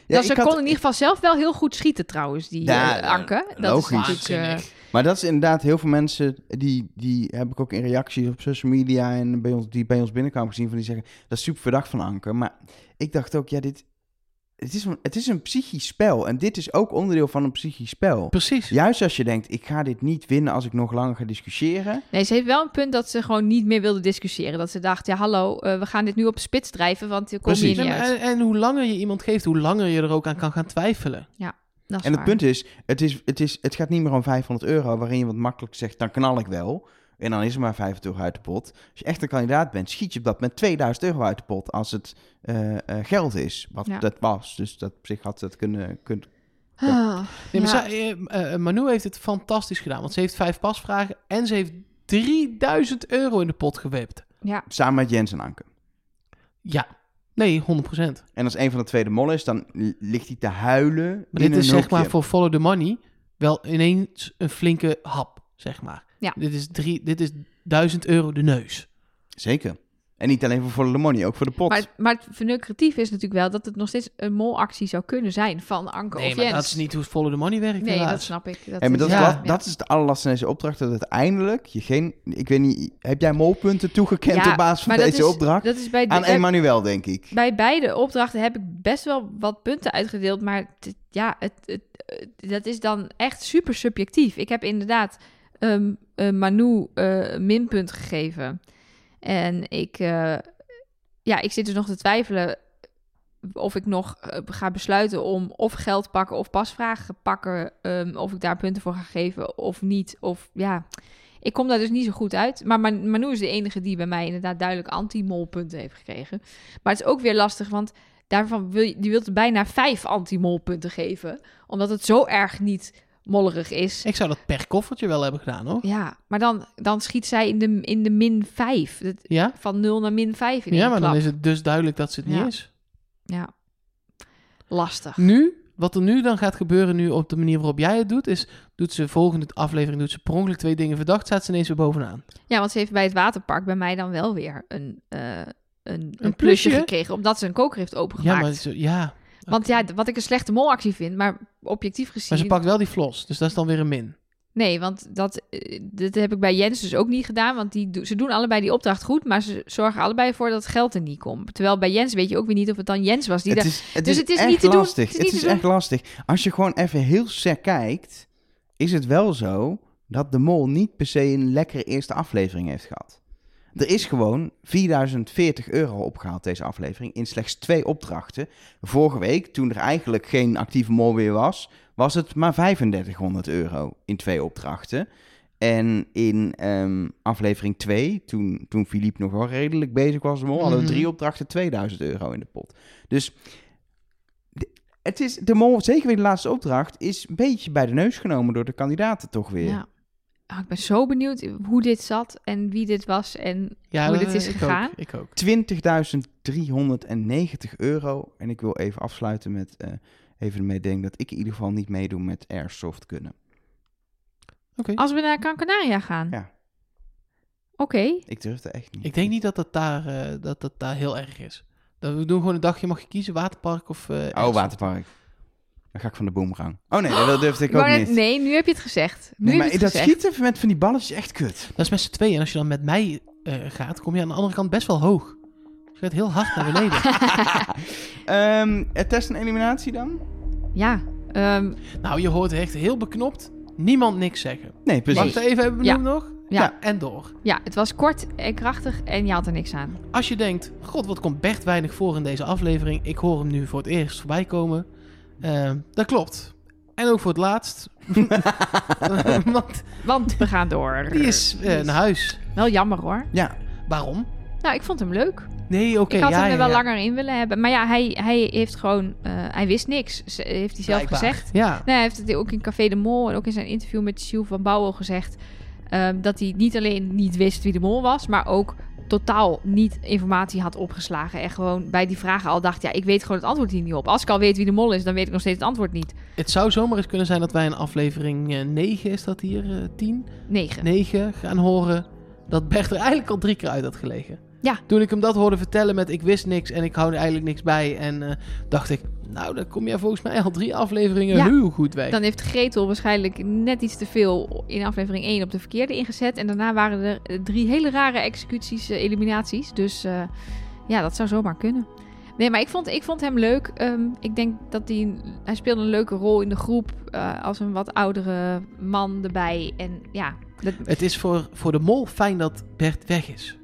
[SPEAKER 1] Ja, ze
[SPEAKER 3] ik had-
[SPEAKER 1] kon in ieder geval zelf wel heel goed schieten trouwens, die
[SPEAKER 3] Ja,
[SPEAKER 1] eh, Anke. Dat
[SPEAKER 3] logisch.
[SPEAKER 1] is natuurlijk... eh,
[SPEAKER 3] Maar dat is inderdaad heel veel mensen die, die heb ik ook in reacties op social media en bij ons, die bij ons binnenkwamen gezien van die zeggen dat is super verdacht van Anker. Maar ik dacht ook, ja, dit het is, een, het is een psychisch spel en dit is ook onderdeel van een psychisch spel.
[SPEAKER 2] precies.
[SPEAKER 3] Juist als je denkt, ik ga dit niet winnen als ik nog langer ga discussiëren.
[SPEAKER 1] Nee, ze heeft wel een punt dat ze gewoon niet meer wilde discussiëren. Dat ze dacht, ja hallo, eh, we gaan dit nu op spits drijven, want ik kom
[SPEAKER 3] Precies.
[SPEAKER 1] hier
[SPEAKER 3] eh,
[SPEAKER 2] Nee,
[SPEAKER 1] niet
[SPEAKER 2] maar
[SPEAKER 1] uit.
[SPEAKER 2] en, en hoe langer je iemand geeft, hoe langer je er ook aan kan gaan twijfelen.
[SPEAKER 1] Dat is
[SPEAKER 3] En het
[SPEAKER 1] waar.
[SPEAKER 3] punt is het, is, het is, het gaat niet meer om 500 euro waarin je wat makkelijk zegt, dan knal ik wel. En dan is er maar 500 euro uit de pot. Als je echt een kandidaat bent, schiet je op dat met 2000 euro uit de pot als het eh, eh, geld is. Wat
[SPEAKER 1] Ja.
[SPEAKER 3] dat was. Dus dat op zich had ze dat kunnen. kun-
[SPEAKER 1] Ah,
[SPEAKER 2] Nee, maar
[SPEAKER 1] ja.
[SPEAKER 2] zij- eh, eh, Manu heeft het fantastisch gedaan, want ze heeft vijf pasvragen en ze heeft 3000 euro in de pot gewipt.
[SPEAKER 1] Ja.
[SPEAKER 3] samen met Jens en Anke.
[SPEAKER 2] Ja, nee, 100%.
[SPEAKER 3] En als een van de twee de mol is, dan l- ligt hij te huilen.
[SPEAKER 2] Maar dit
[SPEAKER 3] in
[SPEAKER 2] is
[SPEAKER 3] een
[SPEAKER 2] zeg maar
[SPEAKER 3] hoekje.
[SPEAKER 2] voor Follow the Money wel ineens een flinke hap, zeg maar.
[SPEAKER 1] Ja.
[SPEAKER 2] Dit, is drie, dit is 1000 euro de neus.
[SPEAKER 3] Zeker. En niet alleen voor Volle de Money, ook voor de pot.
[SPEAKER 1] Maar, maar het verneukeratief is natuurlijk wel dat het nog steeds een molactie zou kunnen zijn van Anke
[SPEAKER 2] Nee,
[SPEAKER 1] of
[SPEAKER 2] maar
[SPEAKER 1] Jens.
[SPEAKER 2] dat is niet hoe Follow the Money werkt
[SPEAKER 1] Nee,
[SPEAKER 2] helaas.
[SPEAKER 1] dat snap ik. Dat
[SPEAKER 3] en maar dat,
[SPEAKER 2] Ja.
[SPEAKER 1] ja.
[SPEAKER 3] is, dat, dat is het allerlastigste in deze opdracht. Dat uiteindelijk je geen. Ik weet niet. Heb jij molpunten toegekend
[SPEAKER 1] Ja,
[SPEAKER 3] op basis van
[SPEAKER 1] maar dat
[SPEAKER 3] deze
[SPEAKER 1] is-
[SPEAKER 3] opdracht?
[SPEAKER 1] Dat is bij, de,
[SPEAKER 3] Aan
[SPEAKER 1] bij,
[SPEAKER 3] Emmanuel, denk ik.
[SPEAKER 1] bij beide opdrachten heb ik best wel wat punten uitgedeeld, maar het- ja, het, het, het- dat is dan echt super subjectief. Ik heb inderdaad ehm eh, Manu eh, minpunt gegeven. En ik, eh, ja, ik zit dus nog te twijfelen of ik nog eh, ga besluiten om of geld pakken of pasvragen pakken. ehm, of ik daar punten voor ga geven of niet. Of ja, ik kom daar dus niet zo goed uit. Maar Man- Manu is de enige die bij mij inderdaad duidelijk anti-mol punten heeft gekregen. Maar het is ook weer lastig, want daarvan wil je, die wilt bijna vijf anti-mol punten geven. Omdat het zo erg niet mollerig is.
[SPEAKER 2] Ik zou dat per koffertje wel hebben gedaan, hoor.
[SPEAKER 1] Ja, maar dan, dan schiet zij in de, in de min 5. Dat,
[SPEAKER 2] Ja?
[SPEAKER 1] van 0 naar min 5 in
[SPEAKER 2] Ja,
[SPEAKER 1] één
[SPEAKER 2] maar dan
[SPEAKER 1] klap.
[SPEAKER 2] is het dus duidelijk dat ze het
[SPEAKER 1] Ja.
[SPEAKER 2] niet is.
[SPEAKER 1] Ja. Lastig.
[SPEAKER 2] Nu, wat er nu dan gaat gebeuren nu op de manier waarop jij het doet, is... doet ze volgende aflevering, doet ze per ongeluk twee dingen verdacht, staat ze ineens weer bovenaan.
[SPEAKER 1] Ja, want ze heeft bij het waterpark bij mij dan wel weer een, eh, een, een plusje
[SPEAKER 2] plusje?
[SPEAKER 1] gekregen. Omdat ze een koker heeft
[SPEAKER 2] Ja,
[SPEAKER 1] opengemaakt.
[SPEAKER 2] maar, ze, ja.
[SPEAKER 1] Want ja, d- wat ik een slechte molactie vind, maar objectief gezien...
[SPEAKER 2] maar ze pakt wel die flos, dus dat is dan weer een min.
[SPEAKER 1] Nee, want dat, eh, dat heb ik bij Jens dus ook niet gedaan. Want die, do- ze doen allebei die opdracht goed, maar ze zorgen allebei voor dat het geld er niet komt. Terwijl bij Jens weet je ook weer niet of het dan Jens was die
[SPEAKER 3] Het
[SPEAKER 1] daar-
[SPEAKER 3] is, het
[SPEAKER 1] dus
[SPEAKER 3] is
[SPEAKER 1] het is
[SPEAKER 3] echt
[SPEAKER 1] niet te doen.
[SPEAKER 3] lastig.
[SPEAKER 1] Het is
[SPEAKER 3] Het
[SPEAKER 1] niet
[SPEAKER 3] is
[SPEAKER 1] te doen.
[SPEAKER 3] echt lastig. Als je gewoon even heel sec kijkt, is het wel zo dat de mol niet per se een lekkere eerste aflevering heeft gehad. Er is gewoon 4040 euro opgehaald deze aflevering in slechts twee opdrachten. Vorige week, toen er eigenlijk geen actieve mol meer was, was het maar 3500 euro in twee opdrachten. En in ehm, aflevering 2, toen, toen Philippe nog wel redelijk bezig was, de mol, hadden we
[SPEAKER 2] Mhm.
[SPEAKER 3] drie opdrachten 2000 euro in de pot. Dus de- het is, de mol, zeker weer de laatste opdracht, is een beetje bij de neus genomen door de kandidaten toch weer.
[SPEAKER 1] Ja. Oh, ik ben zo benieuwd hoe dit zat en wie dit was. En
[SPEAKER 2] Ja,
[SPEAKER 1] Hoe
[SPEAKER 2] dat-
[SPEAKER 1] dit is
[SPEAKER 2] ik ook,
[SPEAKER 1] gegaan?
[SPEAKER 2] Ik ook.
[SPEAKER 3] 20.390 euro. En ik wil even afsluiten met eh, even ermee denken dat ik in ieder geval niet meedoe met Airsoft kunnen.
[SPEAKER 2] Oké.
[SPEAKER 1] als we naar Gran Canaria gaan.
[SPEAKER 3] Ja.
[SPEAKER 1] Oké,
[SPEAKER 3] Ik durfde echt niet.
[SPEAKER 2] Ik denk niet dat dat daar, eh, dat dat daar heel erg is. Dat we doen gewoon een dagje, mag je kiezen, waterpark of... eh,
[SPEAKER 3] Oh,
[SPEAKER 2] ergens.
[SPEAKER 3] waterpark. Dan ga ik van de boomgang. Oh nee, dat durfde ik ook
[SPEAKER 1] Maar
[SPEAKER 3] niet.
[SPEAKER 1] nee, nu heb je het gezegd. Nu
[SPEAKER 3] Nee,
[SPEAKER 1] heb
[SPEAKER 3] maar
[SPEAKER 1] je het dus
[SPEAKER 3] dat
[SPEAKER 1] gezegd.
[SPEAKER 3] schieten met van die balletjes is echt kut.
[SPEAKER 2] Dat is met z'n tweeën. En als je dan met mij eh, gaat, kom je aan de andere kant best wel hoog. Dus Je gaat heel hard naar beneden.
[SPEAKER 3] Ehm, eh, test en eliminatie dan?
[SPEAKER 1] Ja, ehm,
[SPEAKER 2] nou, je hoort echt heel beknopt niemand niks zeggen.
[SPEAKER 3] Nee, precies.
[SPEAKER 2] Wacht even, hebben we
[SPEAKER 1] Ja.
[SPEAKER 2] hem nog?
[SPEAKER 1] Ja.
[SPEAKER 2] En door.
[SPEAKER 1] ja, het was kort en krachtig en je had er niks aan.
[SPEAKER 2] Als je denkt, god, wat komt Bert weinig voor in deze aflevering. Ik hoor hem nu voor het eerst voorbij komen. Ehm, dat klopt. En ook voor het laatst. Want
[SPEAKER 1] Want we gaan door.
[SPEAKER 2] die is eh, naar huis.
[SPEAKER 1] Wel jammer hoor.
[SPEAKER 3] Ja,
[SPEAKER 2] Waarom?
[SPEAKER 1] Nou, ik vond hem leuk.
[SPEAKER 2] Nee, oké.
[SPEAKER 1] ik had
[SPEAKER 2] ja,
[SPEAKER 1] hem er
[SPEAKER 2] ja,
[SPEAKER 1] wel
[SPEAKER 2] ja.
[SPEAKER 1] langer in willen hebben. Maar ja, hij, hij heeft gewoon... eh, hij wist niks, z- heeft hij zelf
[SPEAKER 2] Blijkbaar.
[SPEAKER 1] gezegd.
[SPEAKER 2] Ja.
[SPEAKER 1] Nee, hij heeft het ook in Café de Mol en ook in zijn interview met Sjoel van Bouwel gezegd... ehm, dat hij niet alleen niet wist wie de mol was, maar ook totaal niet informatie had opgeslagen. En gewoon bij die vragen al dacht, ja, ik weet gewoon het antwoord hier niet op. Als ik al weet wie de mol is, dan weet ik nog steeds het antwoord niet.
[SPEAKER 2] Het zou zomaar eens kunnen zijn dat wij in aflevering eh, 9, is dat hier? eh, 10?
[SPEAKER 1] 9.
[SPEAKER 2] 9 gaan horen dat Bert er eigenlijk al drie keer uit had gelegen.
[SPEAKER 1] Ja.
[SPEAKER 2] Toen ik hem dat hoorde vertellen met ik wist niks en ik hou er eigenlijk niks bij. En eh, dacht ik, nou dan kom jij volgens mij al drie afleveringen
[SPEAKER 1] Ja.
[SPEAKER 2] heel goed weg.
[SPEAKER 1] Dan heeft Gretel waarschijnlijk net iets te veel in aflevering 1 op de verkeerde ingezet. En daarna waren er eh, drie hele rare executies, eh, eliminaties. Dus eh, ja, dat zou zomaar kunnen. Nee, maar ik vond, ik vond hem leuk. Ehm, ik denk dat hij... Hij speelde een leuke rol in de groep. eh, als een wat oudere man erbij. En ja, dat,
[SPEAKER 2] Het is voor, voor de mol fijn dat Bert weg is.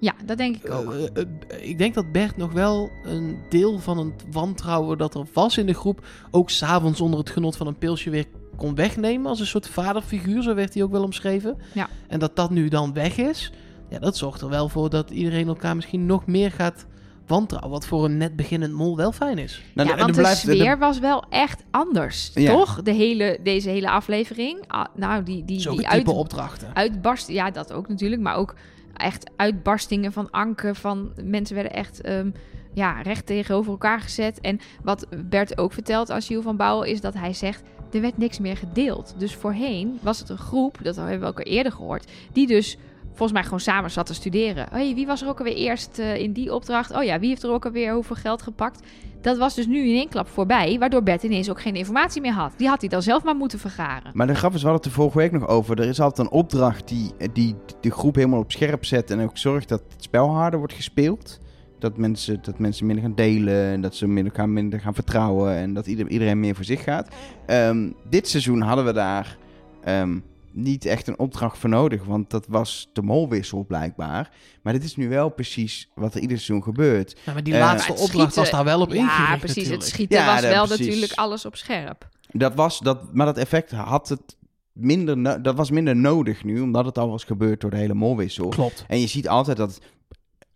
[SPEAKER 1] ja, dat denk ik ook.
[SPEAKER 2] Eh, eh, eh, ik denk dat Bert nog wel een deel van het wantrouwen dat er was in de groep... ook s'avonds onder het genot van een pilsje weer kon wegnemen... als een soort vaderfiguur, zo werd hij ook wel omschreven.
[SPEAKER 1] Ja.
[SPEAKER 2] En dat dat nu dan weg is... ja, dat zorgt er wel voor dat iedereen elkaar misschien nog meer gaat wantrouwen... wat voor een net beginnend mol wel fijn is.
[SPEAKER 3] Nou,
[SPEAKER 1] ja,
[SPEAKER 3] en
[SPEAKER 1] want
[SPEAKER 3] er
[SPEAKER 1] de
[SPEAKER 3] blijft- er-
[SPEAKER 1] sfeer was wel echt anders,
[SPEAKER 3] Ja.
[SPEAKER 1] toch? De hele, deze hele aflevering. Ah, nou, die, die,
[SPEAKER 2] Zo
[SPEAKER 1] die
[SPEAKER 2] type
[SPEAKER 1] uit,
[SPEAKER 2] opdrachten.
[SPEAKER 1] uitbarst, ja, dat ook natuurlijk, maar ook echt uitbarstingen van anken, van mensen werden echt ehm, ja, recht tegenover elkaar gezet. En wat Bert ook vertelt als Jules van Bouwen is dat hij zegt, er werd niks meer gedeeld. Dus voorheen was het een groep, dat hebben we ook al eerder gehoord, die dus volgens mij gewoon samen zat te studeren. hey, wie was er ook alweer eerst eh, in die opdracht? Oh ja, wie heeft er ook alweer hoeveel geld gepakt? Dat was dus nu in één klap voorbij, waardoor Bert ineens ook geen informatie meer had. Die had hij dan zelf maar moeten vergaren.
[SPEAKER 3] Maar de grap is, we hadden het er vorige week nog over. Er is altijd een opdracht die, die de groep helemaal op scherp zet. En ook zorgt dat het spel harder wordt gespeeld. Dat mensen, dat mensen minder gaan delen. En dat ze minder elkaar minder gaan vertrouwen. En dat ieder- iedereen meer voor zich gaat. Ehm, dit seizoen hadden we daar ehm, niet echt een opdracht voor nodig. Want dat was de molwissel blijkbaar. Maar dit is nu wel precies wat er ieder seizoen gebeurt.
[SPEAKER 2] Ja, maar die
[SPEAKER 3] eh,
[SPEAKER 2] laatste
[SPEAKER 1] Maar het
[SPEAKER 2] opdracht was
[SPEAKER 1] schieten-
[SPEAKER 2] daar wel op ingericht
[SPEAKER 1] Ja, precies.
[SPEAKER 2] natuurlijk.
[SPEAKER 1] Het schieten
[SPEAKER 3] Ja,
[SPEAKER 1] was
[SPEAKER 3] dat-
[SPEAKER 1] wel
[SPEAKER 3] precies.
[SPEAKER 1] natuurlijk alles op scherp.
[SPEAKER 3] Dat was, dat, maar dat effect had het minder, no- dat was minder nodig nu. Omdat het al was gebeurd door de hele molwissel.
[SPEAKER 2] Klopt.
[SPEAKER 3] En je ziet altijd dat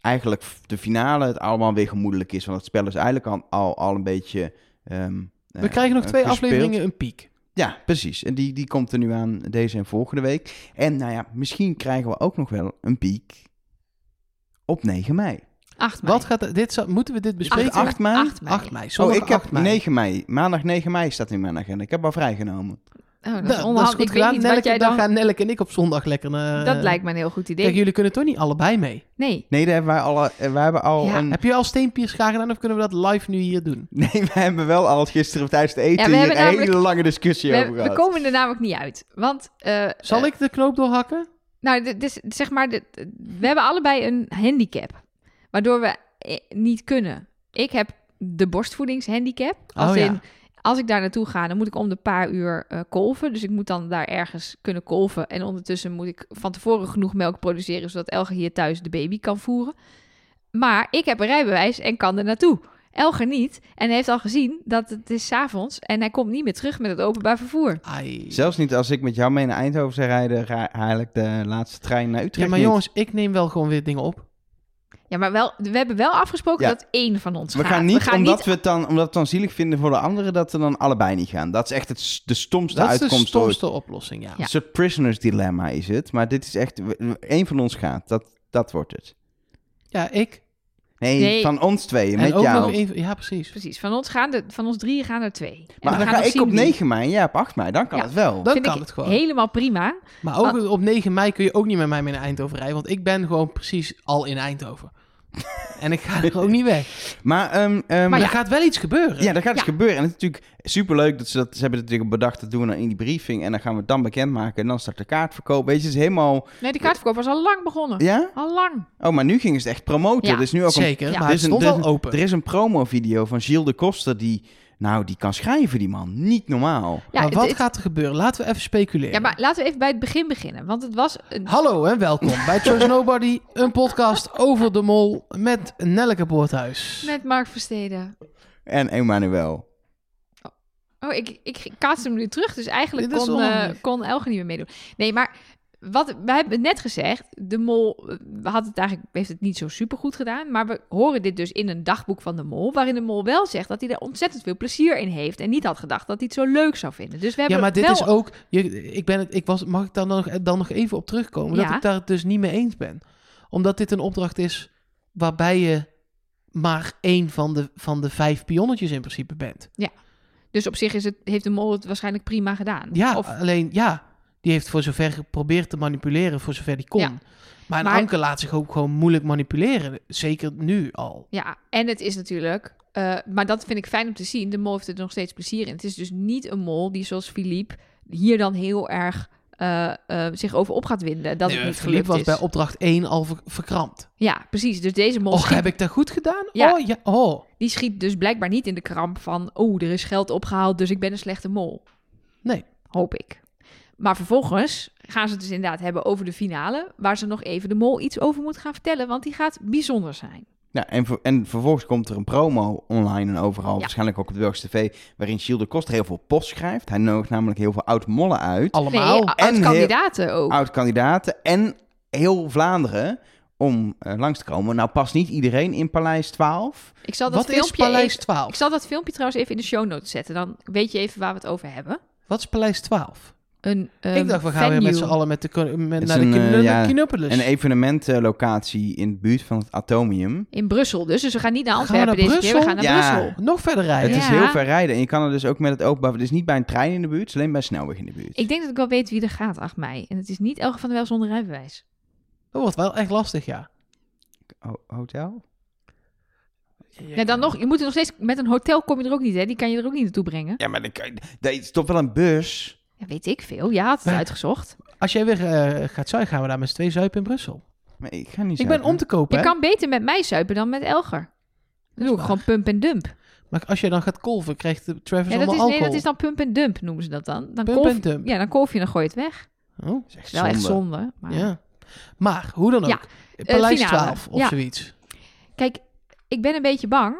[SPEAKER 3] eigenlijk de finale het allemaal weer gemoedelijk is. Want het spel is eigenlijk al, al, al een beetje... ehm,
[SPEAKER 2] We
[SPEAKER 3] eh,
[SPEAKER 2] krijgen nog
[SPEAKER 3] eh,
[SPEAKER 2] twee
[SPEAKER 3] gespeeld.
[SPEAKER 2] afleveringen een piek.
[SPEAKER 3] Ja, precies. En die, die komt er nu aan deze en volgende week. En nou ja, misschien krijgen we ook nog wel een piek op 9 mei.
[SPEAKER 1] Acht mei.
[SPEAKER 2] Wat gaat, dit, zou- moeten we dit bespreken?
[SPEAKER 3] 8 mei?
[SPEAKER 1] 8 mei.
[SPEAKER 2] 8 mei. Zondag
[SPEAKER 3] oh, ik heb
[SPEAKER 2] 8 mei.
[SPEAKER 3] 9 mei. Maandag 9 mei staat in mijn agenda. Ik heb al vrijgenomen.
[SPEAKER 1] Oh, dat, is
[SPEAKER 2] Dat, Nou, dat is
[SPEAKER 1] onhandig.
[SPEAKER 2] goed
[SPEAKER 1] Ik weet
[SPEAKER 2] gedaan.
[SPEAKER 1] niet wat
[SPEAKER 2] Nelke,
[SPEAKER 1] jij dan...
[SPEAKER 2] gaan Nelke en ik op zondag lekker naar...
[SPEAKER 1] dat
[SPEAKER 2] eh,
[SPEAKER 1] lijkt me een heel goed idee.
[SPEAKER 2] Kijk, jullie kunnen toch niet allebei mee?
[SPEAKER 1] Nee.
[SPEAKER 3] Nee, daar hebben wij al, eh, wij hebben al
[SPEAKER 1] Ja.
[SPEAKER 3] een...
[SPEAKER 2] Heb je al steenpiers graag gedaan of kunnen we dat live nu hier doen?
[SPEAKER 3] Nee, wij hebben wel al gisteren tijdens het eten
[SPEAKER 1] we
[SPEAKER 3] hier
[SPEAKER 1] hebben
[SPEAKER 3] een
[SPEAKER 1] namelijk-
[SPEAKER 3] hele lange discussie
[SPEAKER 1] We,
[SPEAKER 3] over
[SPEAKER 1] we
[SPEAKER 3] gehad.
[SPEAKER 1] komen er namelijk niet uit. Want, eh,
[SPEAKER 2] Zal
[SPEAKER 1] eh,
[SPEAKER 2] ik de knoop doorhakken?
[SPEAKER 1] nou, dit is, zeg maar, dit- we hebben allebei een handicap. Waardoor we eh, niet kunnen. Ik heb de borstvoedingshandicap. Als
[SPEAKER 2] Oh, ja.
[SPEAKER 1] in, Als ik daar naartoe ga, dan moet ik om de paar uur eh, kolven. Dus ik moet dan daar ergens kunnen kolven. En ondertussen moet ik van tevoren genoeg melk produceren... zodat Elger hier thuis de baby kan voeren. Maar ik heb een rijbewijs en kan er naartoe. Elger niet. En hij heeft al gezien dat het is 's avonds en hij komt niet meer terug met het openbaar vervoer.
[SPEAKER 2] Ai.
[SPEAKER 3] Zelfs niet als ik met jou mee naar Eindhoven zou rijden, ra- haal ik de laatste trein naar Utrecht.
[SPEAKER 2] Ja, maar
[SPEAKER 3] niet.
[SPEAKER 2] jongens, ik neem wel gewoon weer dingen op.
[SPEAKER 1] Ja, maar wel, we hebben wel afgesproken
[SPEAKER 3] Ja.
[SPEAKER 1] dat één van ons
[SPEAKER 3] we
[SPEAKER 1] gaat.
[SPEAKER 3] gaan niet, omdat,
[SPEAKER 1] niet-
[SPEAKER 3] We het dan, omdat we het dan zielig vinden voor de anderen, dat we dan allebei niet gaan. Dat is echt het, s- de stomste
[SPEAKER 2] Dat is de
[SPEAKER 3] uitkomst ooit.
[SPEAKER 2] stomste oplossing, ja.
[SPEAKER 1] Ja.
[SPEAKER 3] Een soort prisoners dilemma is het. Maar dit is echt, w- w- één van ons gaat. Dat, dat wordt het.
[SPEAKER 2] Ja, ik.
[SPEAKER 3] Nee,
[SPEAKER 1] Nee.
[SPEAKER 3] van ons tweeën,
[SPEAKER 2] en
[SPEAKER 3] met
[SPEAKER 2] ook nog
[SPEAKER 3] jou.
[SPEAKER 2] één... Ja, precies.
[SPEAKER 1] Precies, van ons, gaan er, van ons drieën gaan er twee. En
[SPEAKER 3] Maar
[SPEAKER 1] we
[SPEAKER 3] dan
[SPEAKER 1] gaan
[SPEAKER 3] ga
[SPEAKER 1] nog
[SPEAKER 3] ik
[SPEAKER 1] zien
[SPEAKER 3] op
[SPEAKER 1] wie.
[SPEAKER 3] 9 mei en jij op 8 mei. Dan kan
[SPEAKER 1] Ja.
[SPEAKER 3] het wel.
[SPEAKER 2] Dan
[SPEAKER 1] Vind
[SPEAKER 2] kan
[SPEAKER 1] ik Ah.
[SPEAKER 2] het gewoon.
[SPEAKER 1] Helemaal prima.
[SPEAKER 2] Maar ook op 9 mei kun je ook niet met mij mee naar Eindhoven rijden, want ik ben gewoon precies al in Eindhoven. en ik ga er ook niet weg.
[SPEAKER 3] Maar, ehm, ehm,
[SPEAKER 2] Maar
[SPEAKER 1] Maar
[SPEAKER 2] er
[SPEAKER 1] ja.
[SPEAKER 2] gaat wel iets gebeuren.
[SPEAKER 3] Ja, dat gaat dus
[SPEAKER 1] Ja.
[SPEAKER 3] gebeuren. En het is natuurlijk superleuk dat ze dat... Ze hebben het natuurlijk bedacht, dat doen we dan in die briefing. En dan gaan we het dan bekendmaken. En dan start de kaartverkoop. Weet je, het is helemaal...
[SPEAKER 1] Nee, de kaartverkoop was al lang begonnen.
[SPEAKER 3] Ja?
[SPEAKER 1] Al lang.
[SPEAKER 3] Oh, maar nu gingen ze het echt promoten.
[SPEAKER 1] Ja,
[SPEAKER 3] Er is nu ook
[SPEAKER 2] Zeker,
[SPEAKER 1] Ja.
[SPEAKER 2] maar
[SPEAKER 3] Er
[SPEAKER 2] het
[SPEAKER 3] is een-
[SPEAKER 2] stond
[SPEAKER 3] er is
[SPEAKER 2] wel
[SPEAKER 3] een-
[SPEAKER 2] open.
[SPEAKER 3] Een, er is een promovideo van Gilles de Koster die... Nou, die kan schrijven, die man. Niet normaal.
[SPEAKER 1] Ja,
[SPEAKER 2] maar
[SPEAKER 1] het-
[SPEAKER 2] wat
[SPEAKER 1] het-
[SPEAKER 2] gaat er gebeuren? Laten we even speculeren.
[SPEAKER 1] ja, maar laten we even bij het begin beginnen. Want het was een
[SPEAKER 2] Hallo en welkom bij Trust Nobody, een podcast over de mol met Nelleke Poorthuis.
[SPEAKER 1] met Mark Versteden.
[SPEAKER 3] En Emmanuel.
[SPEAKER 1] Oh, ik, ik kaatste hem nu terug, dus eigenlijk
[SPEAKER 2] Dit is
[SPEAKER 1] kon, eh,
[SPEAKER 2] onhandig.
[SPEAKER 1] kon Elge niet meer meedoen. Nee, maar wat, we hebben net gezegd, de mol eh, had het eigenlijk, heeft het niet zo supergoed gedaan. Maar we horen dit dus in een dagboek van de mol, waarin de mol wel zegt dat hij er ontzettend veel plezier in heeft. En niet had gedacht dat hij het zo leuk zou vinden. Dus we hebben
[SPEAKER 2] Ja, maar dit
[SPEAKER 1] wel...
[SPEAKER 2] is ook. Je, ik ben het, ik was, mag ik daar dan nog, dan nog even op terugkomen? Dat
[SPEAKER 1] Ja.
[SPEAKER 2] ik daar het dus niet mee eens ben. Omdat dit een opdracht is waarbij je maar één van de, van de vijf pionnetjes in principe bent.
[SPEAKER 1] Dus op zich is het, heeft de mol het waarschijnlijk prima gedaan.
[SPEAKER 2] Ja,
[SPEAKER 1] Of,
[SPEAKER 2] alleen ja, die heeft voor zover geprobeerd te manipuleren, voor zover die kon.
[SPEAKER 1] Ja.
[SPEAKER 2] Maar een
[SPEAKER 1] Maar-
[SPEAKER 2] anker laat zich ook gewoon moeilijk manipuleren. Zeker nu al.
[SPEAKER 1] ja, en het is natuurlijk, eh, maar dat vind ik fijn om te zien, de mol heeft er nog steeds plezier in. Het is dus niet een mol die zoals Philippe hier dan heel erg eh, eh, zich over op gaat winden. Dat het
[SPEAKER 2] Nee,
[SPEAKER 1] niet
[SPEAKER 2] Philippe
[SPEAKER 1] gelukt
[SPEAKER 2] was
[SPEAKER 1] is.
[SPEAKER 2] bij opdracht 1 al ver- verkrampt.
[SPEAKER 1] Ja, precies. Dus deze mol
[SPEAKER 2] Och,
[SPEAKER 1] schiet-
[SPEAKER 2] heb ik dat goed gedaan?
[SPEAKER 1] Ja.
[SPEAKER 2] Oh, ja. Oh.
[SPEAKER 1] die schiet dus blijkbaar niet in de kramp van... oh, er is geld opgehaald, dus ik ben een slechte mol.
[SPEAKER 2] Nee.
[SPEAKER 1] Hoop ik. Maar vervolgens gaan ze het dus inderdaad hebben over de finale... waar ze nog even de mol iets over moet gaan vertellen... want die gaat bijzonder zijn.
[SPEAKER 3] Ja, en, ver- en vervolgens komt er een promo online en overal,
[SPEAKER 1] Ja.
[SPEAKER 3] waarschijnlijk ook op de Belgische TV, waarin Gilles de Koster heel veel post schrijft. Hij nodigt namelijk heel veel oud-mollen uit,
[SPEAKER 2] Allemaal. Ah,
[SPEAKER 1] Nee,
[SPEAKER 3] En heel-
[SPEAKER 1] oud-kandidaten ook.
[SPEAKER 3] oud-kandidaten en heel Vlaanderen om eh, langs te komen. Nou past niet iedereen in Paleis 12.
[SPEAKER 1] Ik zal dat
[SPEAKER 2] Wat is
[SPEAKER 1] filmpje
[SPEAKER 2] Paleis
[SPEAKER 1] even-
[SPEAKER 2] 12?
[SPEAKER 1] Ik zal dat filmpje trouwens even in de show notes zetten. Dan weet je even waar we het over hebben.
[SPEAKER 2] Wat is Paleis 12?
[SPEAKER 1] Een, ehm,
[SPEAKER 2] ik dacht, we gaan weer met z'n allen met de, kun- met,
[SPEAKER 3] Het
[SPEAKER 2] naar
[SPEAKER 3] is
[SPEAKER 2] de
[SPEAKER 3] een, eh,
[SPEAKER 2] kin-
[SPEAKER 3] ja,
[SPEAKER 2] Kinopolis.
[SPEAKER 3] Een evenementlocatie in de buurt van het Atomium.
[SPEAKER 1] In Brussel dus. Dus we gaan niet naar
[SPEAKER 2] Gaan we
[SPEAKER 1] Antwerpen
[SPEAKER 2] naar
[SPEAKER 1] deze keer. We
[SPEAKER 2] Brussel?
[SPEAKER 1] gaan naar
[SPEAKER 3] Ja.
[SPEAKER 1] Brussel.
[SPEAKER 2] Nog verder rijden.
[SPEAKER 3] e- Ah, Het is
[SPEAKER 1] Ja.
[SPEAKER 3] heel ver rijden en je kan er dus ook met het openbaar... Het is niet bij een trein in de buurt, het is alleen bij een snelweg in de buurt.
[SPEAKER 1] Ik denk dat ik wel weet wie er gaat, 8 mei. En het is niet Elge van der Wel zonder rijbewijs.
[SPEAKER 2] Dat wordt wel echt lastig, ja.
[SPEAKER 3] Ho- hotel?
[SPEAKER 1] Nee, dan nog, je moet er nog steeds met een hotel kom je er ook niet, hè? Die kan je er ook niet naartoe brengen.
[SPEAKER 3] Ja, maar dan kan je- dat is toch wel een bus?
[SPEAKER 1] Ja, weet ik veel. Ja, had het
[SPEAKER 2] Maar-
[SPEAKER 1] uitgezocht.
[SPEAKER 2] Als jij weer eh, gaat zuigen, gaan we daar met z'n twee zuipen in Brussel.
[SPEAKER 3] Maar ik ga niet
[SPEAKER 2] Ik ben
[SPEAKER 3] zuipen.
[SPEAKER 2] om te kopen,
[SPEAKER 1] Je
[SPEAKER 2] hè?
[SPEAKER 1] kan beter met mij zuipen dan met Elger. Dan doe ik
[SPEAKER 2] waar.
[SPEAKER 1] gewoon pump en dump.
[SPEAKER 2] Maar als jij dan gaat kolven, krijgt de Travis
[SPEAKER 1] Ja, dat
[SPEAKER 2] allemaal
[SPEAKER 1] is, nee,
[SPEAKER 2] alcohol.
[SPEAKER 1] dat is dan pump en dump, noemen ze dat dan. dan
[SPEAKER 2] Pump
[SPEAKER 1] kolf-
[SPEAKER 2] en dump.
[SPEAKER 1] Ja, dan kolf je en dan gooi je het weg.
[SPEAKER 2] Oh,
[SPEAKER 3] Dat is echt
[SPEAKER 1] Wel echt
[SPEAKER 3] zonde.
[SPEAKER 1] zonde. Maar...
[SPEAKER 2] ja. Maar, hoe dan ook.
[SPEAKER 1] Ja, Eh,
[SPEAKER 2] Paleis
[SPEAKER 1] finale.
[SPEAKER 2] 12 of
[SPEAKER 1] Ja.
[SPEAKER 2] zoiets.
[SPEAKER 1] Kijk, ik ben een beetje bang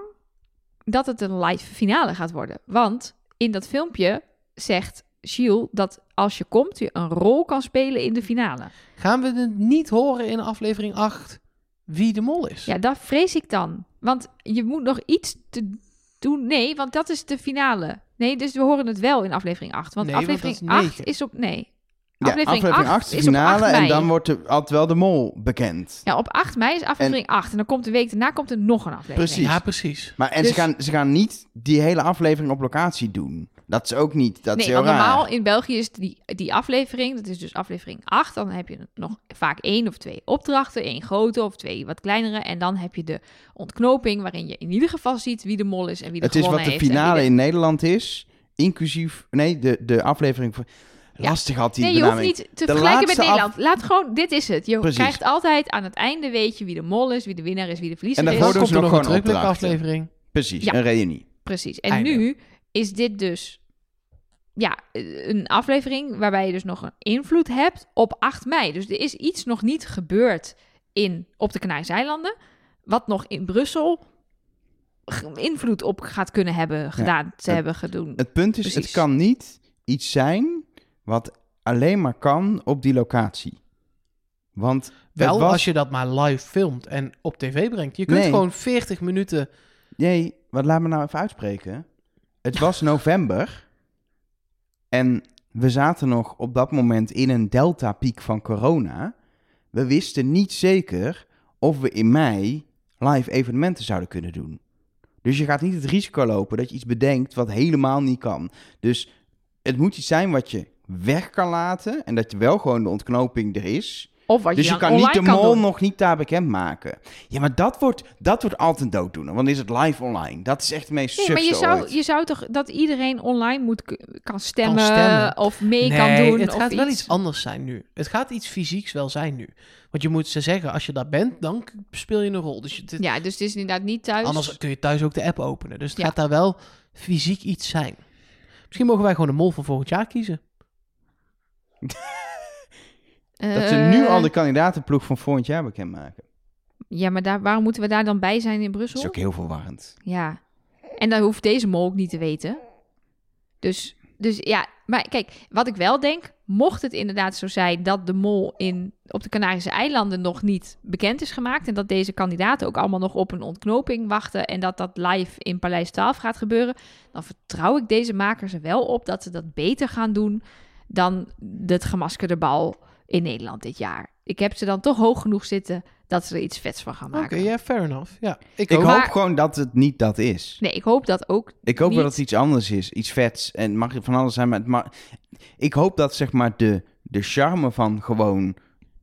[SPEAKER 1] dat het een live finale gaat worden. Want in dat filmpje zegt Gilles dat als je komt, je een rol kan spelen in de finale.
[SPEAKER 2] Gaan we het niet horen in aflevering 8 wie de mol is?
[SPEAKER 1] Ja, dat vrees ik dan. Want je moet nog iets te doen. Nee, want dat is de finale. Nee, dus we horen het wel in aflevering 8. Want
[SPEAKER 2] Nee, want dat
[SPEAKER 1] aflevering
[SPEAKER 2] is
[SPEAKER 1] 8
[SPEAKER 2] negen.
[SPEAKER 1] is op... Nee.
[SPEAKER 3] Ja, aflevering 8, de
[SPEAKER 1] is op
[SPEAKER 3] finale
[SPEAKER 1] 8 mei.
[SPEAKER 3] en dan wordt er, altijd wel de mol bekend.
[SPEAKER 1] Ja, op 8 mei is aflevering 8. En dan komt de week daarna komt er nog een aflevering.
[SPEAKER 3] Precies.
[SPEAKER 2] Ja, precies.
[SPEAKER 3] Maar en ze,
[SPEAKER 1] Dus-
[SPEAKER 3] gaan, ze gaan niet die hele aflevering op locatie doen. Dat is ook niet, dat is
[SPEAKER 1] nee,
[SPEAKER 3] heel
[SPEAKER 1] want normaal
[SPEAKER 3] raar.
[SPEAKER 1] in België is die, die aflevering, dat is dus aflevering 8. Dan heb je nog vaak één of twee opdrachten. één grote of twee wat kleinere. En dan heb je de ontknoping waarin je in ieder geval ziet wie de mol is en wie de
[SPEAKER 3] Het is wat
[SPEAKER 1] gewonnen
[SPEAKER 3] de
[SPEAKER 1] heeft en wie
[SPEAKER 3] finale
[SPEAKER 1] de-
[SPEAKER 3] in Nederland is, inclusief, nee, de, de aflevering van... Lastig had die
[SPEAKER 1] Nee, je hoeft
[SPEAKER 3] benaming.
[SPEAKER 1] niet te vergelijken met
[SPEAKER 3] laatste af-
[SPEAKER 1] Nederland. Laat gewoon, dit is het. Je
[SPEAKER 3] Precies.
[SPEAKER 1] krijgt altijd aan het einde, weet je wie de mol is, wie de winnaar is, wie de verliezer
[SPEAKER 3] En
[SPEAKER 1] is.
[SPEAKER 3] daarvoor
[SPEAKER 2] Dan
[SPEAKER 3] doen ze
[SPEAKER 2] komt er
[SPEAKER 3] nog
[SPEAKER 2] nog een
[SPEAKER 3] gewoon opdrachten.
[SPEAKER 2] terugblikaflevering.
[SPEAKER 3] Precies,
[SPEAKER 1] Ja.
[SPEAKER 3] een reunie.
[SPEAKER 1] Precies. En
[SPEAKER 2] Einde.
[SPEAKER 1] nu is dit dus ja, een aflevering waarbij je dus nog een invloed hebt op 8 mei. Dus er is iets nog niet gebeurd in, op de Canarische eilanden, wat nog in Brussel ge- invloed op gaat kunnen hebben gedaan, te
[SPEAKER 3] het-
[SPEAKER 1] hebben gedoen.
[SPEAKER 3] Het punt is, het
[SPEAKER 1] Precies.
[SPEAKER 3] kan niet iets zijn wat alleen maar kan op die locatie. Want
[SPEAKER 2] Wel
[SPEAKER 3] het was-
[SPEAKER 2] als je dat maar live filmt en op tv brengt. Je kunt
[SPEAKER 3] Nee.
[SPEAKER 2] gewoon 40 minuten...
[SPEAKER 3] Nee, wat laat me nou even uitspreken. Het was november. En we zaten nog op dat moment in een delta-piek van corona. We wisten niet zeker of we in mei live evenementen zouden kunnen doen. Dus je gaat niet het risico lopen dat je iets bedenkt wat helemaal niet kan. Dus het moet iets zijn wat je weg kan laten en dat je wel gewoon de ontknoping er is.
[SPEAKER 1] of wat
[SPEAKER 3] Dus
[SPEAKER 1] je,
[SPEAKER 3] je
[SPEAKER 1] dan
[SPEAKER 3] kan
[SPEAKER 1] online
[SPEAKER 3] niet de
[SPEAKER 1] kan
[SPEAKER 3] mol
[SPEAKER 1] doen.
[SPEAKER 3] nog niet daar bekend maken. Ja, maar dat wordt, dat wordt altijd dooddoener. Want dan is het live online. Dat is echt het meest
[SPEAKER 1] Nee, maar je
[SPEAKER 3] sufste
[SPEAKER 1] zou,
[SPEAKER 3] ooit.
[SPEAKER 1] je zou toch dat iedereen online moet, k- kan, stemmen,
[SPEAKER 2] stemmen.
[SPEAKER 1] of mee kan doen?
[SPEAKER 2] het
[SPEAKER 1] of
[SPEAKER 2] gaat
[SPEAKER 1] iets.
[SPEAKER 2] wel iets anders zijn nu. Het gaat iets fysieks wel zijn nu. Want je moet ze zeggen, als je daar bent, dan k- speel je een rol. Dus je- dit-
[SPEAKER 1] Ja, dus het is inderdaad niet thuis.
[SPEAKER 2] anders kun je thuis ook de app openen. Dus het
[SPEAKER 1] Ja.
[SPEAKER 2] gaat daar wel fysiek iets zijn. Misschien mogen wij gewoon de mol van volgend jaar kiezen.
[SPEAKER 3] Dat ze nu
[SPEAKER 1] Eh,
[SPEAKER 3] al de kandidatenploeg van volgend jaar bekend maken.
[SPEAKER 1] Ja, maar daar, waarom moeten we daar dan bij zijn in
[SPEAKER 3] Dat is
[SPEAKER 1] Brussel?
[SPEAKER 3] ook heel verwarrend.
[SPEAKER 1] Ja. En dan hoeft deze mol ook niet te weten. Dus, dus ja, maar kijk, wat ik wel denk, mocht het inderdaad zo zijn dat de mol in, op de Canarische eilanden nog niet bekend is gemaakt en dat deze kandidaten ook allemaal nog op een ontknoping wachten en dat dat live in Paleis 12 gaat gebeuren, dan vertrouw ik deze makers er wel op dat ze dat beter gaan doen dan het gemaskerde bal in Nederland dit jaar. Ik heb ze dan toch hoog genoeg zitten dat ze er iets vets van gaan
[SPEAKER 2] Oké,
[SPEAKER 1] maken.
[SPEAKER 2] ja, fair enough. Ja, ik,
[SPEAKER 3] Ik
[SPEAKER 2] ook.
[SPEAKER 3] hoop
[SPEAKER 1] Maar-
[SPEAKER 3] gewoon dat het niet dat is.
[SPEAKER 1] Nee, ik hoop dat ook
[SPEAKER 3] Ik hoop wel
[SPEAKER 1] Niet-
[SPEAKER 3] dat het iets anders is. Iets vets. En het mag van alles zijn. Maar het mag- Ik hoop dat zeg maar de, de charme van gewoon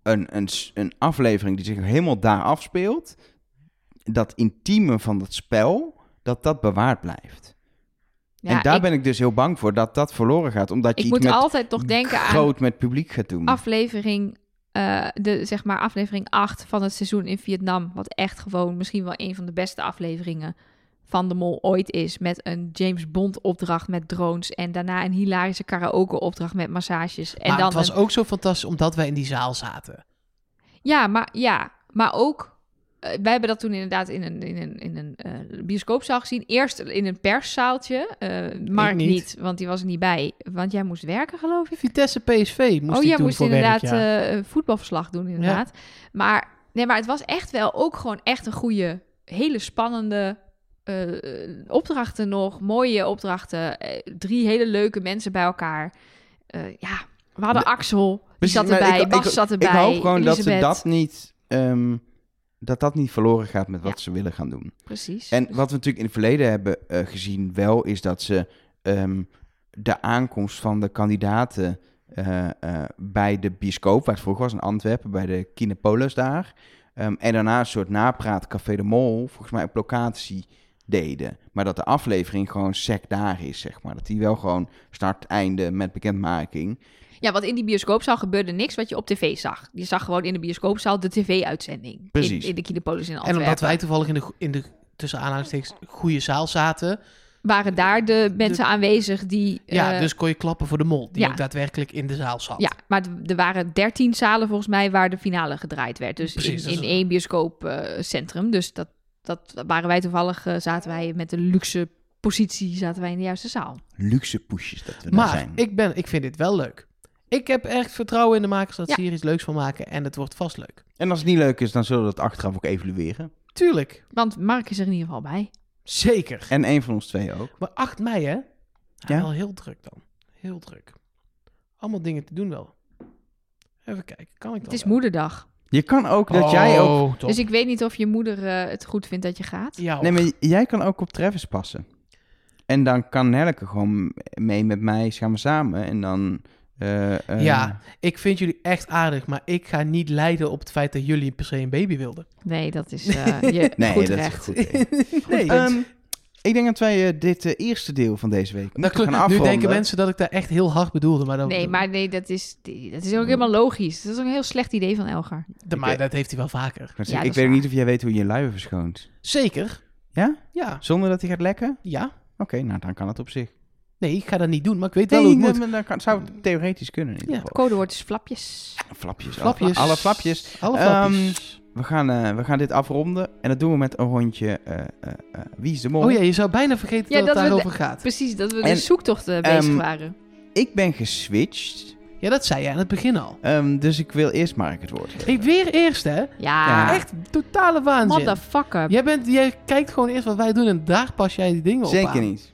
[SPEAKER 3] een, een, s- een aflevering die zich helemaal daar afspeelt. Dat intieme van dat spel, dat dat bewaard blijft.
[SPEAKER 1] Ja,
[SPEAKER 3] en daar
[SPEAKER 1] ik,
[SPEAKER 3] ben ik dus heel bang voor dat dat verloren gaat. Omdat je
[SPEAKER 1] ik
[SPEAKER 3] iets
[SPEAKER 1] moet
[SPEAKER 3] met
[SPEAKER 1] altijd toch denken aan
[SPEAKER 3] groot met publiek gaat doen.
[SPEAKER 1] aflevering, eh, de, zeg maar aflevering 8 van het seizoen in Vietnam. Wat echt gewoon misschien wel een van de beste afleveringen van de Mol ooit is. Met een James Bond opdracht met drones. En daarna een hilarische karaoke opdracht met massages. En
[SPEAKER 2] maar
[SPEAKER 1] dan
[SPEAKER 2] het was
[SPEAKER 1] een-
[SPEAKER 2] ook zo fantastisch omdat wij in die zaal zaten.
[SPEAKER 1] Ja, maar, ja, maar ook... eh, wij hebben dat toen inderdaad in een, in een, in een eh, bioscoopzaal gezien. Eerst in een perszaaltje. eh Mark
[SPEAKER 2] niet.
[SPEAKER 1] niet. want die was er niet bij. Want jij moest werken, geloof ik.
[SPEAKER 2] Vitesse PSV moest
[SPEAKER 1] oh,
[SPEAKER 2] ik
[SPEAKER 1] jij
[SPEAKER 2] doen
[SPEAKER 1] moest
[SPEAKER 2] voor
[SPEAKER 1] inderdaad
[SPEAKER 2] werk, ja.
[SPEAKER 1] eh, voetbalverslag doen, inderdaad. Maar, nee, maar het was echt wel ook gewoon echt een goede, hele spannende eh, opdrachten nog. Mooie opdrachten. Eh, drie hele leuke mensen bij elkaar. Eh, ja, we hadden
[SPEAKER 3] De-
[SPEAKER 1] Axel, die
[SPEAKER 3] Precies,
[SPEAKER 1] zat
[SPEAKER 3] maar
[SPEAKER 1] erbij.
[SPEAKER 3] ik-
[SPEAKER 1] Bas
[SPEAKER 3] ik-
[SPEAKER 1] zat erbij.
[SPEAKER 3] Ik hoop gewoon dat ze
[SPEAKER 1] Elisabeth.
[SPEAKER 3] dat niet, ehm, dat dat niet verloren gaat met wat
[SPEAKER 1] Ja.
[SPEAKER 3] ze willen gaan doen.
[SPEAKER 1] Precies.
[SPEAKER 3] En wat we natuurlijk in het verleden hebben eh, gezien wel, is dat ze ehm, de aankomst van de kandidaten eh, eh, bij de bioscoop, waar het vroeger was in Antwerpen, bij de Kinepolis daar. ehm, en daarna een soort napraat Café de Mol, volgens mij op locatie deden. Maar dat de aflevering gewoon sec daar is, zeg maar. Dat die wel gewoon start, einde met bekendmaking.
[SPEAKER 1] Ja, want in die bioscoopzaal gebeurde niks wat je op tv zag. Je zag gewoon in de bioscoopzaal de tv-uitzending.
[SPEAKER 3] Precies.
[SPEAKER 1] In, in de Kinepolis in
[SPEAKER 2] En
[SPEAKER 1] Antwerpen.
[SPEAKER 2] omdat wij toevallig in de, go- in de tussen aanhalingstekens goede zaal zaten.
[SPEAKER 1] Waren daar de mensen aanwezig die...
[SPEAKER 2] ja,
[SPEAKER 1] eh,
[SPEAKER 2] dus kon je klappen voor de mol. Die
[SPEAKER 1] ja.
[SPEAKER 2] ook daadwerkelijk in de zaal zat.
[SPEAKER 1] Ja, maar d- er waren dertien zalen volgens mij waar de finale gedraaid werd. Dus
[SPEAKER 2] Precies,
[SPEAKER 1] in,
[SPEAKER 2] dat
[SPEAKER 1] in
[SPEAKER 2] is-
[SPEAKER 1] één bioscoopcentrum. dus dat, dat waren wij toevallig, eh, zaten wij met de luxe positie, zaten wij in de juiste zaal.
[SPEAKER 3] Luxe pushes dat we daar
[SPEAKER 2] maar
[SPEAKER 3] zijn.
[SPEAKER 2] ik, ben, ik vind dit wel leuk. Ik heb echt vertrouwen in de makers dat
[SPEAKER 1] Ja.
[SPEAKER 2] ze hier iets leuks van maken. En het wordt vast leuk.
[SPEAKER 3] En als het niet leuk is, dan zullen we dat achteraf ook evalueren.
[SPEAKER 2] Tuurlijk.
[SPEAKER 1] Want Mark is er in ieder geval bij.
[SPEAKER 2] Zeker.
[SPEAKER 3] En één van ons twee ook.
[SPEAKER 2] Maar 8 mei, hè? Ja.
[SPEAKER 3] Ja.
[SPEAKER 2] Wel heel druk dan. Heel druk. Allemaal dingen te doen wel. Even kijken. Kan ik dat
[SPEAKER 1] Het is moederdag.
[SPEAKER 3] Je kan ook
[SPEAKER 2] Oh.
[SPEAKER 3] dat jij ook...
[SPEAKER 1] Dus ik weet niet of je moeder eh, het goed vindt dat je gaat.
[SPEAKER 2] Ja,
[SPEAKER 3] Oh. Nee, maar jij kan ook op Travis passen. En dan kan Nelke gewoon mee met mij, gaan we samen. En dan... eh, eh,
[SPEAKER 2] Ja. ik vind jullie echt aardig, maar ik ga niet lijden op het feit dat jullie per se een baby wilden.
[SPEAKER 1] Nee, dat is eh, je
[SPEAKER 3] Nee,
[SPEAKER 1] goed
[SPEAKER 3] dat
[SPEAKER 1] recht.
[SPEAKER 3] is een goed.
[SPEAKER 2] nee,
[SPEAKER 3] Ehm, ik denk dat wij eh, dit eh, eerste deel van deze week
[SPEAKER 2] dat
[SPEAKER 3] moeten gaan
[SPEAKER 2] klopt. Nu
[SPEAKER 3] afronden.
[SPEAKER 2] denken mensen dat ik daar echt heel hard bedoelde, maar dat,
[SPEAKER 1] Nee, maar nee, dat is, dat is ook helemaal logisch. Dat is ook een heel slecht idee van Elgar.
[SPEAKER 2] de- maar
[SPEAKER 3] Oké.
[SPEAKER 2] dat heeft hij wel vaker.
[SPEAKER 3] Ik, wou
[SPEAKER 1] Ja,
[SPEAKER 3] zeggen,
[SPEAKER 1] dat
[SPEAKER 3] ik
[SPEAKER 1] is
[SPEAKER 3] weet ook
[SPEAKER 1] waar.
[SPEAKER 3] niet of jij weet hoe je je luien verschoont.
[SPEAKER 2] Zeker.
[SPEAKER 3] Ja?
[SPEAKER 2] Ja.
[SPEAKER 3] Zonder dat hij gaat lekken?
[SPEAKER 2] Ja.
[SPEAKER 3] Oké, nou dan kan het op zich.
[SPEAKER 2] Nee, ik ga dat niet doen, maar ik weet wel
[SPEAKER 3] Nee,
[SPEAKER 2] hoe het
[SPEAKER 3] nee,
[SPEAKER 2] moet.
[SPEAKER 3] maar dat kan- zou het theoretisch kunnen. In ieder
[SPEAKER 2] Ja.
[SPEAKER 1] Het
[SPEAKER 3] geval.
[SPEAKER 1] codewoord is flapjes.
[SPEAKER 3] Flapjes.
[SPEAKER 2] Flapjes.
[SPEAKER 3] Alle, alle flapjes.
[SPEAKER 2] Alle
[SPEAKER 3] Ehm,
[SPEAKER 2] flapjes.
[SPEAKER 3] We gaan, eh, we gaan dit afronden. En dat doen we met een rondje eh, eh, eh, Wie is de Mol?
[SPEAKER 2] oh ja, je zou bijna vergeten
[SPEAKER 1] Ja,
[SPEAKER 2] dat het
[SPEAKER 1] dat we
[SPEAKER 2] daarover gaat.
[SPEAKER 1] Precies, dat we
[SPEAKER 3] En,
[SPEAKER 1] de zoektochten bezig
[SPEAKER 3] ehm,
[SPEAKER 1] waren.
[SPEAKER 3] Ik ben geswitcht.
[SPEAKER 2] Ja, dat zei je aan het begin al.
[SPEAKER 3] ehm, dus ik wil eerst Mark het woord geven.
[SPEAKER 2] Ik weer eerst, hè?
[SPEAKER 1] Ja,
[SPEAKER 2] Echt totale waanzin.
[SPEAKER 1] motherfucker.
[SPEAKER 2] Jij, bent, jij kijkt gewoon eerst wat wij doen en daar pas jij die dingen op aan.
[SPEAKER 3] Zeker niet.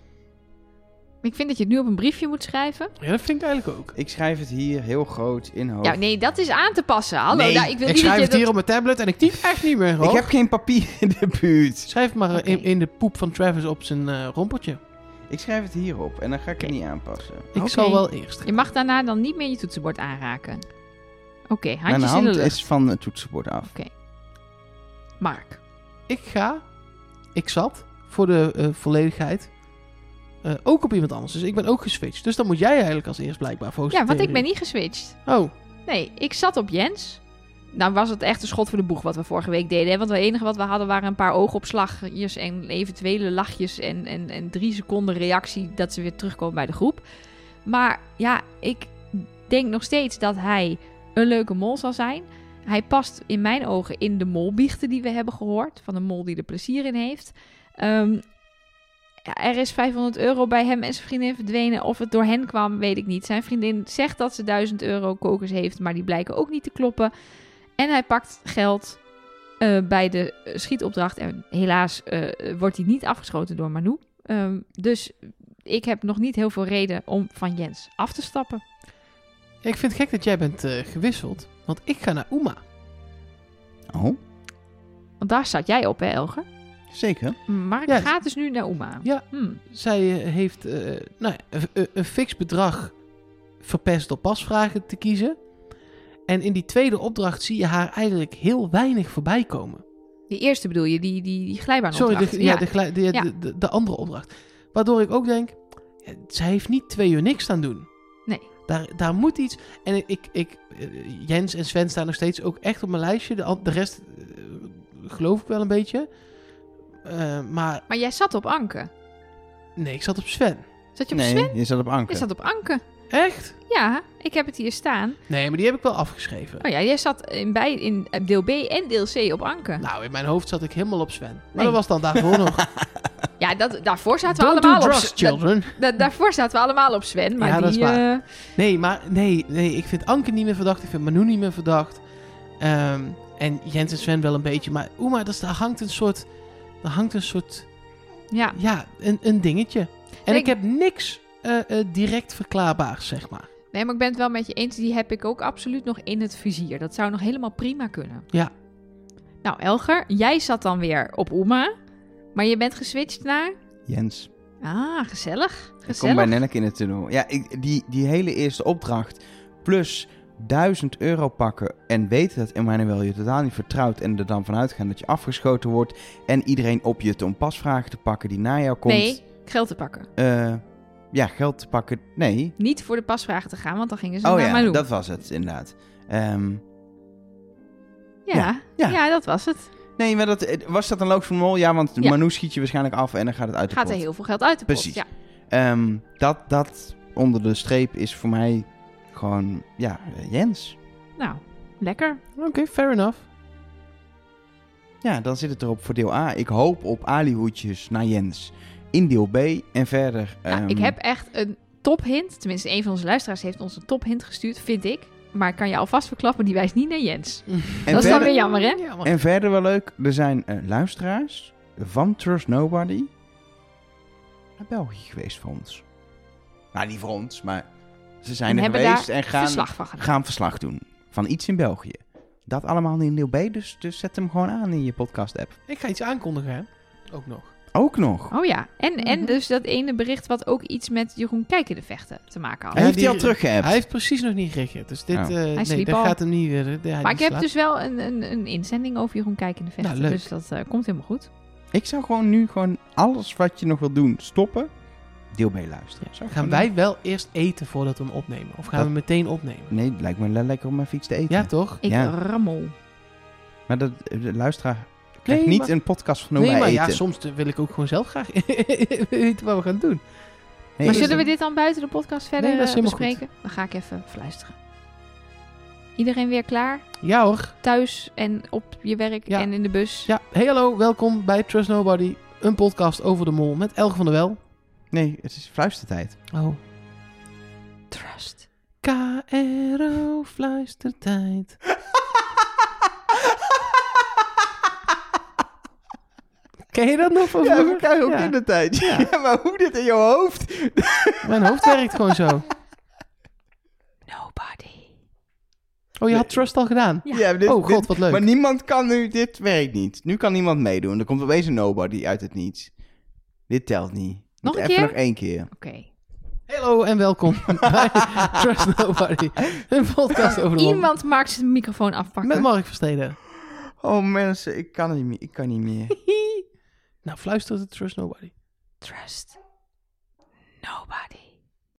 [SPEAKER 1] Ik vind dat je het nu op een briefje moet schrijven.
[SPEAKER 2] Ja, dat vind ik eigenlijk ook.
[SPEAKER 3] Ik schrijf het hier heel groot in hoofd.
[SPEAKER 1] Ja, nee, dat is aan te passen. Hallo,
[SPEAKER 3] Nee,
[SPEAKER 1] daar- ik wil niet
[SPEAKER 2] Ik
[SPEAKER 1] dat
[SPEAKER 2] schrijf
[SPEAKER 1] je
[SPEAKER 2] het
[SPEAKER 1] dat-
[SPEAKER 2] hier op mijn tablet en ik typ echt niet meer, hoor.
[SPEAKER 3] ik heb geen papier in de buurt.
[SPEAKER 2] Schrijf maar eh, in,
[SPEAKER 1] Oké.
[SPEAKER 2] in de poep van Travis op zijn eh, rompeltje.
[SPEAKER 3] Ik schrijf het hierop en dan ga ik het
[SPEAKER 1] Oké.
[SPEAKER 3] niet aanpassen.
[SPEAKER 2] Ik
[SPEAKER 1] Oké.
[SPEAKER 2] zal wel eerst.
[SPEAKER 1] Je mag daarna dan niet meer je toetsenbord aanraken. Oké,
[SPEAKER 3] Mijn
[SPEAKER 1] handjes in de
[SPEAKER 3] hand
[SPEAKER 1] lucht.
[SPEAKER 3] is van het toetsenbord af.
[SPEAKER 1] Mark.
[SPEAKER 2] Ik ga, ik zat, voor de eh, volledigheid, eh, ook op iemand anders. Dus ik ben ook geswitcht. Dus dan moet jij eigenlijk als eerst blijkbaar volgens
[SPEAKER 1] Ja,
[SPEAKER 2] de
[SPEAKER 1] want ik ben
[SPEAKER 2] theorie.
[SPEAKER 1] niet geswitcht.
[SPEAKER 2] Oh,
[SPEAKER 1] Nee, ik zat op Jens. Nou was het echt een schot voor de boeg wat we vorige week deden. Hè? Want het enige wat we hadden waren een paar oogopslagjes en eventuele lachjes en, en, en drie seconden reactie dat ze weer terugkomen bij de groep. Maar ja, ik denk nog steeds dat hij een leuke mol zal zijn. Hij past in mijn ogen in de molbiechten die we hebben gehoord. Van de mol die er plezier in heeft. Ehm, ja, er is 500 euro bij hem en zijn vriendin verdwenen. Of het door hen kwam, weet ik niet. Zijn vriendin zegt dat ze 1000 euro kokers heeft, maar die blijken ook niet te kloppen. En hij pakt geld eh, bij de eh, schietopdracht. En helaas eh, wordt hij niet afgeschoten door Manu. Ehm, dus ik heb nog niet heel veel reden om van Jens af te stappen.
[SPEAKER 2] ik vind het gek dat jij bent eh, gewisseld. Want ik ga naar Uma.
[SPEAKER 3] Oh,
[SPEAKER 1] Want daar zat jij op, hè, Elger?
[SPEAKER 3] zeker.
[SPEAKER 1] Mark
[SPEAKER 2] Ja.
[SPEAKER 1] gaat dus nu naar Oma.
[SPEAKER 2] Ja.
[SPEAKER 1] Hmm.
[SPEAKER 2] Zij eh, heeft eh, nou, ja, een, een- een fix bedrag verpest door pasvragen te kiezen. En in die tweede opdracht zie je haar eigenlijk heel weinig voorbij komen.
[SPEAKER 1] Die eerste bedoel je, die, die, die glijbaanopdracht.
[SPEAKER 2] Sorry, de, ja, de, gla- de,
[SPEAKER 1] Ja.
[SPEAKER 2] de, de, de andere opdracht. Waardoor ik ook denk, eh, zij heeft niet twee uur niks aan doen.
[SPEAKER 1] Nee.
[SPEAKER 2] Daar, daar moet iets. En ik, ik, ik, eh, Jens en Sven staan nog steeds ook echt op mijn lijstje. De, an- de rest eh, geloof ik wel een beetje. Eh, maar
[SPEAKER 1] Maar jij zat op Anke.
[SPEAKER 2] nee, ik zat op Sven.
[SPEAKER 1] Zat je op Sven?
[SPEAKER 3] Nee, je zat op
[SPEAKER 1] Je
[SPEAKER 3] anker.
[SPEAKER 1] zat op Anke.
[SPEAKER 2] Echt?
[SPEAKER 1] Ja, ik heb het hier staan.
[SPEAKER 2] Nee, maar die heb ik wel afgeschreven.
[SPEAKER 1] Oh ja, jij zat in, bij, in deel B en deel C op Anke.
[SPEAKER 2] Nou, in mijn hoofd zat ik helemaal op Sven. Maar
[SPEAKER 1] Nee.
[SPEAKER 2] dat was dan daarvoor nog.
[SPEAKER 1] Ja, dat, daarvoor zaten we
[SPEAKER 2] Don't do
[SPEAKER 1] allemaal op
[SPEAKER 2] drugs,
[SPEAKER 1] da-
[SPEAKER 2] children.
[SPEAKER 1] da- daarvoor zaten we allemaal op Sven. Maar
[SPEAKER 2] Ja,
[SPEAKER 1] die,
[SPEAKER 2] dat is waar.
[SPEAKER 1] eh,
[SPEAKER 2] Nee, maar nee, nee, ik vind Anke niet meer verdacht. Ik vind Manu niet meer verdacht. Ehm, en Jens en Sven wel een beetje. Maar Oema, dat is- daar hangt een soort... Daar hangt een soort...
[SPEAKER 1] ja.
[SPEAKER 2] Ja, een, een dingetje. En
[SPEAKER 1] Nee,
[SPEAKER 2] ik heb niks eh, eh, direct verklaarbaars, zeg maar.
[SPEAKER 1] Nee, maar ik ben het wel met je eens. Die heb ik ook absoluut nog in het vizier. Dat zou nog helemaal prima kunnen.
[SPEAKER 2] Ja.
[SPEAKER 1] Nou, Elger, jij zat dan weer op Oma. Maar je bent geswitcht naar...
[SPEAKER 3] Jens.
[SPEAKER 1] Ah, gezellig.
[SPEAKER 3] Ik kom bij
[SPEAKER 1] Gezellig.
[SPEAKER 3] Nelleke in het tunnel. Ja, ik, die, die hele eerste opdracht. Plus 1000 euro pakken. En weten dat Emmanuel je totaal niet vertrouwt. En er dan vanuit gaan dat je afgeschoten wordt. En iedereen op je te om pasvragen te pakken die na jou komt.
[SPEAKER 1] Nee, geld te pakken.
[SPEAKER 3] Eh, ja, geld te pakken. Nee.
[SPEAKER 1] Niet voor de pasvragen te gaan, want dan gingen ze
[SPEAKER 3] Oh
[SPEAKER 1] naar
[SPEAKER 3] ja,
[SPEAKER 1] Malou.
[SPEAKER 3] dat was het inderdaad. Ehm,
[SPEAKER 1] Ja,
[SPEAKER 3] ja.
[SPEAKER 1] ja. dat was het.
[SPEAKER 3] nee, maar dat, eh, was dat een logisch van mol? Ja, want
[SPEAKER 1] Ja.
[SPEAKER 3] Manu schiet je waarschijnlijk af en dan gaat het uit de
[SPEAKER 1] Gaat er
[SPEAKER 3] pot.
[SPEAKER 1] heel veel geld uit de pot.
[SPEAKER 3] Precies.
[SPEAKER 1] Ja.
[SPEAKER 3] Ehm, dat, dat onder de streep is voor mij gewoon, ja, eh, Jens.
[SPEAKER 1] Nou, lekker.
[SPEAKER 2] Oké, fair enough.
[SPEAKER 3] Ja, dan zit het erop voor deel A. Ik hoop op alihoedjes naar Jens in deel B en verder.
[SPEAKER 1] Ja,
[SPEAKER 3] ehm,
[SPEAKER 1] Nou, ik heb echt een tophint. Tenminste, een van onze luisteraars heeft ons een tophint gestuurd, vind ik. Maar ik kan je alvast verklappen, die wijst niet naar Jens.
[SPEAKER 3] en
[SPEAKER 1] dat is dan
[SPEAKER 3] verder,
[SPEAKER 1] weer jammer, hè?
[SPEAKER 2] Ja, maar-
[SPEAKER 3] En verder wel leuk, er zijn eh, luisteraars van Trust Nobody naar België geweest voor ons. Nou, niet voor ons, maar ze zijn
[SPEAKER 1] En
[SPEAKER 3] er
[SPEAKER 1] hebben
[SPEAKER 3] geweest
[SPEAKER 1] daar
[SPEAKER 3] en gaan
[SPEAKER 1] Verslag van gedaan.
[SPEAKER 3] gaan verslag doen van iets in België. Dat allemaal in deel B, dus, dus zet hem gewoon aan in je podcast-app.
[SPEAKER 2] Ik ga iets aankondigen, hè. Ook nog.
[SPEAKER 3] Ook nog.
[SPEAKER 1] Oh ja, en, en
[SPEAKER 2] Mhm.
[SPEAKER 1] dus dat ene bericht wat ook iets met Jeroen Kijken de Vechten te maken had.
[SPEAKER 3] Hij
[SPEAKER 2] Ja,
[SPEAKER 3] heeft die,
[SPEAKER 2] die-
[SPEAKER 3] al teruggeappt.
[SPEAKER 2] Hij heeft precies nog niet gereageerd. Dus dit...
[SPEAKER 3] Oh.
[SPEAKER 2] eh, nee,
[SPEAKER 1] sliep
[SPEAKER 2] dat
[SPEAKER 1] al.
[SPEAKER 2] gaat hem niet weer...
[SPEAKER 1] maar
[SPEAKER 2] ja, die
[SPEAKER 1] ik heb
[SPEAKER 2] slaapt.
[SPEAKER 1] dus wel een, een, een inzending over Jeroen Kijken de Vechten.
[SPEAKER 2] Nou, leuk.
[SPEAKER 1] dus dat eh, komt helemaal goed.
[SPEAKER 3] Ik zou gewoon nu gewoon alles wat je nog wil doen stoppen. Deel B luisteren. Zou ik
[SPEAKER 2] Gaan
[SPEAKER 3] gewoon
[SPEAKER 2] wij wel eerst eten voordat we hem opnemen? Of gaan
[SPEAKER 3] Dat-
[SPEAKER 2] we meteen opnemen?
[SPEAKER 3] Nee, het lijkt me le- lekker om mijn fiets te eten.
[SPEAKER 2] Ja, toch?
[SPEAKER 1] Ik
[SPEAKER 3] Ja.
[SPEAKER 1] rammel.
[SPEAKER 3] Maar dat, eh, de luisteraar krijgt
[SPEAKER 2] Nee,
[SPEAKER 3] niet
[SPEAKER 2] maar-
[SPEAKER 3] een podcast van hoe
[SPEAKER 2] Nee,
[SPEAKER 3] wij
[SPEAKER 2] maar
[SPEAKER 3] eten.
[SPEAKER 2] ja, soms eh, wil ik ook gewoon zelf graag weten wat we gaan doen.
[SPEAKER 1] maar
[SPEAKER 3] Nee, is-
[SPEAKER 1] zullen we dit dan buiten de podcast verder
[SPEAKER 2] Nee, dat is
[SPEAKER 1] eh,
[SPEAKER 2] helemaal
[SPEAKER 1] bespreken? Dan ga ik even fluisteren. Iedereen weer klaar?
[SPEAKER 2] Ja hoor.
[SPEAKER 1] Thuis en op je werk
[SPEAKER 2] Ja.
[SPEAKER 1] en in de bus?
[SPEAKER 2] Ja, hey hallo, welkom bij Trust Nobody. Een podcast over de mol met Elge van der Wel.
[SPEAKER 3] Nee, het is fluistertijd.
[SPEAKER 2] Oh.
[SPEAKER 1] Trust.
[SPEAKER 2] KRO fluistertijd. Ken je dat nog van
[SPEAKER 3] Ja,
[SPEAKER 2] vroeger?
[SPEAKER 3] we krijgen ook
[SPEAKER 2] Ja.
[SPEAKER 3] in de tijd.
[SPEAKER 2] Ja.
[SPEAKER 3] Ja. maar hoe dit in je hoofd?
[SPEAKER 2] Mijn hoofd werkt gewoon zo.
[SPEAKER 1] Nobody.
[SPEAKER 2] Oh, je had Trust al gedaan?
[SPEAKER 1] Ja.
[SPEAKER 3] Ja, dit-
[SPEAKER 2] oh
[SPEAKER 3] dit-
[SPEAKER 2] god, wat leuk.
[SPEAKER 3] Maar niemand kan nu, dit werkt niet. Nu kan niemand meedoen. Er komt opeens een nobody uit het niets. Dit telt niet.
[SPEAKER 1] Nog
[SPEAKER 3] Moet
[SPEAKER 1] een
[SPEAKER 3] even
[SPEAKER 1] keer?
[SPEAKER 3] Nog één keer.
[SPEAKER 1] Oké.
[SPEAKER 2] Hallo en welkom bij Trust Nobody. Een podcast over de mol.
[SPEAKER 1] Iemand mag zijn microfoon afpakken.
[SPEAKER 2] Met Mark Versteden.
[SPEAKER 3] Oh mensen, ik kan niet meer. Ik kan niet meer.
[SPEAKER 2] Nou, fluistert het Trust Nobody.
[SPEAKER 1] Trust. Nobody.